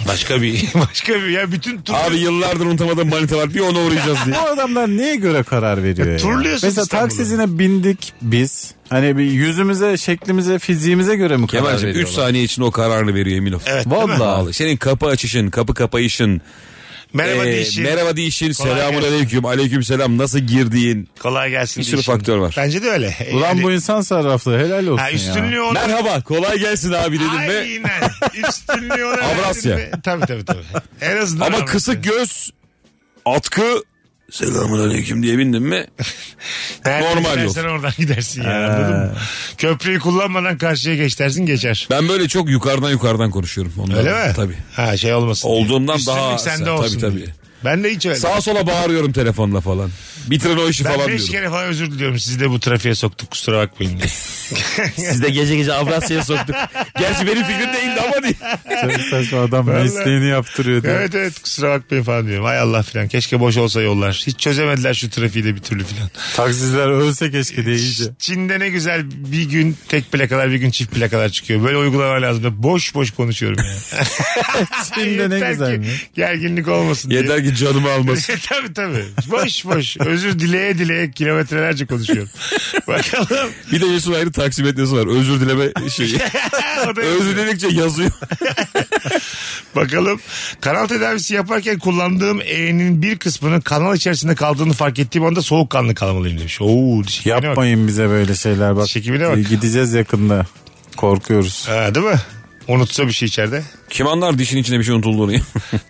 [SPEAKER 3] Başka bir *laughs* başka bir ya bütün tur
[SPEAKER 5] Abi yıllardır unutamadığım manita var bir ona uğrayacağız diye.
[SPEAKER 4] Bu adamlar neye göre karar veriyor ya?
[SPEAKER 3] E, turluyorsun
[SPEAKER 4] Mesela
[SPEAKER 3] İstanbul'u.
[SPEAKER 4] taksisine bindik biz. Hani bir yüzümüze, şeklimize, fiziğimize göre mi karar
[SPEAKER 5] Kemal'cim 3
[SPEAKER 4] veriyorlar?
[SPEAKER 5] saniye için o kararını veriyor emin ol.
[SPEAKER 3] Evet, değil mi?
[SPEAKER 5] Vallahi senin kapı açışın, kapı kapayışın,
[SPEAKER 3] merhaba
[SPEAKER 5] ee,
[SPEAKER 3] deyişi.
[SPEAKER 5] merhaba deyişin,
[SPEAKER 3] Kolay
[SPEAKER 5] selamun
[SPEAKER 3] gelsin.
[SPEAKER 5] aleyküm, aleyküm selam nasıl girdiğin,
[SPEAKER 3] Kolay gelsin.
[SPEAKER 5] Bir sürü
[SPEAKER 3] deyişin.
[SPEAKER 5] faktör var.
[SPEAKER 3] Bence de öyle.
[SPEAKER 4] Ulan
[SPEAKER 3] Yani-
[SPEAKER 4] bu insan sarraflığı helal olsun
[SPEAKER 3] ha,
[SPEAKER 4] ya.
[SPEAKER 3] üstünlüğü ona.
[SPEAKER 5] merhaba kolay gelsin abi dedim ve
[SPEAKER 3] Aynen.
[SPEAKER 5] *laughs*
[SPEAKER 3] Üstünlüğü ona. verdin
[SPEAKER 5] Avrasya.
[SPEAKER 3] mi? Tabii tabii tabii. En azından.
[SPEAKER 5] ama
[SPEAKER 3] Avrasya.
[SPEAKER 5] kısık göz, atkı, selamun aleyküm diye bindim mi?
[SPEAKER 3] Nereden
[SPEAKER 5] normal yol.
[SPEAKER 3] gidersen oradan gidersin yani anladın mı? Köprüyü kullanmadan karşıya geç dersin geçer.
[SPEAKER 5] Ben böyle çok yukarıdan yukarıdan konuşuyorum. Ondan.
[SPEAKER 3] Öyle mi?
[SPEAKER 5] Tabii.
[SPEAKER 3] Ha şey olmasın.
[SPEAKER 5] Olduğumdan
[SPEAKER 3] Üstünlük
[SPEAKER 5] daha-
[SPEAKER 3] sende
[SPEAKER 5] tabii,
[SPEAKER 3] olsun.
[SPEAKER 5] tabii.
[SPEAKER 3] diye. Ben de hiç öyle.
[SPEAKER 5] Sağa sola bağırıyorum telefonla falan. Bitirin o işi
[SPEAKER 3] ben
[SPEAKER 5] falan
[SPEAKER 3] beş
[SPEAKER 5] diyorum.
[SPEAKER 3] kere falan özür diliyorum. Sizi de bu trafiğe soktuk kusura bakmayın
[SPEAKER 5] *laughs*
[SPEAKER 3] diye.
[SPEAKER 5] Siz de gece gece Avrasya'ya soktuk. Gerçi benim fikrim değildi ama diye.
[SPEAKER 3] *laughs*
[SPEAKER 4] Çok saçma adam
[SPEAKER 3] Vallahi.
[SPEAKER 4] mesleğini yaptırıyor diye.
[SPEAKER 3] evet evet kusura bakmayın falan diyorum. Hay Allah filan keşke boş olsa yollar. Hiç çözemediler şu trafiği de bir türlü filan.
[SPEAKER 4] Taksiciler ölse keşke diye iyice.
[SPEAKER 3] Çin'de ne güzel bir gün tek plakalar bir gün çift plakalar çıkıyor. Böyle uygulama
[SPEAKER 5] *laughs*
[SPEAKER 3] lazım. Boş boş konuşuyorum yani.
[SPEAKER 4] Çin'de ne
[SPEAKER 3] Yeter
[SPEAKER 4] güzel
[SPEAKER 3] ki
[SPEAKER 4] mi?
[SPEAKER 3] Gerginlik olmasın diye. *laughs*
[SPEAKER 5] Yeter ki beni canımı almasın.
[SPEAKER 3] tabii tabii. Boş boş. Özür dileye dileye kilometrelerce
[SPEAKER 5] *laughs*
[SPEAKER 3] konuşuyorum. Bakalım.
[SPEAKER 5] Bir de Mesut ayrı taksimetresi var. Özür dileme şeyi.
[SPEAKER 3] *laughs* O da-
[SPEAKER 5] Özür diledikçe yazıyor.
[SPEAKER 3] Bakalım. Kanal tedavisi yaparken kullandığım E'nin bir kısmının kanal içerisinde kaldığını fark ettiğim anda soğukkanlı kalmalıyım demiş. Oo, diş hekimine bak.
[SPEAKER 4] *laughs* Yapmayın bize böyle şeyler bak. E,
[SPEAKER 3] Diş hekimine bak.
[SPEAKER 4] Gideceğiz yakında. Korkuyoruz.
[SPEAKER 3] Ha, değil mi? Unutsa bir şey içeride.
[SPEAKER 5] Kim anlar dişin içinde bir
[SPEAKER 3] *laughs*
[SPEAKER 5] şey unutulduğunu?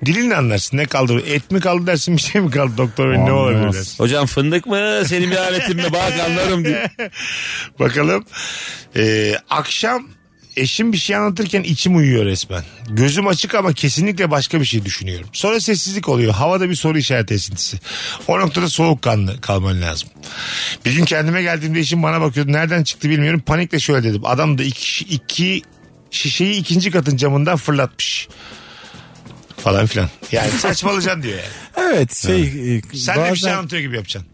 [SPEAKER 3] Dilinle anlarsın ne kaldı. Et mi kaldı dersin bir şey mi kaldı doktor bey ne
[SPEAKER 4] Anlamaz.
[SPEAKER 3] olabilir dersin.
[SPEAKER 5] Hocam fındık mı? Senin bir aletin mi?
[SPEAKER 3] *laughs*
[SPEAKER 5] Bak anlarım diye.
[SPEAKER 3] Bakalım. Ee, akşam eşim bir şey anlatırken içim uyuyor resmen. Gözüm açık ama kesinlikle başka bir şey düşünüyorum. Sonra sessizlik oluyor. Havada bir soru işareti esintisi. O noktada soğukkanlı kalman lazım. Bir gün kendime geldiğimde eşim bana bakıyordu. Nereden çıktı bilmiyorum. Panikle şöyle dedim. Adam da iki, iki şişeyi ikinci katın camından fırlatmış. Falan filan.
[SPEAKER 4] *laughs*
[SPEAKER 3] Yani saçmalayacaksın diyor yani.
[SPEAKER 4] Evet şey e,
[SPEAKER 3] Sen de bir şey
[SPEAKER 4] bazen
[SPEAKER 3] anlatıyor gibi yapacaksın.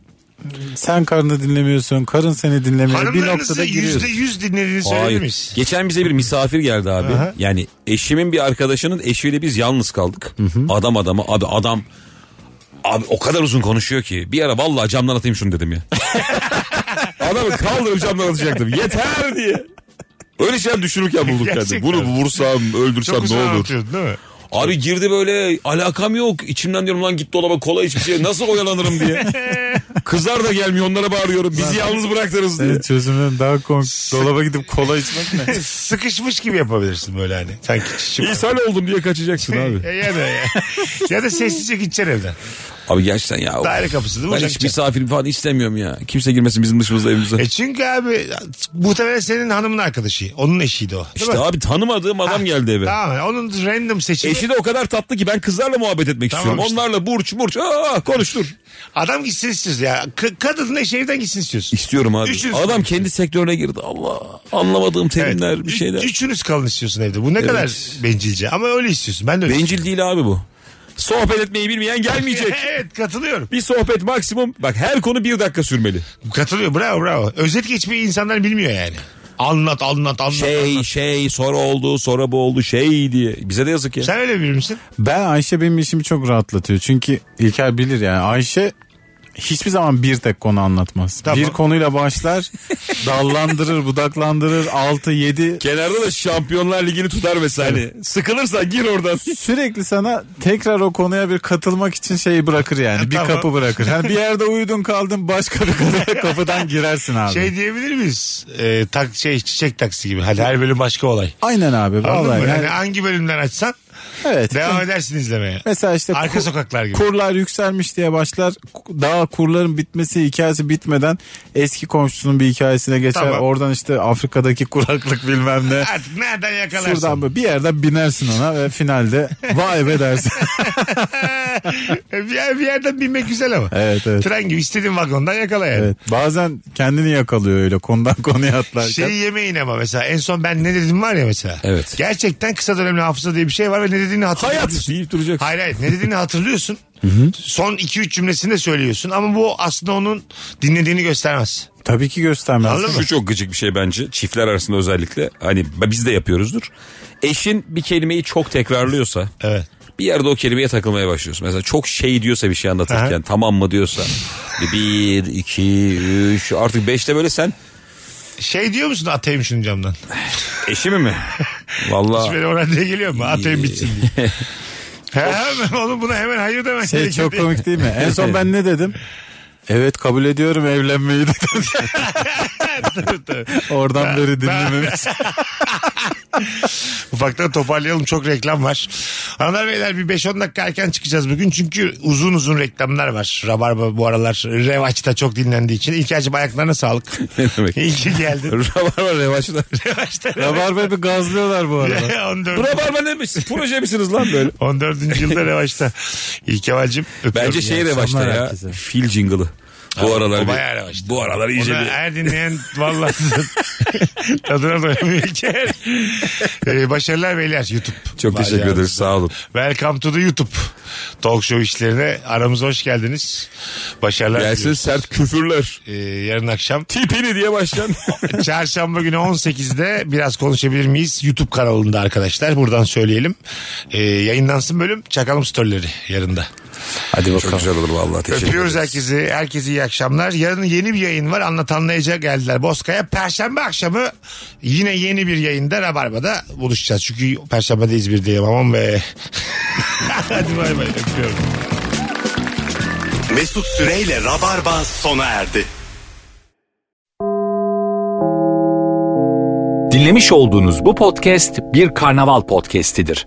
[SPEAKER 4] sen karını dinlemiyorsun karın seni dinlemiyor bir
[SPEAKER 3] Hanımlarınızı
[SPEAKER 4] noktada
[SPEAKER 3] yüzde
[SPEAKER 4] giriyorsun.
[SPEAKER 3] yüz dinlediğini söyleyebilir
[SPEAKER 5] Hayır.
[SPEAKER 3] miyiz?
[SPEAKER 5] Geçen bize bir misafir geldi abi. Yani eşimin bir arkadaşının eşiyle biz yalnız kaldık. Adam adamı abi adam Abi o kadar uzun konuşuyor ki bir ara vallahi camdan atayım şunu
[SPEAKER 3] *laughs*
[SPEAKER 5] dedim ya. Adamı kaldırıp camdan atacaktım. Yeter diye. Öyle şeyler düşünürken bulduk kendimi.
[SPEAKER 3] Gerçekten.
[SPEAKER 5] Bunu vursam
[SPEAKER 3] Çok
[SPEAKER 5] öldürsem
[SPEAKER 3] güzel
[SPEAKER 5] ne olur.
[SPEAKER 3] anlatıyordun değil mi?
[SPEAKER 5] Abi girdi böyle alakam yok. İçimden diyorum lan git dolaba kola iç bir şey nasıl
[SPEAKER 3] *laughs*
[SPEAKER 5] oyalanırım diye. Kızlar da gelmiyor onlara bağırıyorum. Bizi yalnız bıraktınız diye.
[SPEAKER 4] Evet, çözümden daha komik. Dolaba gidip kola
[SPEAKER 3] *laughs*
[SPEAKER 4] içmek mi?
[SPEAKER 3] Sıkışmış gibi yapabilirsin böyle hani. Sanki çiçek.
[SPEAKER 5] İnsan oldum diye
[SPEAKER 3] *laughs*
[SPEAKER 5] kaçacaksın abi.
[SPEAKER 3] E, ya da ya. ya da sessizce gideceksin evden.
[SPEAKER 5] Abi gerçekten ya.
[SPEAKER 3] Daire kapısı değil mi?
[SPEAKER 5] Ben
[SPEAKER 3] Uçak
[SPEAKER 5] hiç
[SPEAKER 3] çıkar.
[SPEAKER 5] misafir falan istemiyorum ya. Kimse girmesin bizim dışımızda evimize.
[SPEAKER 3] E çünkü abi muhtemelen senin hanımın arkadaşı. Onun eşiydi o. Değil
[SPEAKER 5] işte
[SPEAKER 3] mi?
[SPEAKER 5] abi tanımadığım adam geldi eve.
[SPEAKER 3] Ah, Tamam onun random seçimi.
[SPEAKER 5] Eşi de o kadar tatlı ki ben kızlarla muhabbet etmek
[SPEAKER 3] Tamam
[SPEAKER 5] istiyorum.
[SPEAKER 3] işte.
[SPEAKER 5] Onlarla burç burç aa, konuştur.
[SPEAKER 3] Adam gitsin istiyorsun ya. K- kadının eşi evden gitsin istiyorsun.
[SPEAKER 5] İstiyorum abi.
[SPEAKER 3] Üçünüz
[SPEAKER 5] adam
[SPEAKER 3] konuşun.
[SPEAKER 5] kendi sektörüne girdi. Allah anlamadığım
[SPEAKER 3] Evet.
[SPEAKER 5] terimler bir
[SPEAKER 3] Ü-
[SPEAKER 5] şeyler.
[SPEAKER 3] Üçünüz kalın istiyorsun evde. Bu ne kadar bencilce. Ama öyle istiyorsun. Ben de öyle
[SPEAKER 5] Bencil değil abi bu. Sohbet etmeyi bilmeyen gelmeyecek.
[SPEAKER 3] istiyorum. *laughs* Evet katılıyorum.
[SPEAKER 5] Bir sohbet maksimum bak her konu bir dakika sürmeli.
[SPEAKER 3] Katılıyor bravo bravo. Özet geçmeyi insanlar bilmiyor yani. Anlat anlat anlat.
[SPEAKER 5] Şey
[SPEAKER 3] anlat.
[SPEAKER 5] şey sonra oldu sonra bu oldu şey diye. Bize de yazık ya.
[SPEAKER 3] Sen öyle biri misin?
[SPEAKER 4] Ben Ayşe benim işimi çok rahatlatıyor. Çünkü İlker bilir yani Ayşe hiçbir zaman bir tek konu anlatmaz.
[SPEAKER 3] Tamam.
[SPEAKER 4] Bir
[SPEAKER 3] *laughs*
[SPEAKER 4] konuyla başlar, dallandırır, budaklandırır, 6 7
[SPEAKER 5] Kenarda da Şampiyonlar Ligi'ni tutar mesela. Hani sıkılırsan gir oradan.
[SPEAKER 4] *laughs* sürekli sana tekrar o konuya bir katılmak için şeyi bırakır yani. Bir
[SPEAKER 3] Tamam.
[SPEAKER 4] kapı bırakır. Yani bir yerde uyudun kaldın başka bir
[SPEAKER 3] *laughs*
[SPEAKER 4] kapıya- kapıdan girersin abi.
[SPEAKER 3] Şey diyebilir miyiz? Ee, tak, şey çiçek taksi gibi. Hani her bölüm başka olay.
[SPEAKER 4] Aynen abi
[SPEAKER 3] Anladın
[SPEAKER 4] vallahi.
[SPEAKER 3] mı?
[SPEAKER 4] yani-
[SPEAKER 3] Hani hangi bölümden açsan
[SPEAKER 4] evet.
[SPEAKER 3] devam edersin izlemeye.
[SPEAKER 4] Mesela işte
[SPEAKER 3] Arka
[SPEAKER 4] ku-
[SPEAKER 3] sokaklar gibi.
[SPEAKER 4] Kurlar yükselmiş diye başlar. Ku- Daha kurların bitmesi hikayesi bitmeden eski komşusunun bir hikayesine geçer.
[SPEAKER 3] Tamam.
[SPEAKER 4] Oradan işte Afrika'daki kuraklık bilmem ne.
[SPEAKER 3] Artık nereden *laughs* yakalarsın?
[SPEAKER 4] Şuradan böyle bir yerde binersin ona ve finalde vay be dersin.
[SPEAKER 3] E, bir, yer- bir yerden binmek güzel ama.
[SPEAKER 4] evet evet.
[SPEAKER 3] Tren gibi istediğin vagondan yakala yani.
[SPEAKER 4] Evet. Bazen kendini yakalıyor öyle konudan konuya atlarken.
[SPEAKER 3] Şeyi yemeyin ama mesela en son ben ne dedim var ya mesela.
[SPEAKER 5] Evet.
[SPEAKER 3] Gerçekten kısa dönemli hafıza diye bir şey var ve ne dediğini hatırlıyorsun.
[SPEAKER 5] Hayat deyip duracaksın.
[SPEAKER 3] Hayır hayır ne dediğini
[SPEAKER 4] *laughs*
[SPEAKER 3] hatırlıyorsun. son 2-3 cümlesini de söylüyorsun ama bu aslında onun dinlediğini göstermez.
[SPEAKER 4] Tabii ki göstermez.
[SPEAKER 3] Anladın mı?
[SPEAKER 5] Şu çok gıcık bir şey bence çiftler arasında özellikle hani biz de yapıyoruzdur. Eşin bir kelimeyi çok tekrarlıyorsa
[SPEAKER 3] Evet.
[SPEAKER 5] bir yerde o kelimeye takılmaya başlıyorsun. Mesela çok şey diyorsa bir şey anlatırken
[SPEAKER 3] Aha.
[SPEAKER 5] tamam mı diyorsa bir, bir, iki, üç artık beşte böyle sen
[SPEAKER 3] Şey diyor musun atayım şunu camdan?
[SPEAKER 5] eşimi *laughs* mi?
[SPEAKER 3] Hiç
[SPEAKER 5] Valla
[SPEAKER 3] benim oraya diye geliyor mu? Atayım bitsin diye. Hemen oğlum buna hemen hayır demen *laughs*
[SPEAKER 4] Şey
[SPEAKER 3] gerekiyor
[SPEAKER 4] çok
[SPEAKER 3] diye.
[SPEAKER 4] komik değil mi? En son ben ne dedim? Evet kabul ediyorum evlenmeyi dedim.
[SPEAKER 3] Tabii, tabii.
[SPEAKER 4] Oradan beri dinlememiş.
[SPEAKER 3] Ufaktan toparlayalım çok reklam var. Hanımlar beyler bir 5-10 dakika erken çıkacağız bugün. Çünkü uzun uzun reklamlar var. Rabarba bu aralar revaçta çok dinlendiği için. İlker'cim ayaklarına
[SPEAKER 5] *laughs*
[SPEAKER 3] sağlık.
[SPEAKER 5] *laughs* ne demek?
[SPEAKER 3] İyi ki geldin.
[SPEAKER 5] Rabarba revaçta.
[SPEAKER 3] *laughs* Revaçta ne?
[SPEAKER 4] Rabarbayı bir gazlıyorlar bu arada.
[SPEAKER 3] *laughs* 14.
[SPEAKER 5] Rabarba ne misiniz? Proje misiniz lan böyle?
[SPEAKER 3] 14. yılda revaçta. İyi Kemal'cim. öpüyorum
[SPEAKER 5] Bence
[SPEAKER 3] ya.
[SPEAKER 5] şey revaçta
[SPEAKER 4] akşamlar
[SPEAKER 5] ya.
[SPEAKER 4] herkese.
[SPEAKER 5] Fil jingle'ı. Bu aralar
[SPEAKER 3] O
[SPEAKER 5] bir-
[SPEAKER 3] bayağı revaçta.
[SPEAKER 5] bu aralar iyice
[SPEAKER 3] Ona
[SPEAKER 5] bir-
[SPEAKER 3] her dinleyen vallahi *laughs* tadına doyamıyor *laughs* İlker. Ee, başarılar beyler YouTube.
[SPEAKER 5] Çok teşekkür
[SPEAKER 3] Bayağı.
[SPEAKER 5] ederiz sağ olun.
[SPEAKER 3] Welcome to the YouTube. Talk show işlerine aramıza hoş geldiniz. Başarılar.
[SPEAKER 5] Gelsin
[SPEAKER 3] diliyoruz.
[SPEAKER 5] sert küfürler.
[SPEAKER 3] Ee, yarın akşam
[SPEAKER 5] Tipini diye başlayan.
[SPEAKER 3] çarşamba günü 18'de biraz konuşabilir miyiz? YouTube kanalında arkadaşlar buradan söyleyelim. Ee, yayınlansın bölüm çakalım storyleri yarında.
[SPEAKER 5] Hadi bakalım. Çok güzel olur vallahi. Teşekkür
[SPEAKER 3] Öpüyoruz
[SPEAKER 5] ederiz.
[SPEAKER 3] herkesi. Herkese iyi akşamlar. Yarın yeni bir yayın var. Anlatanlayıca geldiler Bozkaya. Perşembe akşamı yine yeni bir yayında Rabarba'da buluşacağız. Çünkü Perşembe'de İzmir'deyim aman be. *laughs* Hadi bay bay öpüyorum.
[SPEAKER 2] Mesut Süreyle Rabarba sona erdi.
[SPEAKER 1] Dinlemiş olduğunuz bu podcast bir karnaval podcastidir.